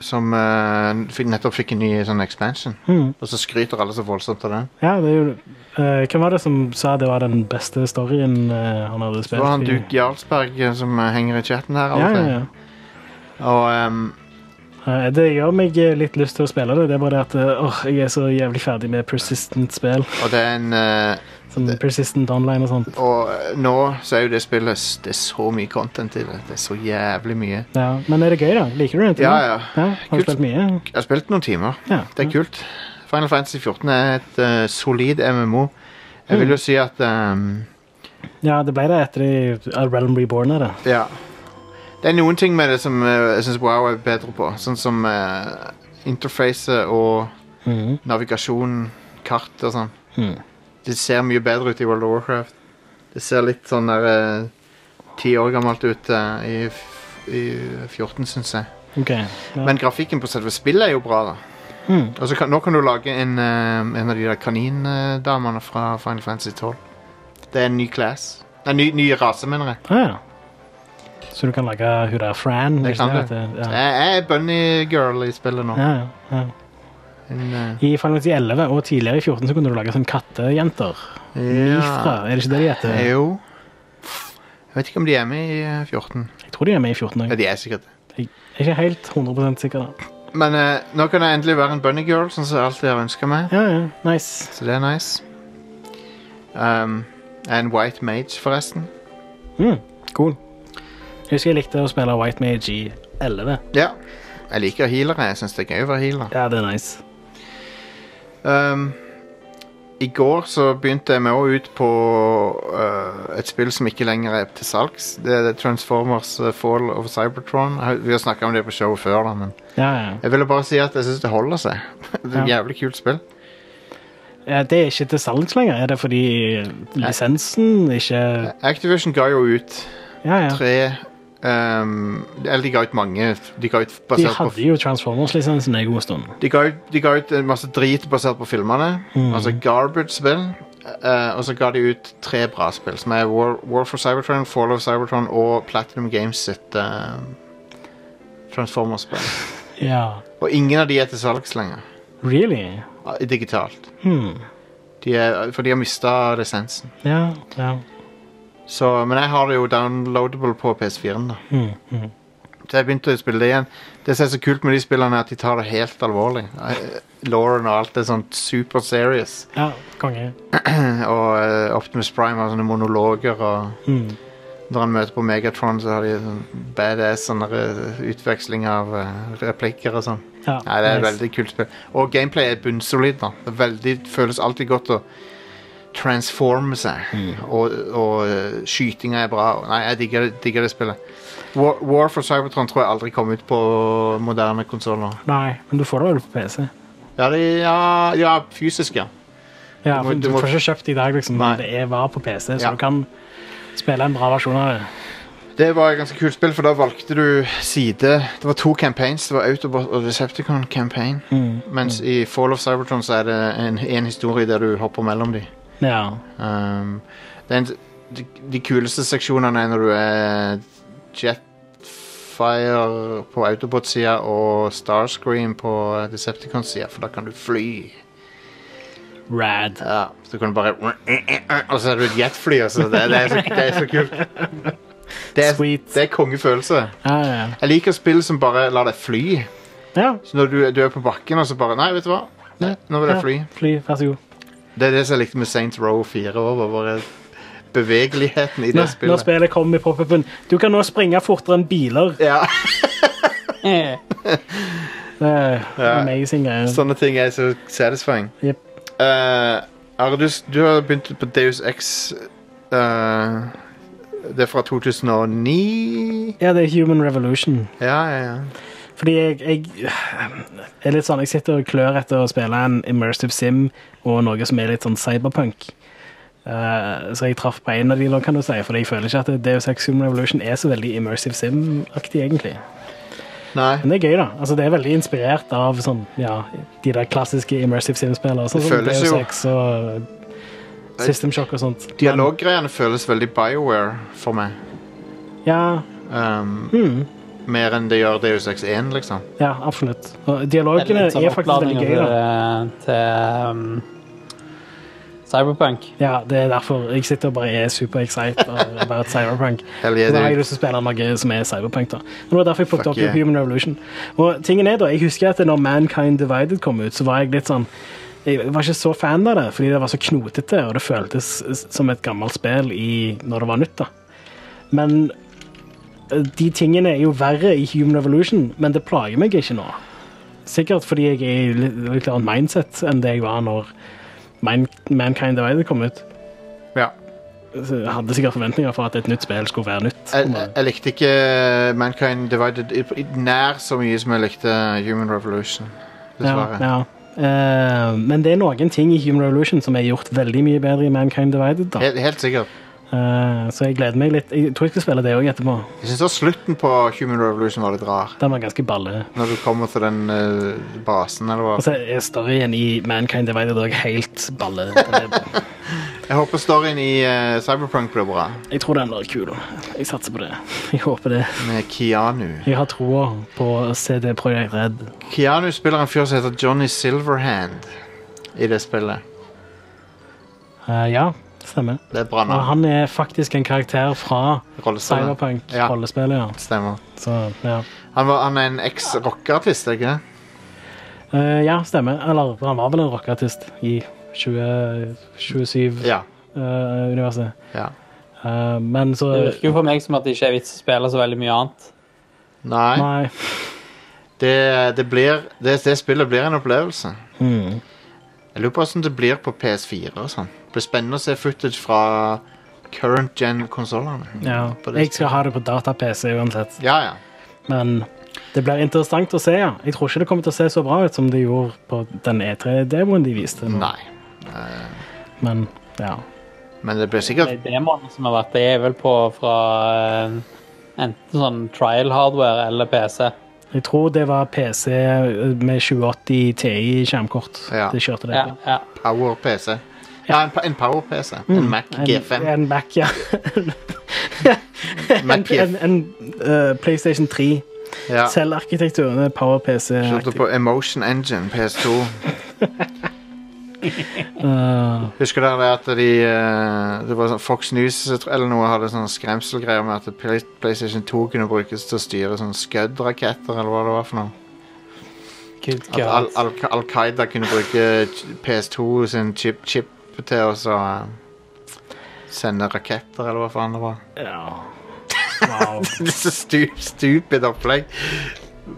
Speaker 1: som eh, fikk, nettopp fikk en ny sånn expansion.
Speaker 2: Mm.
Speaker 1: Og så skryter alle så voldsomt av den.
Speaker 2: ja, det er jo eh, Hvem var det som sa det var den beste storyen eh, han hadde
Speaker 1: Så
Speaker 2: spilt?
Speaker 1: var han
Speaker 2: i-
Speaker 1: Duke Jarlsberg eh, som eh, henger i chatten her. av
Speaker 2: ja,
Speaker 1: og
Speaker 2: ja,
Speaker 1: til.
Speaker 2: ja.
Speaker 1: Og ehm,
Speaker 2: Eh, Det gjør meg eh, litt lyst til å spille det. Det er bare det at eh, åh, jeg er så jævlig ferdig med persistent-spill.
Speaker 1: Og det er en eh,
Speaker 2: Som persistent online og sånt.
Speaker 1: Og eh, nå så er jo det spillet s- Det er så mye content i det. Det er så jævlig mye.
Speaker 2: Ja. Men er det gøy, da? Liker du det?
Speaker 1: Ja, ja. Mm.
Speaker 2: Har
Speaker 1: Kult.
Speaker 2: du spilt mye?
Speaker 1: Jeg har spilt noen timer.
Speaker 2: Ja.
Speaker 1: Det er kult. Final Fantasy 14 er et eh, solid MMO. Jeg vil jo si at ehm,
Speaker 2: ja, det ble det etter de A Realm Reborn er det.
Speaker 1: Ja. Det er noen ting med det som eh, jeg syns Wow er bedre på. Sånn som uh, interfacet og
Speaker 2: Mhm.
Speaker 1: navigasjon, kart og sånn.
Speaker 2: Mhm.
Speaker 1: Det ser mye bedre ut i World of Warcraft. Det ser litt sånn der eh, ti år gammelt ut eh, i, f- i 14, syns jeg.
Speaker 2: Ok. Ja.
Speaker 1: Men grafikken på selve spillet er jo bra, da.
Speaker 2: Mhm.
Speaker 1: Og så kan, nå kan du lage en, eh, en av de der kanindamene fra Final Fantasy 12. Det er en ny class. Nei, ny, ny rase, mener jeg.
Speaker 2: Ah, ja. Så du kan lage hun der Fran?
Speaker 1: Det
Speaker 2: ikke
Speaker 1: kan
Speaker 2: sant?
Speaker 1: du.
Speaker 2: Ja.
Speaker 1: Jeg, jeg er bunny-girl i spillet nå.
Speaker 2: Ja, ja, ja.
Speaker 1: En, eh,
Speaker 2: I Final Fantasy 11 og tidligere i 14 så kunne du lage sånne kattejenter. Ifra, er det ikke det de heter?
Speaker 1: Eh, Jo. Jeg vet ikke om de er med i eh, 14.
Speaker 2: Jeg tror de er med i 14 òg.
Speaker 1: Ja, de er sikkert det.
Speaker 2: Jeg er ikke helt 100 sikker. da.
Speaker 1: Men eh, nå kan jeg endelig være en bunny-girl, sånn som jeg alltid har ønska meg.
Speaker 2: Ja, ja, nice.
Speaker 1: Så det er nice. Um, jeg er en white mage, forresten.
Speaker 2: Mm, cool. Jeg husker jeg likte å spille White Mage i 11.
Speaker 1: Ja. Jeg liker healere. Jeg syns det er gøy å være healer.
Speaker 2: Ja, det er nice.
Speaker 1: Um, I går så begynte jeg med å ut på uh, et spill som ikke lenger er til salgs. Det er Transformers uh, Fall of Cybertron. Jeg har- Vi har snakka om det på showet før, da, men
Speaker 2: Ja, ja.
Speaker 1: jeg ville bare si at jeg syns det holder seg. det er et
Speaker 2: Ja.
Speaker 1: Jævlig kult spill.
Speaker 2: ja. Det er ikke til salgs lenger. Er det fordi lisensen ikke
Speaker 1: Activision ga jo ut
Speaker 2: Ja, ja.
Speaker 1: tre um, Eller de ga ut mange. De ga ut
Speaker 2: De
Speaker 1: basert på
Speaker 2: hadde jo Transformers-lisensen en god stund.
Speaker 1: De ga, ut, de ga ut en masse drit basert på filmene. Altså garbage-spill. eh, og så ga de ut tre bra spill, som er War, War for Cybertron, Fall of Cybertron og Platinum Games sitt eh, Transformers-spill.
Speaker 2: Ja.
Speaker 1: Og ingen av de er til salgs lenger.
Speaker 2: Really?
Speaker 1: eh, Digitalt.
Speaker 2: Hmm.
Speaker 1: De er, for de har mista lisensen.
Speaker 2: Ja, ja.
Speaker 1: Så, men jeg har det jo downloadable på PS4-en, da.
Speaker 2: Hmm, hmm.
Speaker 1: Så jeg begynte å spille det igjen. Det som er så kult med de spillene, er at de tar det helt alvorlig. Eh, Lauren og alt er sånn super serious.
Speaker 2: Ja, konge.
Speaker 1: Og eh, Optimus Prime har sånne monologer, og
Speaker 2: Hmm.
Speaker 1: når han møter på Megatron, så har de sånn badass sånne eh, utveksling av eh, replikker og sånn.
Speaker 2: Ja,
Speaker 1: Nei, det er
Speaker 2: nice.
Speaker 1: veldig kult spill. Og gameplay er bunnsolid, da. Det er veldig, føles alltid godt å transforme seg.
Speaker 2: Mm.
Speaker 1: Og, og eh, skytinga er bra. Nei, jeg digger, det- digger det spillet. War, War for Cybertron tror jeg aldri kom ut på moderne konsoller.
Speaker 2: Nei, men du får det vel på PC?
Speaker 1: Ja, de, ja, ja, fysisk, ja.
Speaker 2: Ja,
Speaker 1: Du må-
Speaker 2: for
Speaker 1: du
Speaker 2: du
Speaker 1: må-
Speaker 2: får ikke kjøpt det i dag, liksom.
Speaker 1: Nei.
Speaker 2: men Det er var på PC, så
Speaker 1: Ja.
Speaker 2: du kan spille en bra versjon av det.
Speaker 1: Det var et ganske kult spill, for da valgte du side. Det var to campaigns. Det var Autobot og Decepticon campaign. Mens i Fall of Cybertron så er det en, en historie der du hopper mellom de.
Speaker 2: Ja.
Speaker 1: Um, det er en, de, de kuleste seksjonene er når du er Jetfire på Autobot-sida og Starscream på Decepticon-sida, for da kan du fly.
Speaker 2: Rad.
Speaker 1: Ja, så kan du bare Og så er du et jetfly, altså. Det, det, er, så, det er så kult. Det er,
Speaker 2: Sweet.
Speaker 1: det er kongefølelse.
Speaker 2: Ja, ja.
Speaker 1: Jeg liker spill som bare lar deg fly.
Speaker 2: ja.
Speaker 1: Så når du, du er på bakken, og så bare Nei, vet du hva? Nei, nå vil
Speaker 2: ja.
Speaker 1: jeg fly.
Speaker 2: Fly, vær så god.
Speaker 1: Det er det som jeg likte med Saints Row 4 òg. Bare bevegeligheten i det
Speaker 2: Når, når
Speaker 1: spillet.
Speaker 2: spillet kommer i pop-upen Du kan nå springe fortere enn biler.
Speaker 1: Ja.
Speaker 3: Eh,
Speaker 2: Det er
Speaker 1: Ja.
Speaker 2: amazing greier.
Speaker 1: Sånne ting er så satisfying.
Speaker 2: Jep.
Speaker 1: Eh, Ardus, du har begynt på Deus X eh, Det er fra 2009?
Speaker 2: Ja, det er Human Revolution.
Speaker 1: Ja, ja, ja.
Speaker 2: Fordi jeg, jeg er litt sånn Jeg sitter og klør etter å spille en immersive sim og noe som er litt sånn cyberpunk. Eh, så jeg traff på en av de nå, kan du si, for jeg føler ikke at Deus Ex Human Revolution er så veldig immersive sim-aktig, egentlig.
Speaker 1: Nei.
Speaker 2: Men det er gøy, da. Altså, det er veldig inspirert av sånn, ja, de der klassiske immersive sim-spillene. Sånn
Speaker 1: Det
Speaker 2: som
Speaker 1: føles
Speaker 2: Deus
Speaker 1: jo-
Speaker 2: Ex og eh, System Shock og sånt. Men-
Speaker 1: Dialoggreiene føles veldig BioWare for meg.
Speaker 2: Ja,
Speaker 1: Um,
Speaker 2: Mhm.
Speaker 1: Mer enn det gjør Deus Ex 1, liksom.
Speaker 2: ja, absolutt. Og dialogene
Speaker 3: sånn
Speaker 2: er faktisk veldig gøy, da.
Speaker 3: eh, Til um, Cyberpunk.
Speaker 2: Ja, det er derfor jeg sitter og bare er super excited about Cyberpunk.
Speaker 1: Hell yeah,
Speaker 2: Og da har jeg
Speaker 1: dude.
Speaker 2: lyst til å spille noe som er Cyberpunk. da. Men det var derfor jeg plukket
Speaker 1: Fuck
Speaker 2: opp
Speaker 1: yeah.
Speaker 2: Human Revolution. Og tingen er da, Jeg husker at når Mankind Divided kom ut, så var jeg litt sånn jeg var ikke så fan av det, fordi det var så knotete, og det føltes som et gammelt spill i, når det var nytt. da. Men eh, de tingene er jo verre i Human Revolution, men det plager meg ikke nå. Sikkert fordi jeg er i litt, litt annet mindset enn det jeg var når Man Mankind Divided kom ut.
Speaker 1: Ja.
Speaker 2: Så jeg hadde sikkert forventninger for at et nytt spill skulle være nytt.
Speaker 1: Jeg, jeg, jeg likte ikke Mankind Divided i- i nær så mye som jeg likte Human Revolution. Dessverre.
Speaker 2: Ja, ja. Eh, men det er noen ting i Human Revolution som er gjort veldig mye bedre i Mankind Divided. da.
Speaker 1: Helt, helt sikkert.
Speaker 2: Eh, så jeg gleder meg litt. Jeg tror jeg skal spille det òg etterpå.
Speaker 1: Jeg syns også slutten på Human Revolution var litt rar.
Speaker 2: Den var ganske balle.
Speaker 1: Når du kommer til den eh, basen, eller hva.
Speaker 2: Og så er storyen i Mankind Divided òg helt balle. Den er-
Speaker 1: Jeg håper storyen i eh, Cyberpunk blir bra,
Speaker 2: Jeg tror den blir kul. da. Jeg satser på det. Jeg håper det.
Speaker 1: med Keanu.
Speaker 2: Jeg har troa på CD Projekt Red.
Speaker 1: Keanu spiller en fyr som heter Johnny Silverhand i det spillet.
Speaker 2: Eh, ja, stemmer.
Speaker 1: Det er bra
Speaker 2: Og
Speaker 1: navn.
Speaker 2: han er faktisk en karakter fra
Speaker 1: Rollespillet. Ja.
Speaker 2: Cyberpunk-rollespillet. Ja.
Speaker 1: Stemmer.
Speaker 2: Så, ja.
Speaker 1: Han, var, han er en eks-rockeartist, er ikke det?
Speaker 2: Eh, ja, stemmer. Eller han var vel en rockeartist i 2027-universet.
Speaker 1: Ja. ja.
Speaker 2: eh, men så
Speaker 3: Det virker jo for meg som at det ikke er vits å spille så veldig mye annet.
Speaker 1: Nei.
Speaker 2: Nei.
Speaker 1: Det, det, blir, det, det spillet blir en opplevelse.
Speaker 2: Mm.
Speaker 1: Jeg lurer på hvordan det blir på PS4 og sånn. Det blir spennende å se footage fra current gen-konsollene.
Speaker 2: Ja. Jeg skal ha det på data-PC uansett.
Speaker 1: Ja, ja.
Speaker 2: Men det blir interessant å se, ja. Jeg tror ikke det kommer til å se så bra ut som det gjorde på den E3-demoen de viste. nå.
Speaker 1: Nei.
Speaker 2: Men ja.
Speaker 1: Men det blir
Speaker 3: De
Speaker 1: sikkert
Speaker 3: demoene som har vært, de er vel på fra eh, enten sånn trial hardware eller PC.
Speaker 2: Jeg tror det var PC med 2080 TI-skjermkort.
Speaker 1: Ja.
Speaker 2: De kjørte det
Speaker 3: Ja,
Speaker 2: på.
Speaker 3: ja.
Speaker 1: power PC. Ja, en, pa- en power PC. En Mac
Speaker 2: Mm. En,
Speaker 1: G5.
Speaker 2: en Mac, ja.
Speaker 1: Mac
Speaker 2: En,
Speaker 1: G5.
Speaker 2: en, en eh, PlayStation 3.
Speaker 1: Ja.
Speaker 2: Selvarkitekturen eh, er PowerPC.
Speaker 1: Kjørte på Emotion Engine, PS2.
Speaker 2: Uh,
Speaker 1: Husker dere det at de eh, Det var sånn Fox News jeg tror- eller noe hadde sånne skremselgreier med at Play- PlayStation 2 kunne brukes til å styre sånne Scud-raketter, eller hva det var for noe?
Speaker 3: Good
Speaker 1: At Al-
Speaker 3: God.
Speaker 1: Al- Al-Qaida kunne bruke ch- PS2 sin chip, chip til å så eh, sende raketter, eller hva faen det var.
Speaker 2: ja. Wow.
Speaker 1: Det er så stu, stupid opplegg.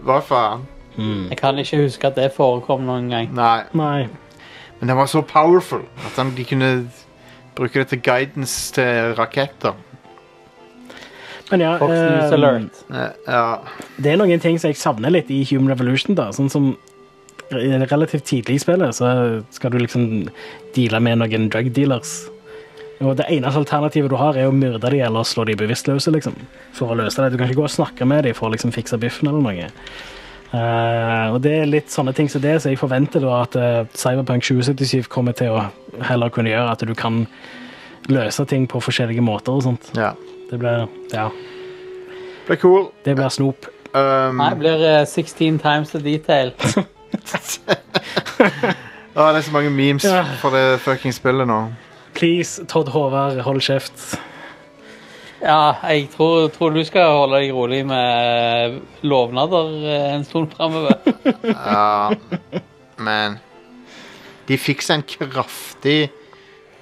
Speaker 1: Hva faen?
Speaker 3: Jeg kan ikke huske at det forekom noen gang.
Speaker 1: Nei.
Speaker 2: Nei.
Speaker 1: Men den var så powerful at han- de kunne bruke det til guidance til raketter.
Speaker 2: Men ja,
Speaker 3: Fox
Speaker 2: eh,
Speaker 3: News Alert.
Speaker 1: Eh, Ja.
Speaker 2: det er noen ting som jeg savner litt i Human Revolution. da, sånn som re- Relativt tidlig i spillet så skal du liksom deale med noen drug dealers. Og Det eneste alternativet du har, er å myrde dem eller slå dem bevisstløse. liksom, for å løse det. Du kan ikke gå og snakke med dem for å liksom fikse biffen eller noe. Eh, og det er litt sånne ting som det, så jeg forventer da at eh, Cyberpunk 2077 kommer til å heller kunne gjøre at du kan løse ting på forskjellige måter og sånt.
Speaker 1: ja.
Speaker 2: Det blir, ja,
Speaker 1: Det er cool.
Speaker 2: det blir snop.
Speaker 1: Um,
Speaker 3: Nei, det blir eh, 16 times the detail.
Speaker 1: å, det er så mange memes
Speaker 2: Ja.
Speaker 1: for det fucking spillet nå.
Speaker 2: Please, Todd Håvard, hold kjeft.
Speaker 3: Ja, jeg tror, tror du skal holde deg rolig med lovnader eh, en stund framover.
Speaker 1: Ja, men De fikk seg en kraftig eh,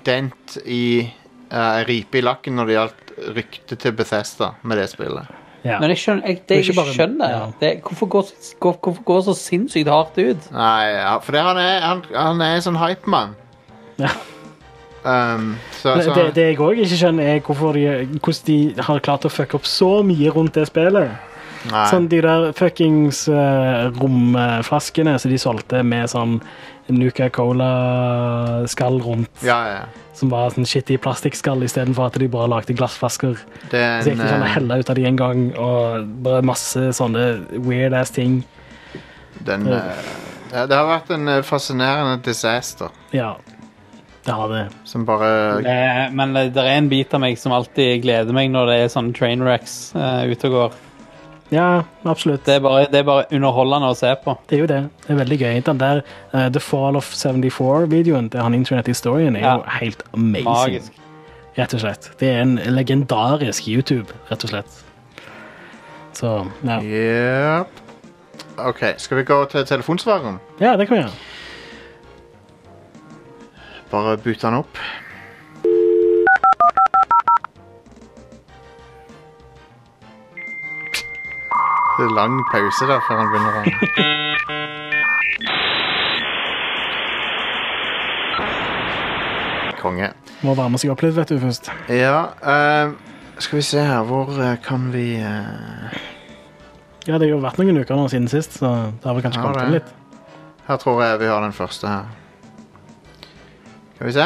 Speaker 1: dent i uh, ripe i lakken når det gjaldt ryktet til Bethesda med det spillet.
Speaker 2: Ja.
Speaker 6: Men jeg skjønner, jeg, det
Speaker 2: er
Speaker 6: jeg
Speaker 2: ikke
Speaker 6: ikke
Speaker 2: bare-
Speaker 6: skjønner
Speaker 2: ja.
Speaker 6: det, er- Hvorfor går så- hvor- hvorfor går så sinnssykt hardt ut?
Speaker 1: Nei, ja, for det, han, er, han, han er en sånn hypemann.
Speaker 2: Ja.
Speaker 1: Um, så,
Speaker 2: Det,
Speaker 1: så,
Speaker 2: det, det jeg òg ikke skjønner, er hvorfor de, hvordan de har klart å fucke opp så mye rundt det spillet.
Speaker 1: nei.
Speaker 2: Sånn de der fuckings eh, romflaskene som de solgte med sånn Nuca Cola-skall rundt,
Speaker 1: Ja, ja.
Speaker 2: som var sånn shitty plastikkskall istedenfor at de bare lagde glassflasker.
Speaker 1: Det er
Speaker 2: Så gikk
Speaker 1: en,
Speaker 2: det sånn å
Speaker 1: eh,
Speaker 2: helle ut av de en gang, og bare masse sånne weird-ass ting.
Speaker 1: den, eh, det, det har vært en eh, fascinerende disaster
Speaker 2: Ja, det har det.
Speaker 1: som bare
Speaker 3: Eh, men det det er en bit av meg som alltid gleder meg når det er sånne train wrecks eh, ute og går.
Speaker 2: Ja, absolutt.
Speaker 3: Det er, bare, det er bare underholdende å se på.
Speaker 2: Det er jo det. Det er veldig gøy. Den der eh, The Fall of 74-videoen til han Internet Historian er
Speaker 3: Ja.
Speaker 2: jo helt amazing.
Speaker 3: Magisk.
Speaker 2: Rett og slett. Det er en legendarisk YouTube, rett og slett. Så ja.
Speaker 1: Jepp. OK, skal vi gå til telefonsvareren?
Speaker 2: ja, det kan vi gjøre.
Speaker 1: Bare bytte den opp. Det er lang pause der før han begynner å Konge.
Speaker 2: Må varme seg opp litt, vet du, først.
Speaker 1: Ja eh, Skal vi se her. Hvor eh, kan vi eh,
Speaker 2: Ja, det har jo vært noen uker nå siden sist, så det har vel kanskje
Speaker 1: Ja,
Speaker 2: kommet
Speaker 1: det.
Speaker 2: inn litt.
Speaker 1: Her tror jeg vi har den første her. Skal vi se.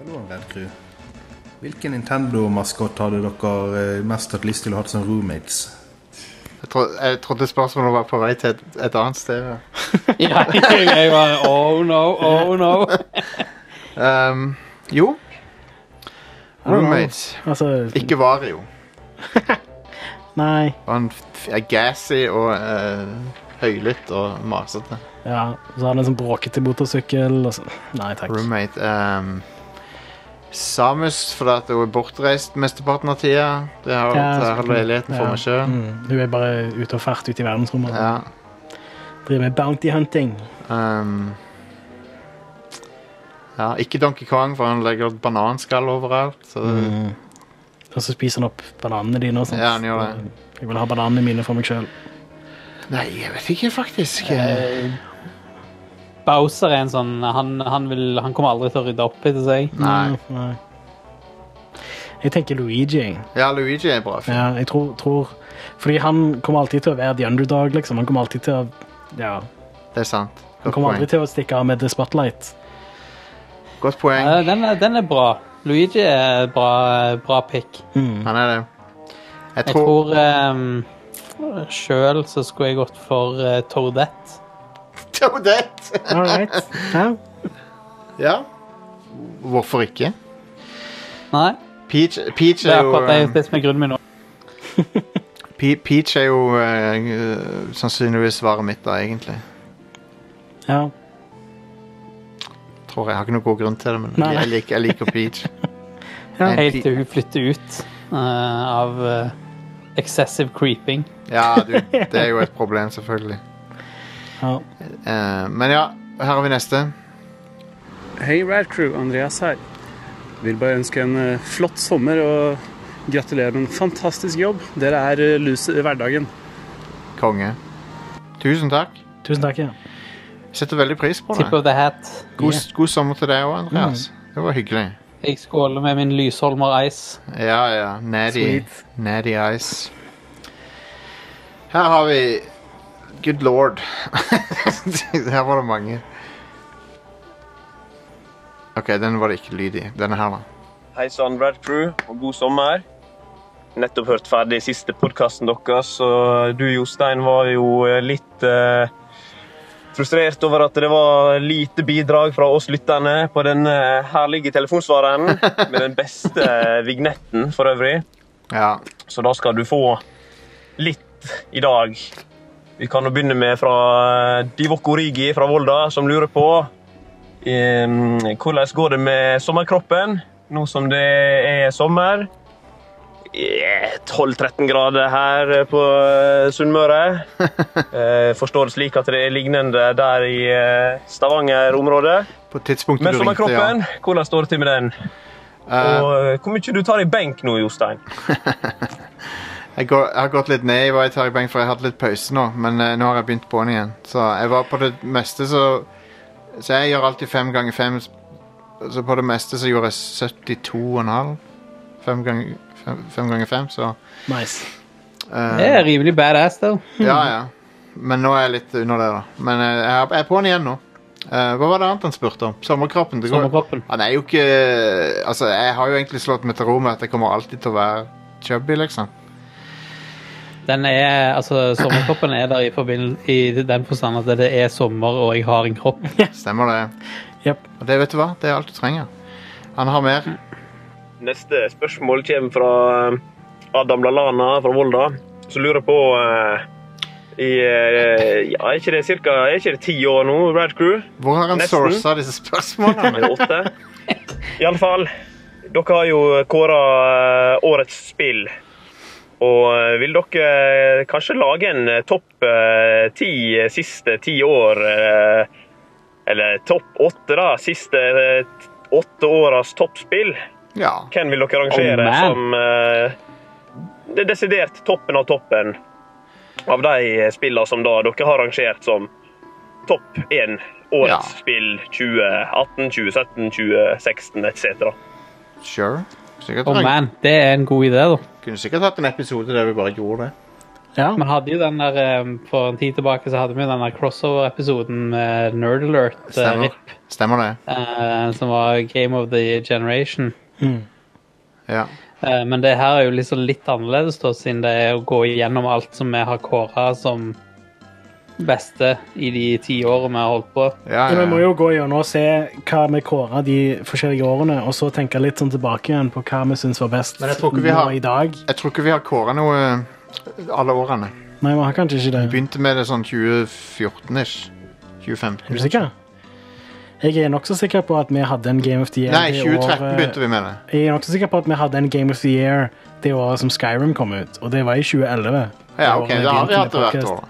Speaker 7: Hallo, Red Crew. Hvilken Nintendo-maskott hadde dere eh, mest hatt lyst til å ha som roommates?
Speaker 1: Jeg, tro, jeg trodde spørsmålet var på vei til et, et annet sted. ja.
Speaker 3: Ja, jeg bare, oh no, oh no.
Speaker 1: Um, jo. Roommates.
Speaker 2: Altså,
Speaker 1: Ikke Vario.
Speaker 2: nei.
Speaker 1: Han f- er gassy og eh, høylytt og masete.
Speaker 2: Ja, så har han en sånn bråkete motorsykkel og så. Nei takk.
Speaker 1: Roommate ehm, Samus, fordi at hun er bortreist mesteparten av tida. Det har
Speaker 2: Ja,
Speaker 1: ja,
Speaker 2: så-
Speaker 1: halve leiligheten for
Speaker 2: ja.
Speaker 1: meg sjøl.
Speaker 2: Mm, hun er bare ute og fart ute i verdensrommet.
Speaker 1: Ja.
Speaker 2: Driver med bounty hunting.
Speaker 1: ehm, ja, ikke Donkey Kong, for han legger bananskall overalt. Så det,
Speaker 2: Og så spiser han opp bananene dine og sånt.
Speaker 1: Ja, han gjør det.
Speaker 2: Jeg vil ha bananene mine for meg sjøl.
Speaker 1: Nei, jeg vet ikke, faktisk.
Speaker 3: Eh,
Speaker 6: Eh.
Speaker 3: Bowser er en sånn Han, han, vil, han kommer aldri til å rydde opp etter seg.
Speaker 1: Nei.
Speaker 2: Nei. Mm, Jeg tenker Luigi.
Speaker 1: Ja, Luigi er bra. fyr.
Speaker 2: Ja, jeg tror, tror Fordi han kommer alltid til å være the underdog, liksom. Han kommer alltid til å Ja.
Speaker 1: Det er sant.
Speaker 2: Han
Speaker 1: Godt
Speaker 2: kommer aldri
Speaker 1: poeng.
Speaker 2: til å stikke av med the spotlight.
Speaker 1: Godt poeng.
Speaker 3: Eh, Den er, den er bra. Luigi er et bra, bra pick.
Speaker 1: Han er det. Jeg
Speaker 3: Jeg
Speaker 1: tror,
Speaker 3: tror um, sjøl så skulle jeg gått for eh, Toadette.
Speaker 1: Toadette!
Speaker 2: All right. Ja.
Speaker 1: ja. Hvorfor ikke?
Speaker 3: Nei,
Speaker 1: Peach, Peach
Speaker 3: det
Speaker 1: er
Speaker 3: er
Speaker 1: jo
Speaker 3: akkurat det,
Speaker 1: eh,
Speaker 3: det som er grunnen min nå.
Speaker 1: Pe Peach er jo eh, eh, sannsynligvis svaret mitt, da, egentlig.
Speaker 2: ja.
Speaker 1: Tror jeg. jeg har ikke noen god grunn til det, men
Speaker 2: Nei, nei.
Speaker 1: jeg liker, jeg liker Peach. En
Speaker 3: Helt
Speaker 1: Pe-
Speaker 3: til hun flytter ut eh, av eh, excessive creeping.
Speaker 1: Ja, du, det er jo et problem, selvfølgelig.
Speaker 2: ja.
Speaker 1: Eh, men ja, her har vi neste.
Speaker 8: Hei Rad Crew, Andreas her. Vil bare ønske en eh, flott sommer og gratulerer med en fantastisk jobb. Dere er eh, lus i hverdagen.
Speaker 1: Konge. Tusen takk.
Speaker 2: Tusen takk, ja.
Speaker 1: Setter veldig pris på
Speaker 3: Tip
Speaker 1: det.
Speaker 3: of the hat.
Speaker 1: God, god sommer til deg òg, Andreas. Det var hyggelig.
Speaker 3: Jeg skåler med min Lysholmer Ice.
Speaker 1: Ja, ja. Natty, natty Ice. Her har vi Good Lord. her var det mange. OK, den var det ikke lyd i. Denne her, da.
Speaker 9: Hei sann, Rad Crew, og god sommer. Nettopp hørt ferdig siste podkasten deres, og du Jostein var jo litt eh, frustrert over at det var lite bidrag fra oss lytterne på den eh, herlige telefonsvareren med den beste vignetten for øvrig.
Speaker 1: Ja.
Speaker 9: Så da skal du få litt i dag. Vi kan jo begynne med fra eh, Divok Origi fra Volda, som lurer på eh, hvordan går det med sommerkroppen nå som det er sommer. Eh, 12-13 grader her eh, på eh, Sunnmøre. Eh, Forstår det slik at det er lignende der i eh, Stavanger-området.
Speaker 1: På tidspunktet
Speaker 9: Men
Speaker 1: du ringte, ja.
Speaker 9: sommerkroppen, hvordan står det til med den?
Speaker 1: Eh,
Speaker 9: Og eh, hvor mye du tar i benk nå, Jostein?
Speaker 1: Jeg, går, jeg har gått litt ned i hva jeg tar i poeng, for jeg hadde litt pause nå. Men eh, nå har jeg begynt på'n igjen. Så jeg var på det meste, så Så jeg gjør alltid fem ganger fem. Så på det meste så gjorde jeg 72,5. Fem ganger fem, fem ganger fem, så
Speaker 2: Nice.
Speaker 1: eh,
Speaker 6: Det er rimelig badass, da.
Speaker 1: Ja, ja. Men nå er jeg litt under det, da. Men eh, jeg er- jeg er på'n igjen nå. Eh, hva var det annet han spurte om? Sommerkroppen? Det går,
Speaker 6: Sommerkroppen.
Speaker 1: Han er jo ikke Altså, jeg har jo egentlig slått meg til ro med at jeg kommer alltid til å være chubby, liksom.
Speaker 6: Den er, altså, sommerkroppen er der i, forbind- i den forstand at det er sommer, og jeg har en kropp.
Speaker 1: Stemmer det.
Speaker 2: Jep.
Speaker 1: Og det vet du hva, det er alt du trenger. Han har mer.
Speaker 9: Neste spørsmål kommer fra eh, Adam Lalana fra Volda, som lurer på eh, i, eh, ja, Er ikke det cirka, er ikke det ti år nå, Rad Crew?
Speaker 1: Hvor har han
Speaker 9: Nesten.
Speaker 1: sourca disse spørsmålene?
Speaker 9: Eller åtte? Iallfall, dere har jo kåra årets spill. Og eh, vil dere eh, kanskje lage en eh, topp eh, ti eh, siste ti år eh, Eller topp åtte, da. Siste eh, åtte åras toppspill.
Speaker 1: Ja.
Speaker 9: Hvem vil dere
Speaker 6: Oh,
Speaker 9: rangere
Speaker 6: man.
Speaker 9: som eh, det desidert toppen av toppen av de eh, spillene som da dere har rangert som topp én?
Speaker 1: Ja.
Speaker 9: Årets spill 2018, 2017, 2016 etc.
Speaker 1: Sure. Sikkert
Speaker 6: Oh man, det er en god idé, da.
Speaker 1: kunne sikkert hatt en episode der vi bare gjorde det.
Speaker 2: Ja.
Speaker 6: Vi hadde jo den der, eh, For en tid tilbake så hadde vi jo den der crossover-episoden med Nerd Alert, eh,
Speaker 1: Stemmer,
Speaker 6: RIP,
Speaker 1: Stemmer det.
Speaker 6: eh, som var Game of the Generation.
Speaker 1: Ja.
Speaker 6: Eh, Men det her er jo liksom litt annerledes, da, siden det er å gå igjennom alt som vi har kåra som beste i de ti årene vi har holdt på.
Speaker 1: Ja,
Speaker 2: Ja, vi må
Speaker 1: ja.
Speaker 2: jo gå gjennom og se hva vi kåra de forskjellige årene, og så tenke litt sånn tilbake igjen på hva vi syns var best
Speaker 1: Men jeg tror ikke vi
Speaker 2: nå
Speaker 1: har-
Speaker 2: i dag.
Speaker 1: Jeg tror ikke vi har kåra noe eh, alle årene.
Speaker 2: Nei, vi har kanskje ikke det.
Speaker 1: Begynte med det sånn 2014-ish. 2015.
Speaker 2: Er du sikker? Jeg er nokså sikker på at vi hadde en Game of the Year
Speaker 1: Nei,
Speaker 2: det
Speaker 1: 2013
Speaker 2: året-
Speaker 1: begynte vi med det.
Speaker 2: Jeg er nokså sikker på at vi hadde en Game of the Year det året som Skyrim kom ut, og det var i 2011.
Speaker 1: Ja, ok,
Speaker 2: året
Speaker 1: Da har vi
Speaker 2: begynte
Speaker 1: hatt det
Speaker 2: med
Speaker 1: hvert
Speaker 2: podcast.
Speaker 1: år. da.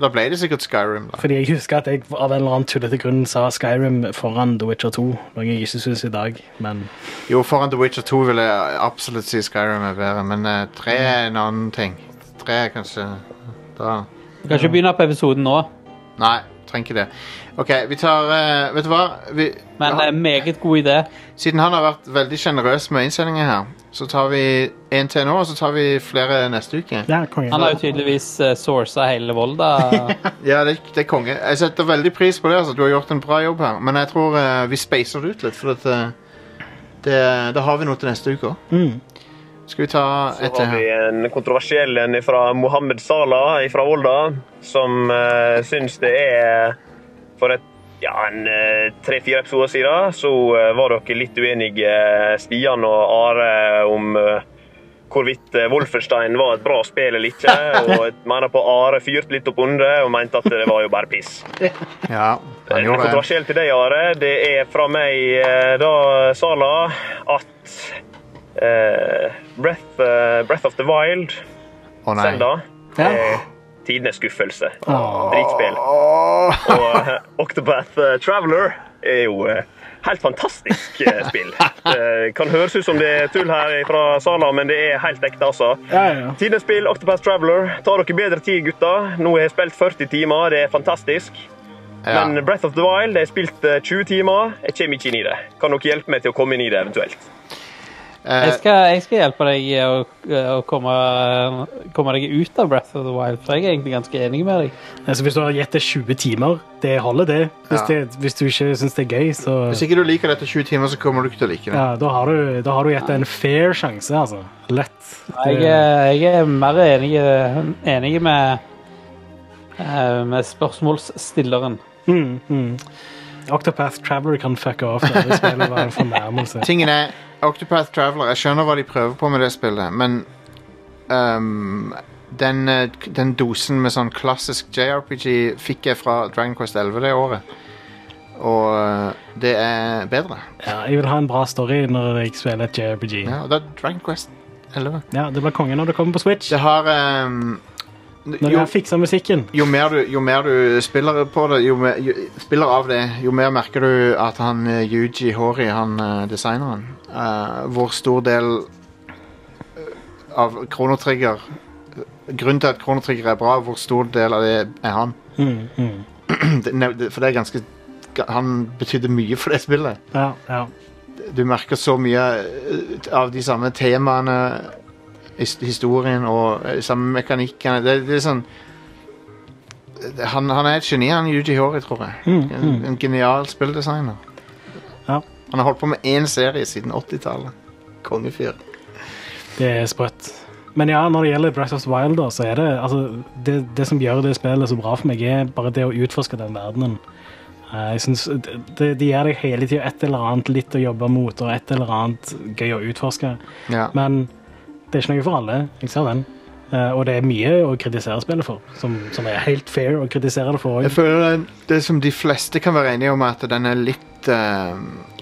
Speaker 1: Da ble det sikkert Skyrim, da.
Speaker 2: Fordi jeg husker at jeg av en eller annen tullete grunn sa Skyrim foran The Witcher 2, noe jeg ikke syns i dag, men
Speaker 1: Jo, foran The Witcher 2 vil jeg absolutt si Skyrim er bedre, men eh, tre er en annen ting. Tre er kanskje Da
Speaker 6: Vi kan ikke begynne på episoden nå,
Speaker 1: Nei, trenger ikke det. OK, vi tar eh, Vet du hva? Vi,
Speaker 6: men det er
Speaker 1: han,
Speaker 6: en meget god idé.
Speaker 1: siden han har vært veldig sjenerøs med innsendinger her, så tar vi en til nå, og så tar vi flere neste uke.
Speaker 2: ja, konge.
Speaker 6: Han har jo tydeligvis eh, sourca hele Volda.
Speaker 1: Ja, det, det er konge. Jeg setter veldig pris på det. altså. Du har gjort en bra jobb her, men jeg tror eh, vi spacer det ut litt, for at, eh, det, da har vi noe til neste uke òg.
Speaker 2: Mm.
Speaker 1: Skal vi ta
Speaker 9: Så
Speaker 1: et til
Speaker 9: har
Speaker 1: her?
Speaker 9: vi en kontroversiell en fra Mohammed Salah fra Volda, som uh, syns det er For et, ja, en eh, tre-fire episoder siden så eh, var dere litt uenige, eh, Stian og Are, om eh, hvorvidt eh, Wolfenstein var et bra spill eller ikke. Og jeg mener på Are fyrte litt opp under og mente at det var jo bare piss.
Speaker 1: Ja, han
Speaker 9: En
Speaker 1: gjorde det.
Speaker 9: kontroversiell til deg, Are. Det er fra meg, eh, da, Sala, at eh, Breath, eh, Breath of the Wild,
Speaker 1: Å nei.
Speaker 9: Zelda,
Speaker 2: Ja.
Speaker 9: er tidenes skuffelse. Dritspill. Og eh, Octopath eh, Traveler er jo eh, helt fantastisk eh, spill. Eh, kan høres ut som det er tull her fra Sala, men det er helt ekte, altså.
Speaker 2: Ja, ja, ja.
Speaker 9: Tidens spill, Octopath Traveler. Ta dere bedre tid, gutter. Nå har jeg spilt 40 timer, det er fantastisk.
Speaker 1: Ja.
Speaker 9: Men Breath of the Wild, jeg har spilt eh, 20 timer. Jeg kommer ikke inn i det. Kan dere hjelpe meg til å komme inn i det, eventuelt?
Speaker 1: Eh,
Speaker 6: Jeg skal, jeg skal hjelpe deg eh, å, å komme, komme deg ut av Breath of the Wild, for jeg er egentlig ganske enig med deg.
Speaker 2: Altså, hvis du har gitt det 20 timer, det holder det.
Speaker 1: Ja.
Speaker 2: Hvis, det, hvis du ikke syns det er gøy, så
Speaker 1: Hvis ikke du liker dette 20 timer, så kommer du ikke til å like det.
Speaker 2: ja, da, har du, da har du gitt det en fair sjanse, altså. Lett.
Speaker 6: Jeg, er- jeg er mer enig, enig med, eh, med spørsmålsstilleren.
Speaker 2: Mm, mm. Octopath Traveler kan fucke off. da. Det spillet var en fornærmelse.
Speaker 1: Tingen er, Octopath Traveler, jeg skjønner hva de prøver på med det spillet, men ehm, den, eh, den dosen med sånn klassisk JRPG fikk jeg fra Dragon Quest 11 det året. Og eh, det er bedre.
Speaker 2: Ja, jeg vil ha en bra story når jeg spiller et JRPG.
Speaker 1: Ja, og det er Dragon Quest 11.
Speaker 2: Ja, Det blir konge når det kommer på Switch.
Speaker 1: Det har ehm,
Speaker 2: Når de
Speaker 1: jo,
Speaker 2: har fiksa musikken.
Speaker 1: jo, mer du, jo mer du spiller på det, jo, mer, jo, spiller av det, jo mer merker du at han eh, Yuji Hori, han eh, designeren, eh, hvor stor del eh, av kronotrigger Grunnen til at kronotrigger er bra, hvor stor del av det er han.
Speaker 2: Mm, mm.
Speaker 1: Det- nei, det- For det er ganske Han betydde mye for det spillet.
Speaker 2: Ja, ja.
Speaker 1: Du merker så mye eh, av de samme temaene, his- historien og eh, samme mekanikkene. Det, det er sånn det- han, han er et geni, han Yuji Hori, tror jeg.
Speaker 2: Mm,
Speaker 1: En, en genial spilldesigner.
Speaker 2: Ja.
Speaker 1: Han har holdt på med én serie siden 80-tallet. Kongefyr.
Speaker 2: Det er sprøtt. Men ja, når det gjelder Breath of the Wild, da, så er det, altså, det det som gjør det spillet så bra for meg, er bare det å utforske den verdenen. Eh, Jeg synes det, det- det gir deg hele tida et eller annet litt å jobbe mot, og et eller annet gøy å utforske.
Speaker 1: Ja.
Speaker 2: Men det er ikke noe for alle. Jeg ser den. Eh, Og det er mye å kritisere spillet for, som, som er helt fair å kritisere det for.
Speaker 1: Jeg
Speaker 2: også.
Speaker 1: føler den- det som de fleste kan være enige om, er at den er litt eh,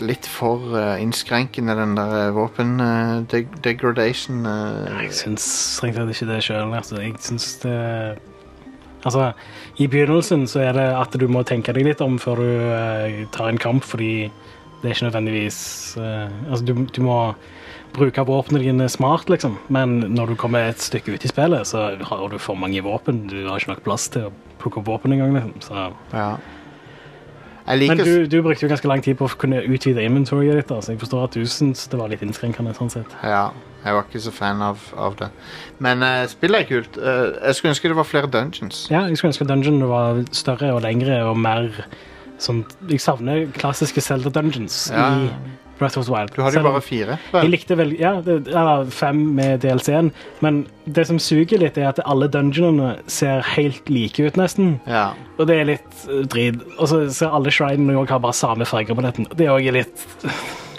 Speaker 1: Litt for eh, innskrenkende, den der eh, våpen eh, deg degradation. eh.
Speaker 2: Jeg syns strengt tatt ikke det sjøl. Altså. Jeg syns det Altså, i begynnelsen så er det at du må tenke deg litt om før du eh, tar en kamp, fordi det er ikke nødvendigvis eh, Altså, du, du må bruke våpnene dine smart, liksom, men når du kommer et stykke ut i spillet, så har du for mange våpen. Du har ikke nok plass til å plukke opp våpen engang, liksom. Så.
Speaker 1: Ja. Jeg
Speaker 2: Men
Speaker 1: liker
Speaker 2: du, du brukte jo ganske lang tid på å kunne utvide inventoryet ditt, da, så jeg forstår at du syns det var litt innskrenkende sånn sett.
Speaker 1: Ja, jeg var ikke så fan av, av det. Men eh, spillet er kult. Eh, jeg skulle ønske det var flere dungeons.
Speaker 2: Ja, jeg skulle ønske dungeonene var større og lengre og mer sånn Jeg savner klassiske Zelda Dungeons
Speaker 1: Ja.
Speaker 2: i Breath of the Wild.
Speaker 1: Du hadde jo
Speaker 2: Selv om
Speaker 1: bare fire.
Speaker 2: jeg
Speaker 1: Vel,
Speaker 2: likte vel, ja, det, eller fem med DLC-en, men det som suger litt, er at alle dungeonene ser helt like ut, nesten.
Speaker 1: ja.
Speaker 2: Og det er litt eh, drit. Og så ser alle shrinene òg har bare samme farger på dette. Det er også litt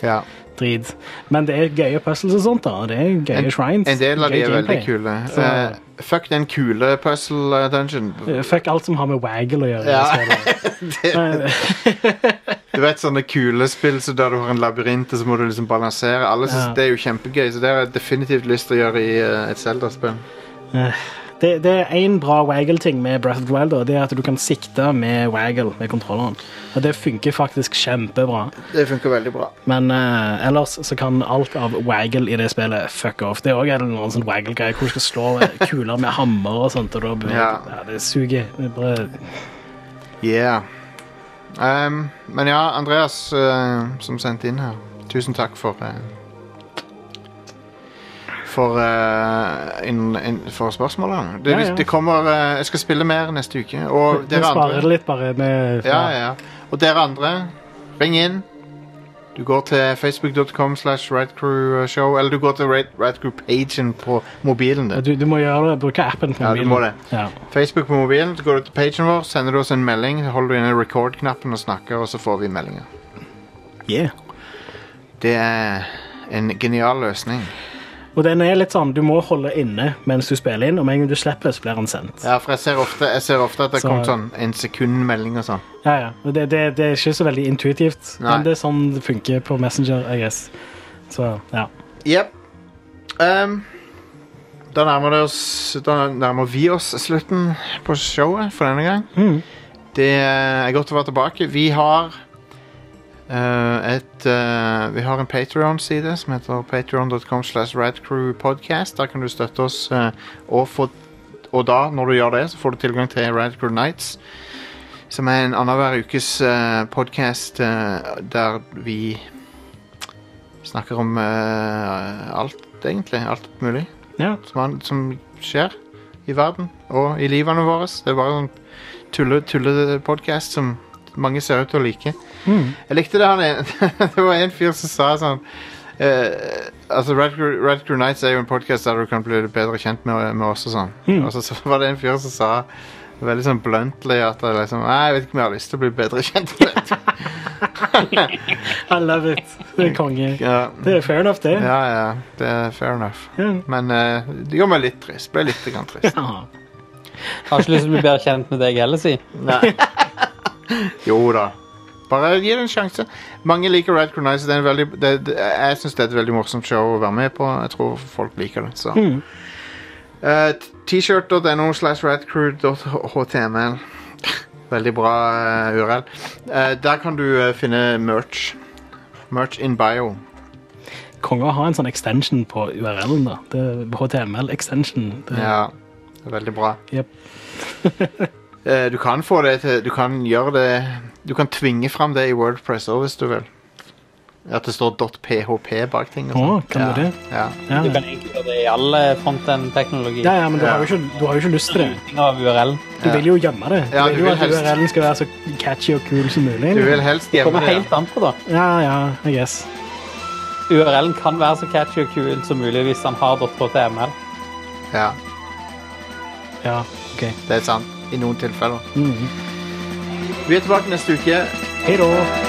Speaker 1: ja.
Speaker 2: drit. Men det er gøye puzzles og sånt, da. og Det er gøye shrines.
Speaker 1: En del av de
Speaker 2: gøy
Speaker 1: er veldig
Speaker 2: gameplay.
Speaker 1: kule.
Speaker 2: Så-
Speaker 1: Eh, fuck den kule puzzle eh, dungeon.
Speaker 2: Eh, Fuck alt som har med waggle å gjøre.
Speaker 1: Ja.
Speaker 2: i spillet. Men-
Speaker 1: Du vet sånne kule spill så der du har en labyrint og så må du liksom balansere. Alle synes
Speaker 2: Ja.
Speaker 1: Det er jo kjempegøy, så det har jeg definitivt lyst til å gjøre i eh, et Zelda-spill.
Speaker 2: Det, det er én bra waggle-ting med Breath of the Wild. da, Det er at du kan sikte med waggle med kontrolleren. Og det funker faktisk kjempebra.
Speaker 1: Det funker veldig bra.
Speaker 2: Men eh, ellers så kan alt av waggle i det spillet fuck off. Det er òg en eller annen sånn waggle-greie hvor du skal slå eh, kuler med hammer og sånt. Og da blir, ja.
Speaker 1: Ja.
Speaker 2: det suger. Det er bare,
Speaker 1: Yeah. Ehm, men ja, Andreas eh, som sendte inn her, tusen takk for eh, for, eh, inn- inn- for spørsmålene. Det,
Speaker 2: Ja, ja.
Speaker 1: det kommer eh, Jeg skal spille mer neste uke. Og
Speaker 2: jeg
Speaker 1: dere
Speaker 2: sparer
Speaker 1: andre
Speaker 2: det litt bare med
Speaker 1: Ja, ja. Og dere andre, ring inn. Du går til facebook.com slash radcrewshow, eller du går til Rad- radcrewpagen på mobilen din.
Speaker 2: Du, du må gjøre det, bruke appen på
Speaker 1: Ja, du må det.
Speaker 2: Ja.
Speaker 1: Facebook på mobilen, så går du til pagen vår, sender du oss en melding, holder du inne record-knappen og snakker, og så får vi meldinger.
Speaker 2: Yeah.
Speaker 1: Det er en genial løsning.
Speaker 2: Og den er litt sånn, du må holde inne mens du spiller inn, og med en gang du slipper, så blir den sendt.
Speaker 1: Ja, for jeg ser ofte, jeg ser ofte at det
Speaker 2: Så-
Speaker 1: kommer sånn en sekund-melding og sånn.
Speaker 2: Ja, ja. Og Det, det, det er ikke så veldig intuitivt,
Speaker 1: Nei.
Speaker 2: men det er sånn det funker på Messenger, I guess. Så, ja.
Speaker 1: Jep. Ehm, da, nærmer det oss, da nærmer vi oss slutten på showet for denne gang. Det er godt å være tilbake. Vi har eh, et eh, Vi har en Patreon-side som heter patreon.com slash radcrewpodcast. Der kan du støtte oss, eh, og, få, og da, når du gjør det, så får du tilgang til Radcrew Nights. Som er en annenhver ukes uh, podkast der vi snakker om eh, alt, egentlig. Alt mulig
Speaker 2: ja.
Speaker 1: som, han- som skjer i verden og i livene våre. Det er bare en tulle- tullepodkast som mange ser ut til å like. Jeg likte det han en, Det var en fyr som sa sånn eh, Altså Red, Crew- Red Crew Nights er jo en podkast der du kan bli bedre kjent med, med oss og sånn. Og så, så var det en fyr som sa veldig sånn bluntly at det liksom, Nei, jeg vet ikke om jeg har lyst til å bli bedre kjent med deg.
Speaker 2: I love it. Det er konge.
Speaker 1: Ja.
Speaker 2: Det er fair enough, det.
Speaker 1: ja, ja. Det er fair enough.
Speaker 2: Ja.
Speaker 1: Men eh, det gjorde meg litt trist. Ble litt grann trist.
Speaker 2: Ja.
Speaker 6: Har ikke lyst til å bli bedre kjent med deg heller, si.
Speaker 1: Jo da. Bare gi det en sjanse. Mange liker Red Crew Nights. Det er en veldig, det, det, jeg syns det er et veldig morsomt show å være med på. Jeg tror folk liker det. så.
Speaker 2: Mm.
Speaker 1: Eh, t- T-shirt.no slash radcrew.html. Veldig bra eh, URL. Eh, der kan du eh, finne merch. Merch in bio.
Speaker 2: konge å ha en sånn extension på URL-en. da. Det er HTML-extension. Det-
Speaker 1: Ja, det er veldig bra.
Speaker 2: Jep.
Speaker 1: Eh, du kan få det til Du kan gjøre det Du kan tvinge fram det i Wordpress òg, hvis du vil. At det står .php bak ting. og
Speaker 2: Å,
Speaker 1: sånt.
Speaker 2: kan
Speaker 1: ja.
Speaker 2: du det?
Speaker 1: Ja.
Speaker 2: Ja,
Speaker 3: Du
Speaker 2: ja.
Speaker 3: kan egentlig gjøre det i all eh, frontend-teknologi.
Speaker 2: ja, ja, men du har, jo ikke, du har jo ikke lyst til det.
Speaker 3: Ting av URL.
Speaker 2: Du vil jo gjemme det. Du
Speaker 1: Ja,
Speaker 2: vil
Speaker 1: du
Speaker 2: jo
Speaker 1: vil
Speaker 2: at
Speaker 1: helst-
Speaker 2: URL-en skal være så catchy og kul som mulig.
Speaker 1: Du vil helst
Speaker 3: Det
Speaker 1: gjemme
Speaker 3: kommer
Speaker 1: det. ja.
Speaker 3: helt an på, da.
Speaker 2: Ja, ja, I guess.
Speaker 3: URL-en kan være så catchy og kul som mulig hvis han har .html.
Speaker 1: Ja,
Speaker 2: Ja, OK.
Speaker 1: det er sant. I noen tilfeller.
Speaker 2: Mhm.
Speaker 1: Vi er tilbake neste uke.
Speaker 2: Hei da.